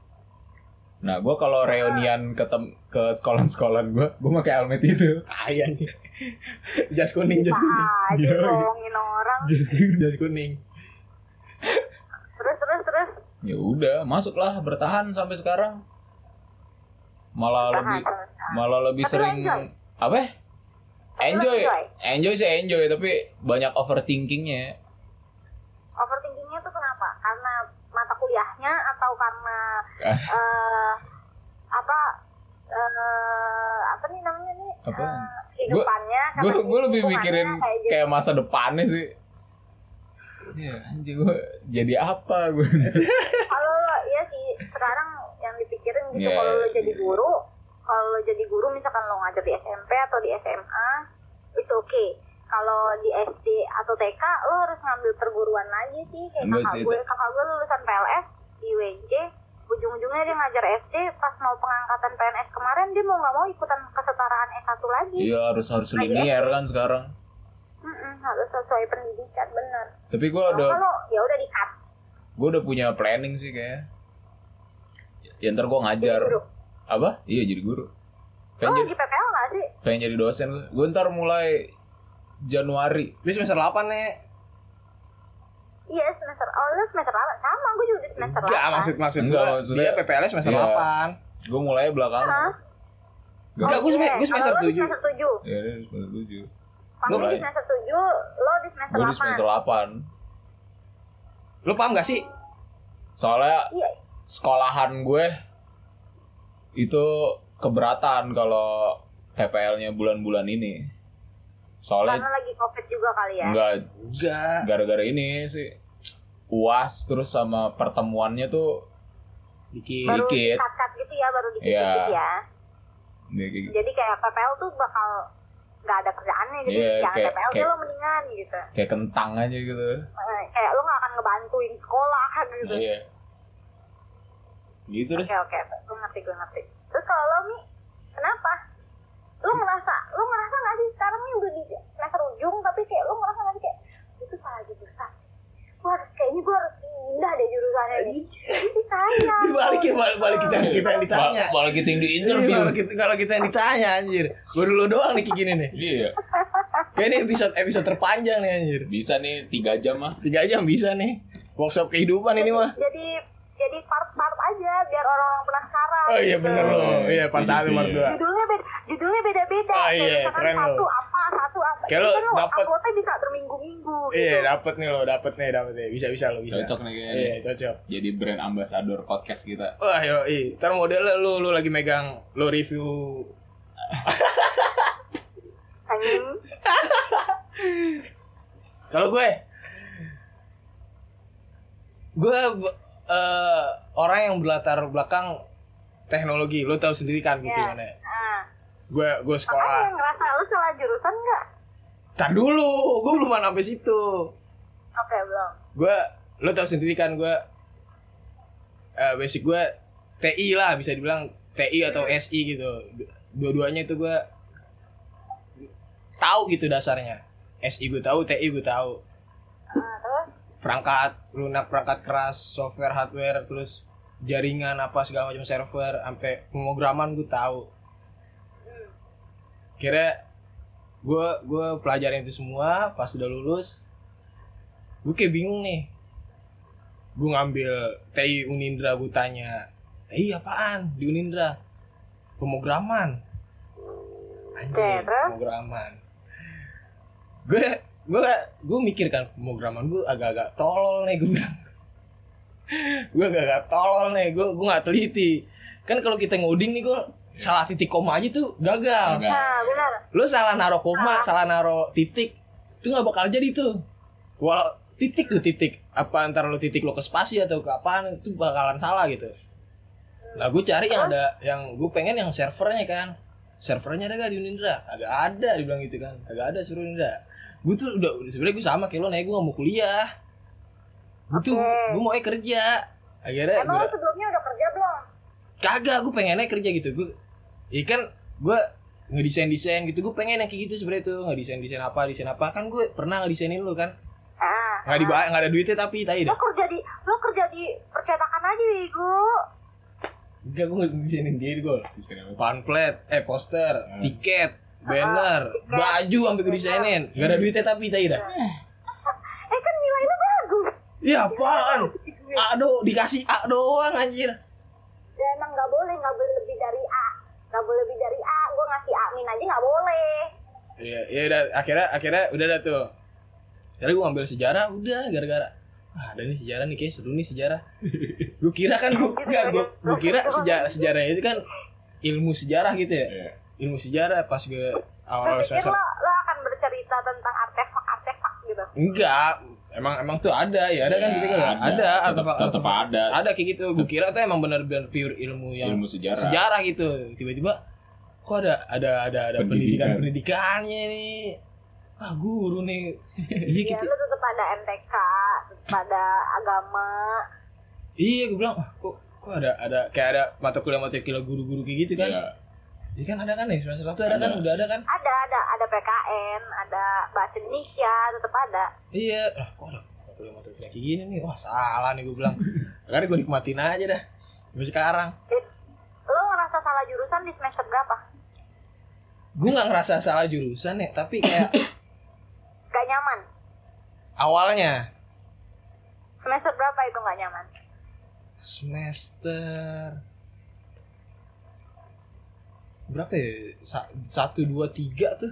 Speaker 6: nah gue
Speaker 2: Ah.
Speaker 6: kalau reunian ke tem- ke sekolah-sekolah gue gue pakai almet itu
Speaker 4: Ah iya anjing. Jas kuning, jas kuning.
Speaker 2: aja
Speaker 4: Iya.
Speaker 2: ngomongin orang.
Speaker 4: Jas kuning, jas kuning.
Speaker 2: Terus, terus, terus.
Speaker 6: ya udah masuklah bertahan sampai sekarang malah
Speaker 2: Tahan,
Speaker 6: lebih
Speaker 2: terus.
Speaker 6: malah lebih
Speaker 2: Tapi lo
Speaker 6: sering
Speaker 2: enjoy?
Speaker 6: apa
Speaker 2: Tapi lo
Speaker 6: enjoy
Speaker 2: enjoy?
Speaker 6: enjoy sih enjoy tapi banyak overthinkingnya
Speaker 2: Overthinkingnya tuh kenapa? Karena mata kuliahnya atau karena
Speaker 6: Ah.
Speaker 2: eh apa eh apa nih namanya nih
Speaker 6: apa?
Speaker 2: kehidupannya
Speaker 6: Gue
Speaker 2: sama
Speaker 6: gue lebih
Speaker 2: lingkungannya,
Speaker 6: mikirin
Speaker 2: kayak gitu.
Speaker 6: kayak masa depannya sih. Iya, anjing gue jadi apa gue?
Speaker 2: kalau lo ya sih sekarang yang dipikirin gitu
Speaker 6: Iya,
Speaker 2: kalau lo
Speaker 6: iya,
Speaker 2: jadi
Speaker 6: iya.
Speaker 2: guru kalau lo jadi guru misalkan lo ngajar di SMP atau di SMA it's okay kalau di SD atau TK lo harus ngambil perguruan lagi sih kayak
Speaker 6: Enggak
Speaker 2: kakak
Speaker 6: sih,
Speaker 2: gue kakak gue lulusan PLS di UNJ ujung-ujungnya dia ngajar SD pas mau pengangkatan PNS kemarin dia mau nggak mau ikutan kesetaraan S1 lagi
Speaker 6: Iya harus harus linier kan sekarang.
Speaker 2: Mm-mm, harus sesuai pendidikan bener
Speaker 6: Tapi gue udah
Speaker 2: kalau ya udah di cut
Speaker 6: gue udah punya planning sih kayaknya. Ya ntar gue
Speaker 2: jadi
Speaker 6: ngajar
Speaker 2: guru Oh,
Speaker 6: apa? Iya jadi guru.
Speaker 2: lo
Speaker 6: Pengen jadi,
Speaker 2: lagi PPL nggak sih
Speaker 6: pengen jadi dosen gue. Gue ntar mulai Januari.
Speaker 4: Ini semester 8 nih.
Speaker 2: Iya semester, oh lu semester 8 sama gue juga di semester 8
Speaker 7: Enggak, maksud maksud
Speaker 6: Enggak,
Speaker 7: gua
Speaker 6: maksudnya-
Speaker 7: dia PPLS semester
Speaker 6: Iya.
Speaker 7: 8.
Speaker 6: Gue mulai
Speaker 2: Hah?
Speaker 6: belakangan.
Speaker 7: Enggak, gue
Speaker 2: Oke,
Speaker 7: gue semester
Speaker 2: kalau lu
Speaker 7: 7.
Speaker 2: Semester 7
Speaker 6: Iya ini semester tujuh.
Speaker 2: Panggil di
Speaker 6: Mulai.
Speaker 2: semester 7, lo di semester
Speaker 6: Gue
Speaker 2: 8
Speaker 6: di semester delapan.
Speaker 7: Lu paham gak sih?
Speaker 6: Soalnya
Speaker 2: Iya,
Speaker 6: sekolahan gue itu keberatan kalau PPL-nya bulan-bulan ini.
Speaker 2: karena
Speaker 6: Soalnya
Speaker 2: lagi covid juga kali ya
Speaker 6: enggak
Speaker 7: Enggak.
Speaker 6: gara-gara ini sih UAS terus sama pertemuannya tuh
Speaker 7: Dikit.
Speaker 2: Baru
Speaker 6: dikit.
Speaker 2: dikat-kat gitu ya, baru
Speaker 6: Iya.
Speaker 2: dikit-dikit ya
Speaker 6: kayak- gitu,
Speaker 2: Jadi kayak PPL tuh bakal gak ada kerjaannya Jadi
Speaker 6: Iya,
Speaker 2: jangan
Speaker 6: kayak-
Speaker 2: PPL, deh
Speaker 6: kayak-
Speaker 2: lo mendingan gitu
Speaker 6: kayak kentang aja gitu.
Speaker 2: Eh, Kayak lo gak akan ngebantuin sekolah gitu
Speaker 6: Iya. Gitu deh.
Speaker 2: Oke oke, gue ngerti gue ngerti. Terus kalau lo mi, kenapa? Lo ngerasa, lo ngerasa nggak sih sekarang ini udah di semester ujung, tapi kayak lo ngerasa nggak sih kayak itu salah jurusan. Gue harus kayaknya gue harus pindah deh jurusannya nih. Tapi sayang. gitu.
Speaker 4: Balikin balik balik kita kita yang ditanya.
Speaker 6: Mal- Malah kita yang di
Speaker 4: Iya,
Speaker 6: interview.
Speaker 4: Kalau kita, kalau kita yang ditanya anjir. Baru lu doang nih kayak gini nih.
Speaker 6: Iya.
Speaker 4: Kayak ini episode episode terpanjang nih anjir.
Speaker 6: Bisa nih 3 jam mah.
Speaker 4: Tiga jam bisa nih. Workshop kehidupan ini mah.
Speaker 2: Jadi jadi part-part aja biar orang-orang penasaran.
Speaker 4: Oh iya
Speaker 2: gitu.
Speaker 4: bener loh.
Speaker 6: Iya,
Speaker 4: Iya part
Speaker 6: setuju
Speaker 4: satu
Speaker 6: sih.
Speaker 4: part dua.
Speaker 2: Judulnya beda, judulnya beda-beda.
Speaker 4: Ah,
Speaker 2: Kayak
Speaker 4: iya,
Speaker 2: misalkan
Speaker 4: keren lo.
Speaker 2: satu apa, satu apa.
Speaker 4: Kayak
Speaker 2: Jadi
Speaker 4: lo
Speaker 2: kan lo
Speaker 4: dapet-
Speaker 2: uploadnya bisa berminggu-minggu.
Speaker 4: Iya
Speaker 2: gitu.
Speaker 4: dapet nih lo dapet nih dapet nih bisa bisa lo bisa.
Speaker 6: Cocok nih kayaknya.
Speaker 4: Iya cocok.
Speaker 6: Jadi brand ambassador podcast kita.
Speaker 4: Wah yo i. Ntar modelnya lu lu lagi megang lu review.
Speaker 2: Anjing.
Speaker 4: Kalau gue, gue eh, orang yang berlatar belakang teknologi. Lo tahu sendiri kan gitu
Speaker 2: Iya.
Speaker 4: gimana.
Speaker 2: Nah,
Speaker 4: Gue
Speaker 2: makanya
Speaker 4: gue sekolah.
Speaker 2: ngerasa lo salah jurusan nggak?
Speaker 4: Tar dulu, gue belum sampai situ.
Speaker 2: Oke belum.
Speaker 4: gue lo tau sendiri kan gue eh, basic gue TI lah bisa dibilang TI atau SI gitu dua-duanya itu gue tahu gitu dasarnya SI gue tahu TI gue tahu
Speaker 2: Ah, terus
Speaker 4: perangkat lunak perangkat keras software hardware terus jaringan apa segala macam server sampai pemrograman gue tahu
Speaker 2: Hmm.
Speaker 4: kira gue gue pelajarin itu semua pas udah lulus gue kayak bingung nih gue ngambil TI Unindra gue tanya TI apaan di Unindra pemrograman
Speaker 2: Oke,
Speaker 4: anjir
Speaker 2: terus?
Speaker 4: pemrograman gue gue gue mikir kan pemrograman gue agak-agak tolol nih gue bilang gue agak-agak tolol nih gue gue nggak teliti kan kalau kita ngoding nih gue salah titik koma aja tuh gagal
Speaker 6: Enggak.
Speaker 2: Nah, benar.
Speaker 4: lu salah naro koma, salah naro titik, itu nggak bakal jadi tuh. Walau titik lu titik, apa antara lu titik lu ke spasi atau ke apaan itu bakalan salah gitu. Nah gue cari yang ada, yang gue pengen yang servernya kan. Servernya ada gak di Unindra? Kagak ada, dibilang gitu kan. Kagak ada suruh Unindra. Gue tuh udah, sebenarnya gue sama kayak lo, naik gue gak mau kuliah. Gue tuh,
Speaker 2: Oke.
Speaker 4: gue mau kerja. Akhirnya
Speaker 2: Emang
Speaker 4: gua-
Speaker 2: lu sebelumnya udah kerja belum?
Speaker 4: kagak gue pengennya kerja gitu gue ya kan gue ngedesain desain gitu gue pengen yang kayak gitu sebenernya tuh ngedesain desain apa desain apa kan gue pernah ngedesainin lu kan
Speaker 2: Ah.
Speaker 4: nggak dibayar nggak ada duitnya tapi tai
Speaker 2: Lo
Speaker 4: dah
Speaker 2: kerja di lo kerja di percetakan aja bego.
Speaker 4: enggak gue ngedesainin diri gue
Speaker 6: Di sini apa?
Speaker 4: pamflet eh poster
Speaker 6: Hmm.
Speaker 4: tiket banner
Speaker 2: tiket,
Speaker 4: baju sampai gue desainin nggak ada duitnya tapi tai dah
Speaker 2: Eh kan nilai lo bagus.
Speaker 4: ya apaan aduh dikasih A doang anjir
Speaker 2: Ya emang nggak boleh nggak boleh lebih dari A. Nggak boleh lebih dari A. Gue ngasih A min aja nggak boleh.
Speaker 4: Iya, iya udah akhirnya akhirnya udah dah tuh. Akhirnya gue ngambil sejarah udah gara-gara ah ada nih sejarah nih kayak seru nih sejarah. Gue kira kan gue gue kira sejarah sejarah itu kan ilmu sejarah gitu ya.
Speaker 6: Iya.
Speaker 4: ilmu sejarah pas gue
Speaker 2: Lu
Speaker 4: awal-awal
Speaker 2: pikir
Speaker 4: semester
Speaker 2: lo, lo akan bercerita tentang artefak-artefak gitu.
Speaker 4: enggak emang emang tuh ada ya ada kan
Speaker 3: Iya,
Speaker 4: gitu kan ada
Speaker 3: tetap,
Speaker 4: artefak
Speaker 3: tetap ada
Speaker 4: ada kayak gitu gue kira tuh emang bener-bener pure ilmu
Speaker 5: Iya.
Speaker 4: yang
Speaker 3: ilmu sejarah.
Speaker 4: sejarah gitu tiba-tiba kok ada ada ada ada pendidikan
Speaker 3: Pendidikan.
Speaker 4: pendidikannya nih ah guru nih iya
Speaker 2: Ya,
Speaker 4: gitu
Speaker 2: lu tetap ada MTK, tetap ada agama.
Speaker 4: iya gue bilang ah, kok kok ada ada kayak ada mata kuliah mata kuliah guru-guru kayak gitu kan
Speaker 3: Iya.
Speaker 4: iya kan ada kan nih semester satu ada,
Speaker 3: Ada.
Speaker 4: kan udah ada kan
Speaker 2: Ada, ada, ada PKN, ada bahasa Indonesia, tetap ada.
Speaker 4: iya ah kok ada mata kuliah mata kuliah kayak gini nih wah salah nih gue bilang karena gue nikmatin aja dah sampai sekarang
Speaker 2: Lo ngerasa salah jurusan di semester berapa?
Speaker 4: gue nggak ngerasa salah jurusan ya tapi kayak
Speaker 2: Gak nyaman.
Speaker 4: awalnya
Speaker 2: Semester berapa itu gak nyaman?
Speaker 4: semester berapa ya Sa- satu dua tiga tuh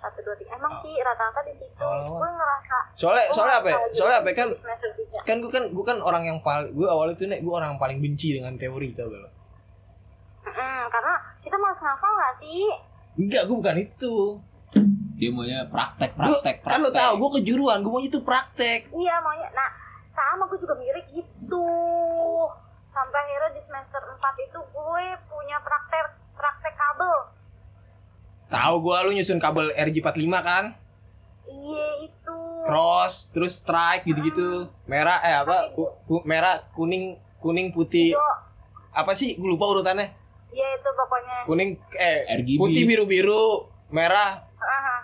Speaker 2: Satu dua tiga. Emang sih rata-rata di situ.
Speaker 4: Awal-awal.
Speaker 2: Gue ngerasa.
Speaker 4: Ah. soalnya
Speaker 2: gua
Speaker 4: soalnya
Speaker 2: ngerasa
Speaker 4: apa ya?
Speaker 2: salah
Speaker 4: soalnya
Speaker 2: jurusan
Speaker 4: apa ya? kan
Speaker 2: di Semester tiga.
Speaker 4: kan gue kan gue kan orang yang paling gue awalnya tuh nek gue orang yang paling benci dengan teori tau gak lo
Speaker 2: Mm-mm, karena kita malas ngafal gak sih?
Speaker 4: enggak gue bukan itu
Speaker 3: Dia maunya praktek,
Speaker 4: Gua-
Speaker 3: praktek, praktek.
Speaker 4: kan lo tau gue kejuruan gue mau itu praktek
Speaker 2: Iya maunya. Nah sama gue juga mirip gitu. Sampai akhirnya di semester 4 itu gue punya praktek praktek kabel.
Speaker 4: tahu gue lu nyusun kabel RJ45 kan
Speaker 2: Iya itu.
Speaker 4: cross terus strike gitu gitu merah eh apa ku- ku- merah kuning kuning putih
Speaker 2: Hijau.
Speaker 4: apa sih gue lupa urutannya
Speaker 2: Iya itu pokoknya.
Speaker 4: kuning eh
Speaker 3: RGB.
Speaker 4: putih biru biru merah
Speaker 2: Aha.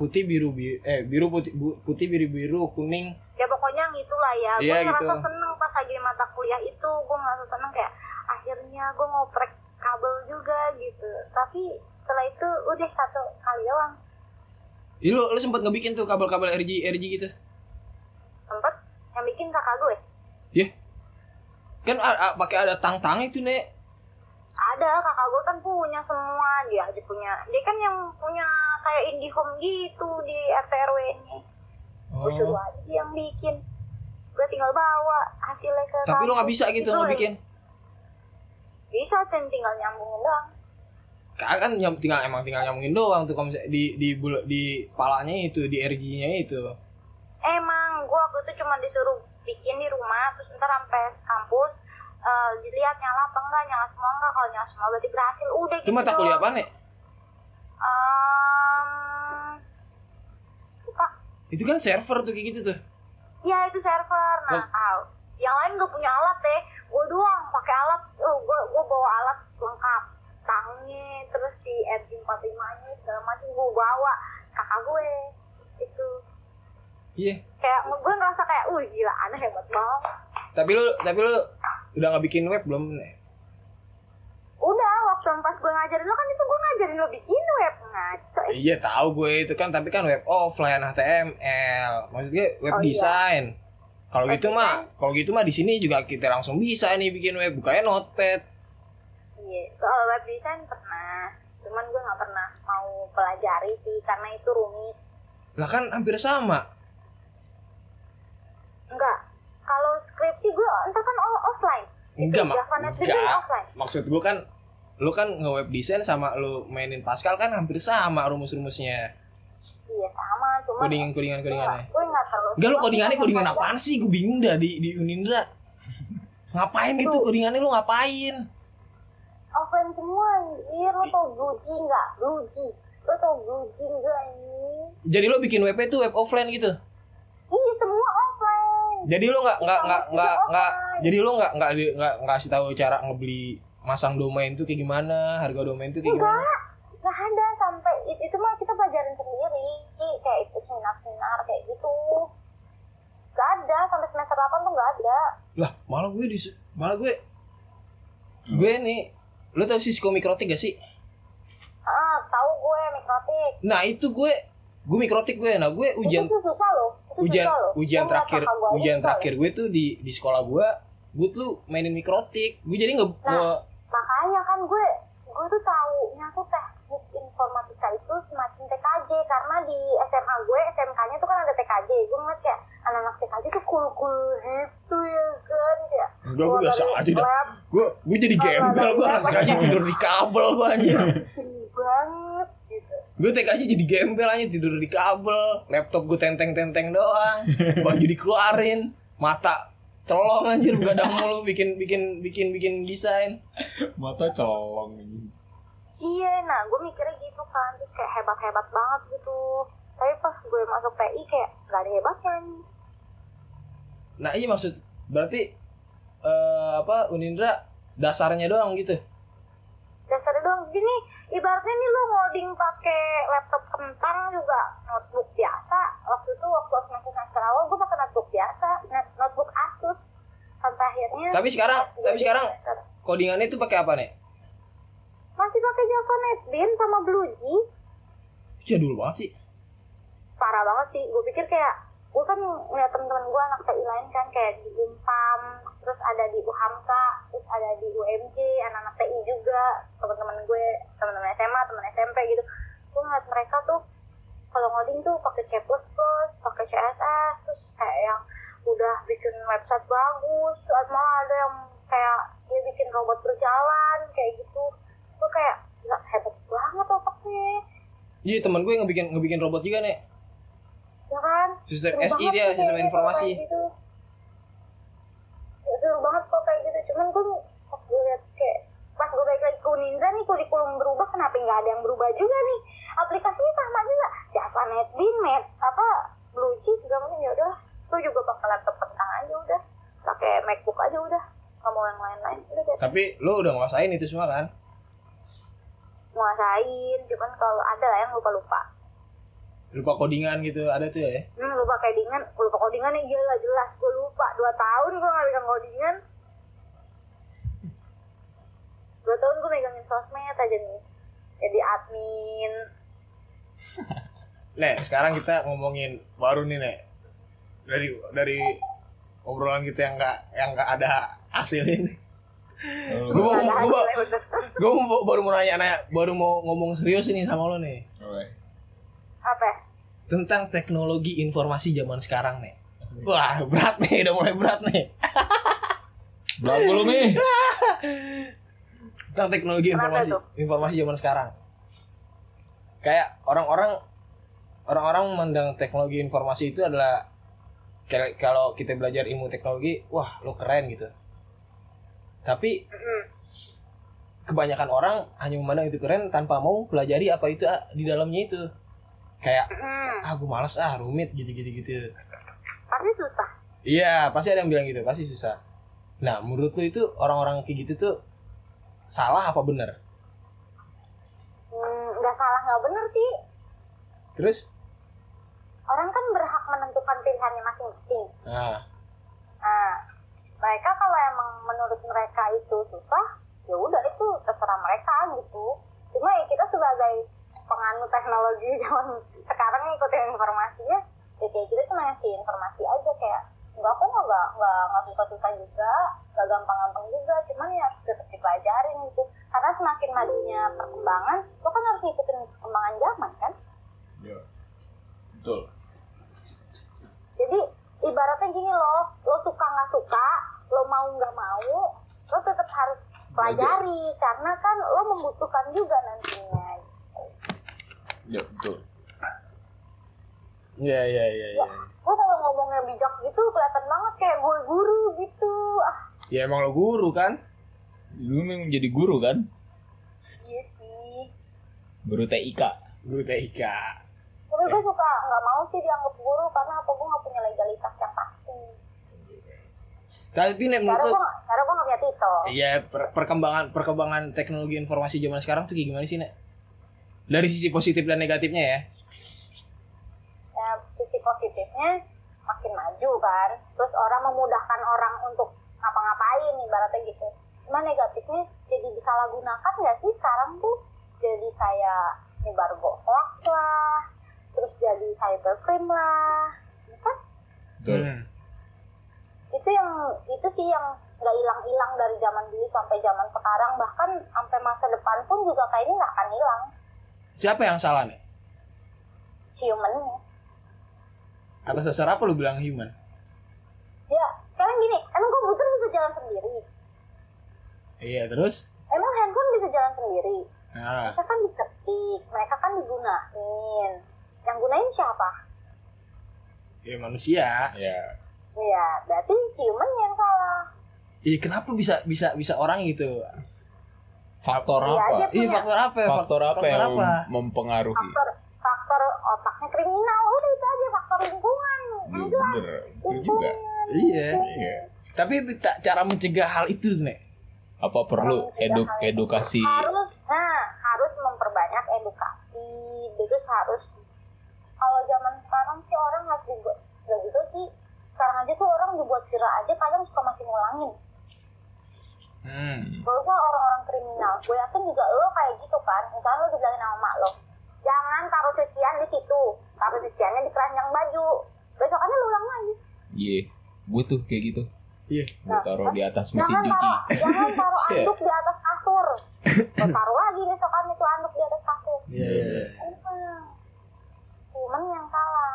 Speaker 4: putih biru biru eh biru putih bu- putih biru biru kuning
Speaker 2: Ya pokoknya gitulah ya. Gue
Speaker 4: Iya,
Speaker 2: ngerasa
Speaker 4: gitu.
Speaker 2: seneng pas lagi mata kuliah itu. Gue ngerasa seneng kayak akhirnya gue ngoprek kabel juga gitu. Tapi setelah itu udah satu kali doang.
Speaker 4: Ih, lu lu sempat ngebikin tuh kabel-kabel RG RG gitu
Speaker 2: Sempet yang bikin kakak gue.
Speaker 4: Iya. kan a- a- pakai ada tang-tang itu nek
Speaker 2: ada kakak gue kan punya semua dia aja punya dia kan yang punya kayak IndiHome gitu di RT RW nya gue
Speaker 4: Oh.
Speaker 2: suruh aja dia yang bikin gue tinggal bawa hasilnya ke
Speaker 4: tapi lu
Speaker 2: kampus.
Speaker 4: nggak bisa gitu
Speaker 2: Itu
Speaker 4: ngebikin
Speaker 2: bisa dan tinggal nyambungin doang
Speaker 4: Ka- kan nyam- tinggal emang tinggal nyambungin doang tuh kalau misalnya di di bulu- di palanya itu di RG-nya itu
Speaker 2: emang gue waktu itu cuma disuruh bikin di rumah terus ntar sampai kampus eh, dilihat nyala apa enggak nyala semua enggak kalau nyala semua berarti berhasil udah gitu
Speaker 4: itu mata
Speaker 2: doang.
Speaker 4: kuliah apa nek
Speaker 2: Em, lupa
Speaker 4: itu kan server tuh kayak gitu tuh
Speaker 2: Iya itu server. Nah, ah, yang lain gak punya alat deh. Gue doang pakai alat. Oh, gue gue bawa alat lengkap. Tangnya, terus si RG45 nya segala macam gue bawa kakak gue. Itu
Speaker 4: iya
Speaker 2: kayak gue ngerasa kayak, uh gila aneh hebat banget.
Speaker 4: tapi lu tapi lu udah nggak bikin web belum nek
Speaker 2: Udah waktu yang pas gue ngajarin lo kan itu gue ngajarin lo bikin web ngaco. eh.
Speaker 4: Iya tahu gue itu kan tapi kan web offline HTML. Maksudnya web
Speaker 2: Oh, iya.
Speaker 4: design. Kalau
Speaker 2: Web
Speaker 4: gitu mah, kalau gitu mah di sini juga kita langsung bisa nih bikin web bukanya Notepad.
Speaker 2: Iya, soal web design pernah. Cuman gue nggak pernah mau pelajari sih karena itu rumit.
Speaker 4: Lah kan hampir sama.
Speaker 2: Enggak. Kalau skripsi gue entar kan all offline. Iya,
Speaker 4: Enggak, Mak.
Speaker 2: Javanet itu
Speaker 4: Enggak.
Speaker 2: offline.
Speaker 4: Maksud gue kan lu kan nge-web design sama lu mainin Pascal kan hampir sama rumus-rumusnya.
Speaker 2: Iya sama, cuma
Speaker 4: Kodingan-kodingan-kodingannya.
Speaker 2: Gue nggak terlalu.
Speaker 4: Enggak lu kodingannya kodingan apaan sih? Gue bingung dah di di Unindra. ngapain itu kodingannya lu ngapain?
Speaker 2: Offline semua anjir, lo tau Guji nggak? Guji, lo tau Guji nggak ini?
Speaker 4: Jadi lu bikin web itu web offline gitu.
Speaker 2: Iya semua offline.
Speaker 4: Jadi lu nggak nggak nggak nggak nggak jadi lu nggak nggak di- nggak nggak kasih tahu cara ngebeli masang domain tuh kayak gimana, harga domain tuh kayak gimana.
Speaker 2: Enggak, nggak ada sampai itu, itu mah kita pelajarin sendiri, Ki. kayak ikut seminar-seminar kayak gitu. Gak ada sampai semester 8 tuh gak ada.
Speaker 4: Lah, malah gue di malah gue gue nih lu tahu Cisco Mikrotik gak sih?
Speaker 2: Ah, tahu gue mikrotik.
Speaker 4: Nah, itu gue gue Mikrotik gue. Nah, gue
Speaker 2: itu
Speaker 4: ujian
Speaker 2: tuh susah loh. Itu
Speaker 4: ujian
Speaker 2: susah loh.
Speaker 4: ujian
Speaker 2: Gue
Speaker 4: terakhir
Speaker 2: ngeliat kakak gue aja ya?
Speaker 4: ujian
Speaker 2: susah loh.
Speaker 4: terakhir gue tuh di di sekolah gue gue tuh mainin mikrotik gue jadi nggak
Speaker 2: Nah.
Speaker 4: nge-
Speaker 2: makanya kan gue gue tuh taunya tuh teknik informatika itu semacam TKJ karena di SMA gue SMK-nya tuh kan ada TKJ gue ngeliat kayak anak-anak TKJ tuh cool cool gitu ya kan kayak
Speaker 4: Enggak, gue
Speaker 2: keluar
Speaker 4: biasa
Speaker 2: dari
Speaker 4: aja dah.
Speaker 2: lab,
Speaker 4: gue Gue jadi gembel gue anak TK aja tidur di kabel gue anjir.
Speaker 2: sedih banget gitu
Speaker 4: Gue TK aja jadi gembel aja tidur di kabel. Laptop gue tenteng-tenteng doang. Baju dikeluarin. Mata celong anjir begadang mulu bikin bikin bikin bikin desain.
Speaker 6: Mata colong ini.
Speaker 2: iya nah gue mikirnya gitu kan terus kayak hebat hebat banget gitu tapi pas gue masuk PI kayak gak ada hebatnya nih
Speaker 4: Nah iya maksud berarti eh, apa Unindra dasarnya doang gitu.
Speaker 2: dasarnya doang gini ibaratnya nih lu ngoding pakai laptop kentang juga notebook biasa waktu itu waktu semester semester awal gue pakai notebook biasa net- notebook Asus sampai akhirnya
Speaker 4: Tapi sekarang tapi sekarang codingannya itu pakai apa nih?
Speaker 2: masih pakai Java NetBeans sama BlueJeans
Speaker 4: Jadul Iya, banget sih.
Speaker 2: parah banget sih gue pikir kayak gue kan ngeliat temen-temen gue anak TI lain kan kayak di Unpam terus ada di UHAMKA terus ada di UMJ anak-anak TI juga temen-temen gue temen-temen SMA temen SMP gitu gue ngeliat mereka tuh kalau ngoding tuh pakai C++ pakai CSS terus kayak yang udah bikin website bagus terus malah ada yang kayak dia bikin robot berjalan kayak gitu gue kayak nggak hebat banget otaknya
Speaker 4: Iya teman gue ngebikin ngebikin robot juga nih.
Speaker 2: ya kan
Speaker 4: Sistem
Speaker 2: Seru
Speaker 4: SI
Speaker 2: banget
Speaker 4: dia
Speaker 2: tuh
Speaker 4: sistem
Speaker 2: kayaknya
Speaker 4: informasi.
Speaker 2: kalau kayak gitu. Ya, seru banget kok kayak gitu cuman gue pas gue liat kayak pas gue balik lagi ke Unindra nih kurikulum berubah kenapa nggak ada yang berubah juga nih aplikasinya sama juga jasa netbin net apa blue cheese segala macam ya udah gue juga pakai laptop kentang aja udah pakai macbook aja udah nggak mau yang lain-lain udah jadi
Speaker 4: Tapi lo udah nguasain itu semua kan?
Speaker 2: nguasain cuman kalau ada lah yang lupa-lupa
Speaker 4: Lupa codingan gitu ada tuh ya.
Speaker 2: hmm, lupa codingan lupa codingan ya iyalah jelas gue lupa dua tahun gue nggak pegang codingan dua tahun gue megangin sosmed aja nih jadi admin
Speaker 8: Nek, sekarang kita ngomongin baru nih, Nek. Dari dari obrolan kita yang nggak yang nggak ada hasil ini.
Speaker 4: Gue mau,
Speaker 2: Nggak ada
Speaker 4: gua,
Speaker 2: hasilnya, bener.
Speaker 4: gua mau baru mau nanya, nanya baru mau ngomong serius ini sama lo nih
Speaker 6: Oke.
Speaker 2: apa ya?
Speaker 4: tentang teknologi informasi zaman sekarang nih.
Speaker 8: Wah, berat nih, udah mulai berat nih.
Speaker 6: Berapa lu nih?
Speaker 4: tentang teknologi
Speaker 2: Kenapa
Speaker 4: informasi
Speaker 2: tuh?
Speaker 4: informasi zaman sekarang kayak orang-orang orang-orang memandang teknologi informasi itu adalah kayak kalau kita belajar ilmu teknologi wah lo keren gitu tapi
Speaker 2: Mm-mm.
Speaker 4: kebanyakan orang hanya memandang itu keren tanpa mau pelajari apa itu ah, di dalamnya itu kayak
Speaker 2: Mm-mm.
Speaker 4: ah gue malas ah rumit gitu gitu gitu
Speaker 2: hmm. pasti susah
Speaker 4: Iya, pasti ada yang bilang gitu, pasti susah. Nah, menurut lu itu orang-orang kayak gitu tuh salah apa bener?
Speaker 2: Hmm, nggak salah nggak bener sih
Speaker 4: Terus,
Speaker 2: orang kan berhak menentukan pilihannya masing-masing
Speaker 4: nah,
Speaker 2: nah mereka kalau emang menurut mereka itu susah ya udah itu terserah mereka gitu cuma ya kita sebagai penganut teknologi zaman sekarang ngikutin informasinya ya kayak kita cuma ngasih informasi aja kayak enggak kok nggak nggak nggak nggak susah susah juga nggak gampang gampang juga cuman ya harus tetap dipelajarin gitu karena semakin majunya perkembangan lo kan harus ngikutin perkembangan zaman kan
Speaker 6: Yo. Betul.
Speaker 2: jadi ibaratnya gini loh lo suka nggak suka lo mau nggak mau lo tetap harus pelajari karena kan lo membutuhkan juga nantinya
Speaker 6: Ya, betul.
Speaker 4: iya iya iya iya.
Speaker 2: gue kalau ngomongnya bijak gitu kelihatan banget kayak gue guru gitu ah
Speaker 4: Ya emang lo guru kan?
Speaker 6: Lu memang jadi guru kan?
Speaker 2: iya sih
Speaker 6: Guru TIK.
Speaker 4: Guru TIK.
Speaker 2: tapi gue suka nggak mau sih dianggap guru karena apa gue nggak punya legalitas yang pasti
Speaker 4: Tapi nih
Speaker 2: karena
Speaker 4: menurut lu
Speaker 2: gue nggak- karena gue nggak punya titel
Speaker 4: Iya, per- perkembangan perkembangan teknologi informasi zaman sekarang tuh kayak gimana sih, Nek? Dari sisi positif dan negatifnya ya.
Speaker 2: ya, sisi positifnya makin maju kan terus orang memudahkan orang untuk ngapa-ngapain ibaratnya gitu cuma negatifnya jadi disalahgunakan nggak sih sekarang tuh jadi kayak nyebar hoax lah terus jadi cybercrime lah ya kan
Speaker 6: Betul.
Speaker 8: Hmm.
Speaker 2: itu yang itu sih yang nggak hilang-hilang dari zaman dulu sampai zaman sekarang bahkan sampai masa depan pun juga kayaknya nggak akan hilang
Speaker 4: Siapa yang salah, nih?
Speaker 2: humannya
Speaker 4: Atas dasar apa lu bilang human?
Speaker 2: ya sekarang gini emang komputer bisa jalan sendiri
Speaker 4: Iya terus?
Speaker 2: Emang handphone bisa jalan sendiri?
Speaker 4: Nah,
Speaker 2: Mereka kan diketik, mereka kan digunain. Yang gunain siapa?
Speaker 4: ya manusia.
Speaker 6: Ya.
Speaker 2: Iya, berarti human yang salah.
Speaker 5: Iya kenapa bisa bisa bisa orang gitu?
Speaker 6: Faktor
Speaker 2: Iya, dia
Speaker 6: apa?
Speaker 2: punya
Speaker 5: Iya faktor apa? ya?
Speaker 6: Faktor apa
Speaker 5: faktor
Speaker 6: yang
Speaker 5: apa?
Speaker 6: mempengaruhi?
Speaker 2: faktor faktor otaknya kriminal udah itu aja faktor lingkungan. Yang
Speaker 6: Iya,
Speaker 2: jelas
Speaker 6: Bener. Bener juga.
Speaker 2: lingkungan.
Speaker 5: Iya.
Speaker 6: Iya.
Speaker 5: Tapi ta- cara mencegah hal itu nek.
Speaker 6: Apa perlu edu edukasi?
Speaker 2: harus nah harus memperbanyak edukasi terus harus kalau zaman sekarang sih orang harus dibuat nggak gitu sih sekarang aja tuh orang dibuat viral aja kadang suka masih ngulangin
Speaker 4: Hmm.
Speaker 2: gak usah orang-orang kriminal gue yakin juga lo kayak gitu kan misalnya lo dibilangin sama mak lo jangan taruh cucian di situ taruh cuciannya di keranjang baju besokannya lo ulang lagi
Speaker 6: Iya. Gue tuh kayak gitu.
Speaker 4: Iya.
Speaker 6: Gue taruh di atas mesin
Speaker 2: Nah, jangan
Speaker 6: cuci.
Speaker 2: taruh jangan taruh
Speaker 6: Iya.
Speaker 2: anduk di atas kasur lo taruh lagi besokannya tuh anduk di atas kasur
Speaker 4: Iya, iya, iya.
Speaker 2: Cuman yang salah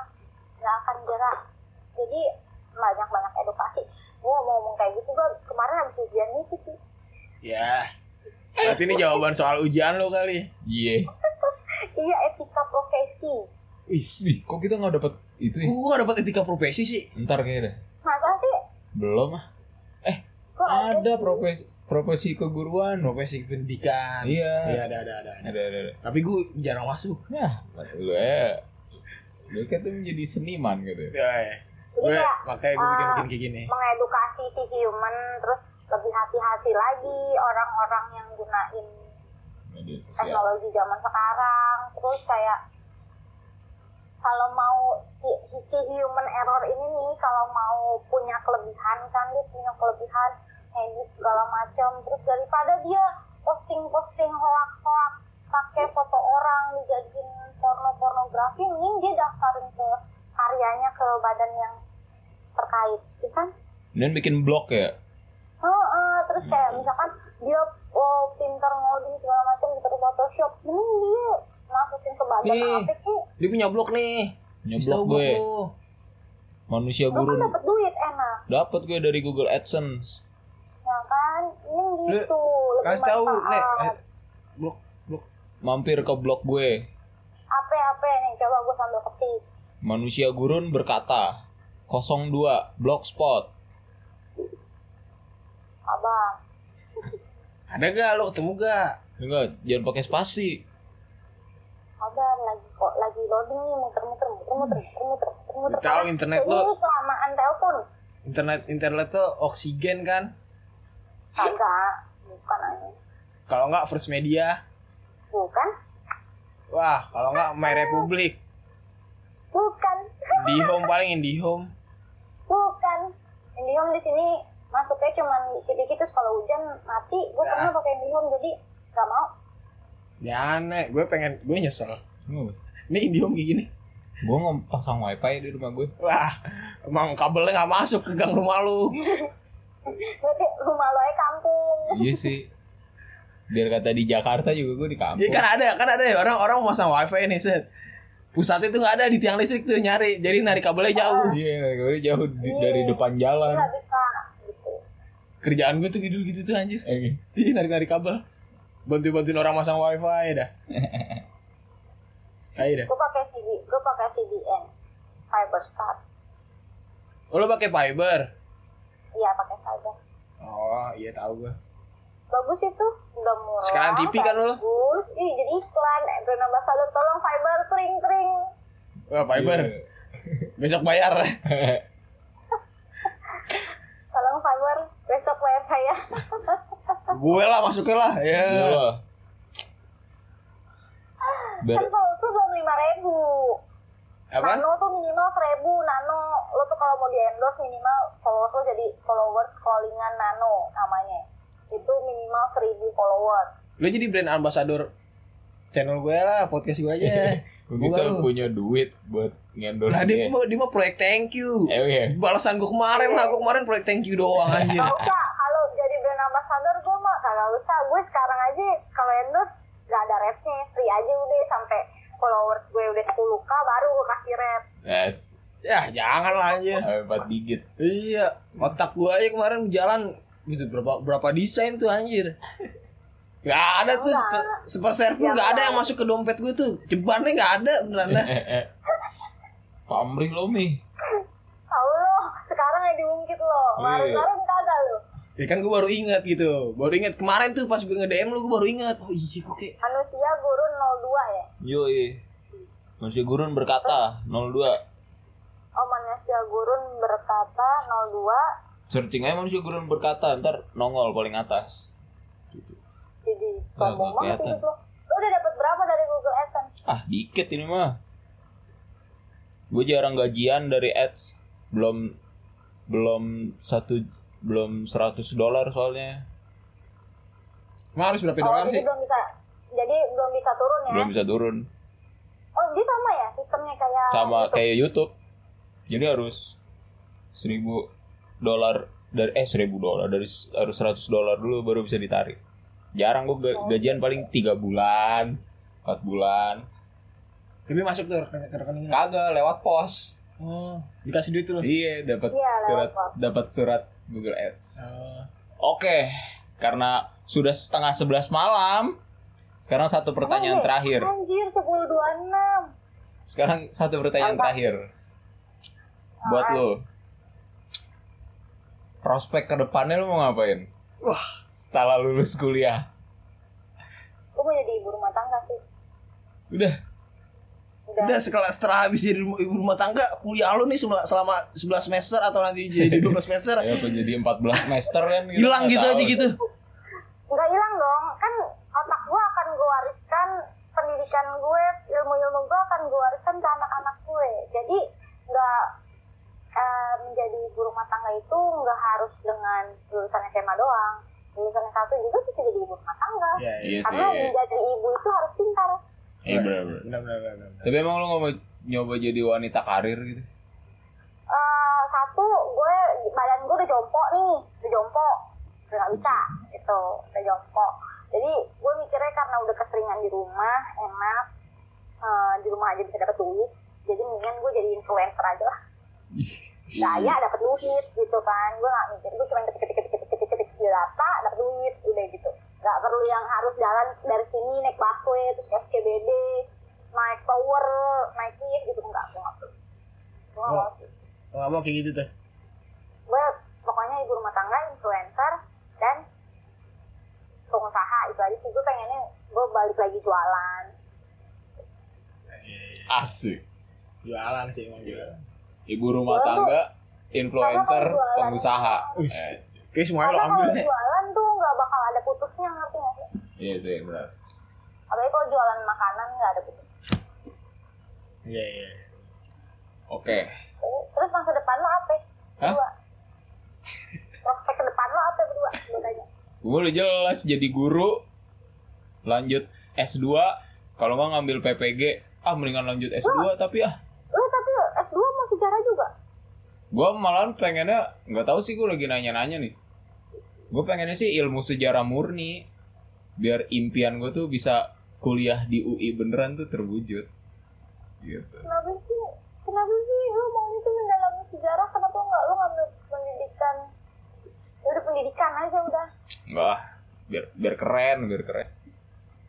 Speaker 2: nggak akan gerak. Jadi banyak-banyak edukasi. Gua mau ngomong kayak gitu gua kemarin habis ujian itu sih.
Speaker 4: Ya. Berarti ini jawaban soal ujian lo kali.
Speaker 6: Iya.
Speaker 2: Iya etika profesi.
Speaker 6: Ih, kok kita nggak dapat itu ya?
Speaker 5: Kok gua gak dapat etika profesi sih?
Speaker 6: Ntar kayaknya. deh.
Speaker 2: Masa sih?
Speaker 6: Belum ah.
Speaker 2: Gua
Speaker 6: Ada profesi profesi keguruan.
Speaker 5: Profesi
Speaker 2: Nah,
Speaker 5: pendidikan.
Speaker 6: Iya.
Speaker 4: Iya, ada, ada, ada.
Speaker 6: Ada ada ada.
Speaker 5: Tapi gua jarang masuk.
Speaker 6: Nah, lu ya. Lu kan tuh menjadi seniman gitu.
Speaker 4: Ya, ya.
Speaker 2: Jadi
Speaker 4: Gue
Speaker 2: kayak
Speaker 4: makanya gue bikin-bikin kayak gini.
Speaker 2: mengedukasi si human terus lebih hati-hati lagi orang-orang yang gunain
Speaker 6: Media sosial.
Speaker 2: teknologi zaman sekarang terus kayak kalau mau si, si human error ini nih kalau mau punya kelebihan kan dia punya kelebihan edit segala macam terus daripada dia posting posting hoax hoax pakai foto orang dijadiin porno pornografi mending dia daftarin ke karyanya ke badan yang terkait ya kan
Speaker 6: Dan bikin blog ya.
Speaker 2: Heeh, terus
Speaker 4: Hmm.
Speaker 2: kayak misalkan dia oh, pintar ngoding segala macam gitu, pintar Photoshop, ini dia masukin ke badan
Speaker 5: Nih.
Speaker 2: apa sih?
Speaker 5: Dia punya blog nih.
Speaker 6: Nyeblok
Speaker 5: Bisa
Speaker 6: gue.
Speaker 5: blog lo.
Speaker 6: Manusia
Speaker 2: Lo kan
Speaker 6: gurun.
Speaker 2: dapet duit enak,
Speaker 6: Dapat gue dari Google AdSense.
Speaker 2: ya kan? Ini gitu, lebih
Speaker 4: Kasih tahu, Nek. eh.
Speaker 2: manfaat.
Speaker 6: Mampir ke blog gue.
Speaker 2: Apa-apa ya, nih, coba gue sambil ketik.
Speaker 6: Manusia Gurun berkata 02 Blogspot
Speaker 2: Abang,
Speaker 4: Ada gak lo ketemu gak?
Speaker 6: Enggak, Ya kan? jangan pakai spasi
Speaker 2: ada lagi kok, lagi loading nih, muter-muter, muter-muter, muter-muter, muter-muter.
Speaker 4: Udah tahu internet
Speaker 2: Jadi
Speaker 4: lo.
Speaker 2: ini kelamaan telepon.
Speaker 4: Internet internet tuh oksigen kan?
Speaker 2: Kagak, bukan aja.
Speaker 4: Kalau nggak First Media,
Speaker 2: Bukan,
Speaker 4: wah kalau nggak My Republic,
Speaker 2: bukan,
Speaker 4: Indihome paling Indihome.
Speaker 2: bukan. Indihome di sini masuknya cuma dikit-dikit terus kalau hujan mati. Gue
Speaker 4: Ya.
Speaker 2: pernah pakai Indihome jadi gak mau.
Speaker 4: Jangan, Nek. Ya, gue pengen, gue nyesel.
Speaker 6: Gue
Speaker 4: Ini Indihome kayak gini.
Speaker 6: nggak pasang wifi di rumah gue
Speaker 4: Wah, emang kabelnya nggak masuk ke gang rumah lu.
Speaker 2: Berarti rumah lo aja kampung.
Speaker 6: Iya sih Biar kata di Jakarta juga gue di kampung
Speaker 4: Ya kan ada, kan ada ya orang-orang mau pasang wifi nih set. Pusatnya tuh nggak ada di tiang listrik tuh nyari, jadi narik kabelnya jauh.
Speaker 6: Iya, gue jauh di- dari depan jalan
Speaker 2: Gue gak bisa gitu.
Speaker 4: Kerjaan gue tuh gitu gitu tuh anjir.
Speaker 6: Eh,
Speaker 4: Ih, narik-narik kabel. Bantu-bantuin orang masang wifi dah. Ayo dah.
Speaker 2: Gue pakai CD, gue pakai CDN. Fiberstar.
Speaker 4: Oh, lo pakai fiber?
Speaker 2: Iya pakai fiber.
Speaker 4: Oh, iya tahu gue.
Speaker 2: Bagus itu, udah murah.
Speaker 4: Sekarang TV kan lo?
Speaker 2: Bagus, ih jadi iklan. Eh, Bruna Basalur tolong fiber kering kering.
Speaker 4: Wah, fiber.
Speaker 6: iya.
Speaker 4: Besok bayar.
Speaker 2: Tolong fiber besok bayar saya.
Speaker 4: gue lah masuknya lah. Ya.
Speaker 6: Wah.
Speaker 2: kan
Speaker 6: Ber-
Speaker 2: kalau itu belum lima ribu.
Speaker 4: Apa?
Speaker 2: Nano tuh minimal seribu nano. Lo tuh kalau mau di endorse minimal followers lo jadi followers callingan nano namanya. Itu minimal seribu followers.
Speaker 4: Lo jadi brand ambassador channel gue lah, podcast gue aja.
Speaker 6: Kita
Speaker 4: Gua lu.
Speaker 6: punya duit buat ngendorse
Speaker 4: lah dia
Speaker 6: dia
Speaker 4: mau dia mah proyek thank you.
Speaker 6: Eh, iya.
Speaker 4: Balasan gue kemarin lah, gue kemarin proyek thank you doang anjir.
Speaker 2: Gak usah, kalau jadi brand ambassador gue mah kagak usah. Gue sekarang aja kalau endorse gak ada rate-nya, free aja udah sampai followers gue udah 10k baru gue kasih rate.
Speaker 6: Yes,
Speaker 4: ya, jangan lah anjir.
Speaker 6: sampai empat digit
Speaker 4: Iya, otak gue aja kemarin jalan
Speaker 5: Buset, berapa berapa desain tuh anjir. Gak ada tuh
Speaker 2: Enggak.
Speaker 5: sepe- sepeser pun gak ada yang masuk ke dompet gue tuh. Jebannya gak ada beneran dah.
Speaker 6: Eh, Pak Amri lo Mi.
Speaker 2: Tahu lo, sekarang yang diungkit lo. Kemarin-kemarin kagak lo.
Speaker 5: Ya kan gue baru ingat gitu. Baru ingat kemarin tuh pas gue nge-DM lu gue baru ingat. Oh iya kok kayak
Speaker 2: Manusia guru 02 ya.
Speaker 9: Yoi. Masih gurun berkata 02.
Speaker 2: Oh, manusia gurun berkata 02
Speaker 9: Searching aja manusia gurun berkata, ntar nongol paling atas.
Speaker 2: jadi
Speaker 9: Nah, nggak
Speaker 2: sombong banget
Speaker 9: kelihatan.
Speaker 2: hidup lo. Lo gitu. udah dapat berapa dari Google AdSense?
Speaker 9: Ah, dikit ini mah. Gue jarang gajian dari ads. Belum belum satu belum 100 dolar soalnya.
Speaker 5: Emang harus berapa
Speaker 2: Oh,
Speaker 5: dolar
Speaker 2: jadi
Speaker 5: sih?
Speaker 2: belum bisa. Jadi belum bisa turun ya.
Speaker 9: Belum bisa turun.
Speaker 2: Oh, jadi sama ya sistemnya kayak gitu?
Speaker 9: Sama
Speaker 2: YouTube?
Speaker 9: kayak YouTube. Jadi harus 1000 dolar dari eh 1000 dolar dari s- harus 100 dolar dulu baru bisa ditarik. Jarang gue gajian paling 3 bulan, 4 bulan.
Speaker 5: Lebih masuk tuh ke ke rekening. lu.
Speaker 9: Kagak lewat pos.
Speaker 5: Oh, dikasih duit lu.
Speaker 9: Iya, dapat
Speaker 2: Iya, lewat
Speaker 9: surat
Speaker 2: pos.
Speaker 9: dapat surat Google Ads.
Speaker 5: Oh.
Speaker 9: Oke, karena sudah setengah sebelas malam. Sekarang satu pertanyaan
Speaker 2: Anjir,
Speaker 9: terakhir.
Speaker 2: Anjir, 1026.
Speaker 9: Sekarang satu pertanyaan
Speaker 2: Apa?
Speaker 9: terakhir. Buat lo. Prospek ke depannya lo mau ngapain? Wah, setelah lulus kuliah.
Speaker 2: Gue mau jadi ibu rumah tangga sih.
Speaker 9: Udah,
Speaker 2: Udah.
Speaker 5: Udah setelah setelah habis jadi rumah, ibu rumah tangga, kuliah lu nih semela- selama 11 semester atau nanti jadi 12 semester
Speaker 9: ya apa jadi 14 semester kan gitu.
Speaker 5: hilang
Speaker 9: nggak
Speaker 5: gitu
Speaker 9: tahu.
Speaker 5: aja gitu.
Speaker 2: nggak hilang dong kan otak gue akan gue wariskan pendidikan gue ilmu-ilmu gue akan gue wariskan ke anak-anak gue jadi nggak eh, menjadi ibu rumah tangga itu nggak harus dengan lulusan SMA doang lulusan S1 juga bisa jadi ibu rumah tangga
Speaker 4: Iya, iya.
Speaker 6: Iya
Speaker 2: karena
Speaker 6: sih.
Speaker 2: menjadi ibu itu harus pintar
Speaker 9: Iya, bener, bener.
Speaker 4: Benar, benar, benar, benar.
Speaker 6: Tapi emang lo nggak mau nyoba jadi wanita karir gitu?
Speaker 2: Eh, satu gue badan gue udah jompo nih udah jompo udah gak bisa gitu udah jompo jadi gue mikirnya karena udah keseringan di rumah enak eh, di rumah aja bisa dapat duit jadi mendingan gue jadi influencer aja lah daya dapat duit gitu kan gue gak mikir gue cuma ketik ketik ketik ketik ketik ketik di data dapat duit udah gitu gak perlu yang harus jalan dari sini naik busway terus SCBD naik tower naik lift gitu enggak gue gak perlu gue gak mau sih
Speaker 4: Gua nggak mau kayak gitu tuh.
Speaker 2: gue pokoknya ibu rumah tangga influencer dan pengusaha itu aja sih gue pengennya gue balik lagi jualan
Speaker 5: Iya,
Speaker 6: Asik.
Speaker 4: Jualan sih emang jualan.
Speaker 6: Ibu rumah tangga, influencer,
Speaker 5: kan
Speaker 2: Jualan.
Speaker 6: pengusaha.
Speaker 4: Wih.
Speaker 6: Eh,
Speaker 4: Oke, semuanya lo
Speaker 2: karena
Speaker 4: ambil
Speaker 2: kalau
Speaker 4: deh.
Speaker 2: jualan tuh nggak bakal ada putusnya ngerti nggak sih
Speaker 6: Iya sih, benar.
Speaker 2: apalagi kalau jualan makanan nggak ada putus
Speaker 4: Iya, iya.
Speaker 6: Oke.
Speaker 2: Jadi, Eh, terus masa depan lo apa
Speaker 6: Hah?
Speaker 2: berdua prospek ke depan lo apa berdua gue tanya
Speaker 6: Gue udah jelas jadi guru, lanjut S2, kalau nggak ngambil PPG, ah mendingan lanjut S2 tapi ah
Speaker 2: lo tapi S2 mau sejarah juga
Speaker 6: gue malahan pengennya nggak tahu sih gue lagi nanya-nanya nih. Gue pengennya sih ilmu sejarah murni, biar impian gue tuh bisa kuliah di UI beneran tuh terwujud. Gitu.
Speaker 2: kenapa sih kenapa sih lo mau itu mendalami sejarah kenapa nggak lo ngambil pendidikan Ya udah pendidikan aja udah
Speaker 6: Nggak ah, biar biar keren, biar keren.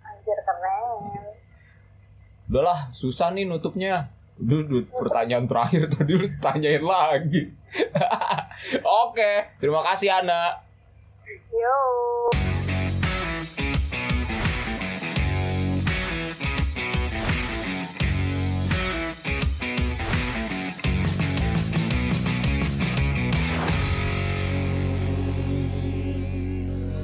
Speaker 2: anjir keren
Speaker 6: udahlah susah nih nutupnya Duh, duh, pertanyaan terakhir tadi lu tanyain lagi. Oke, terima kasih Ana.
Speaker 2: Yo.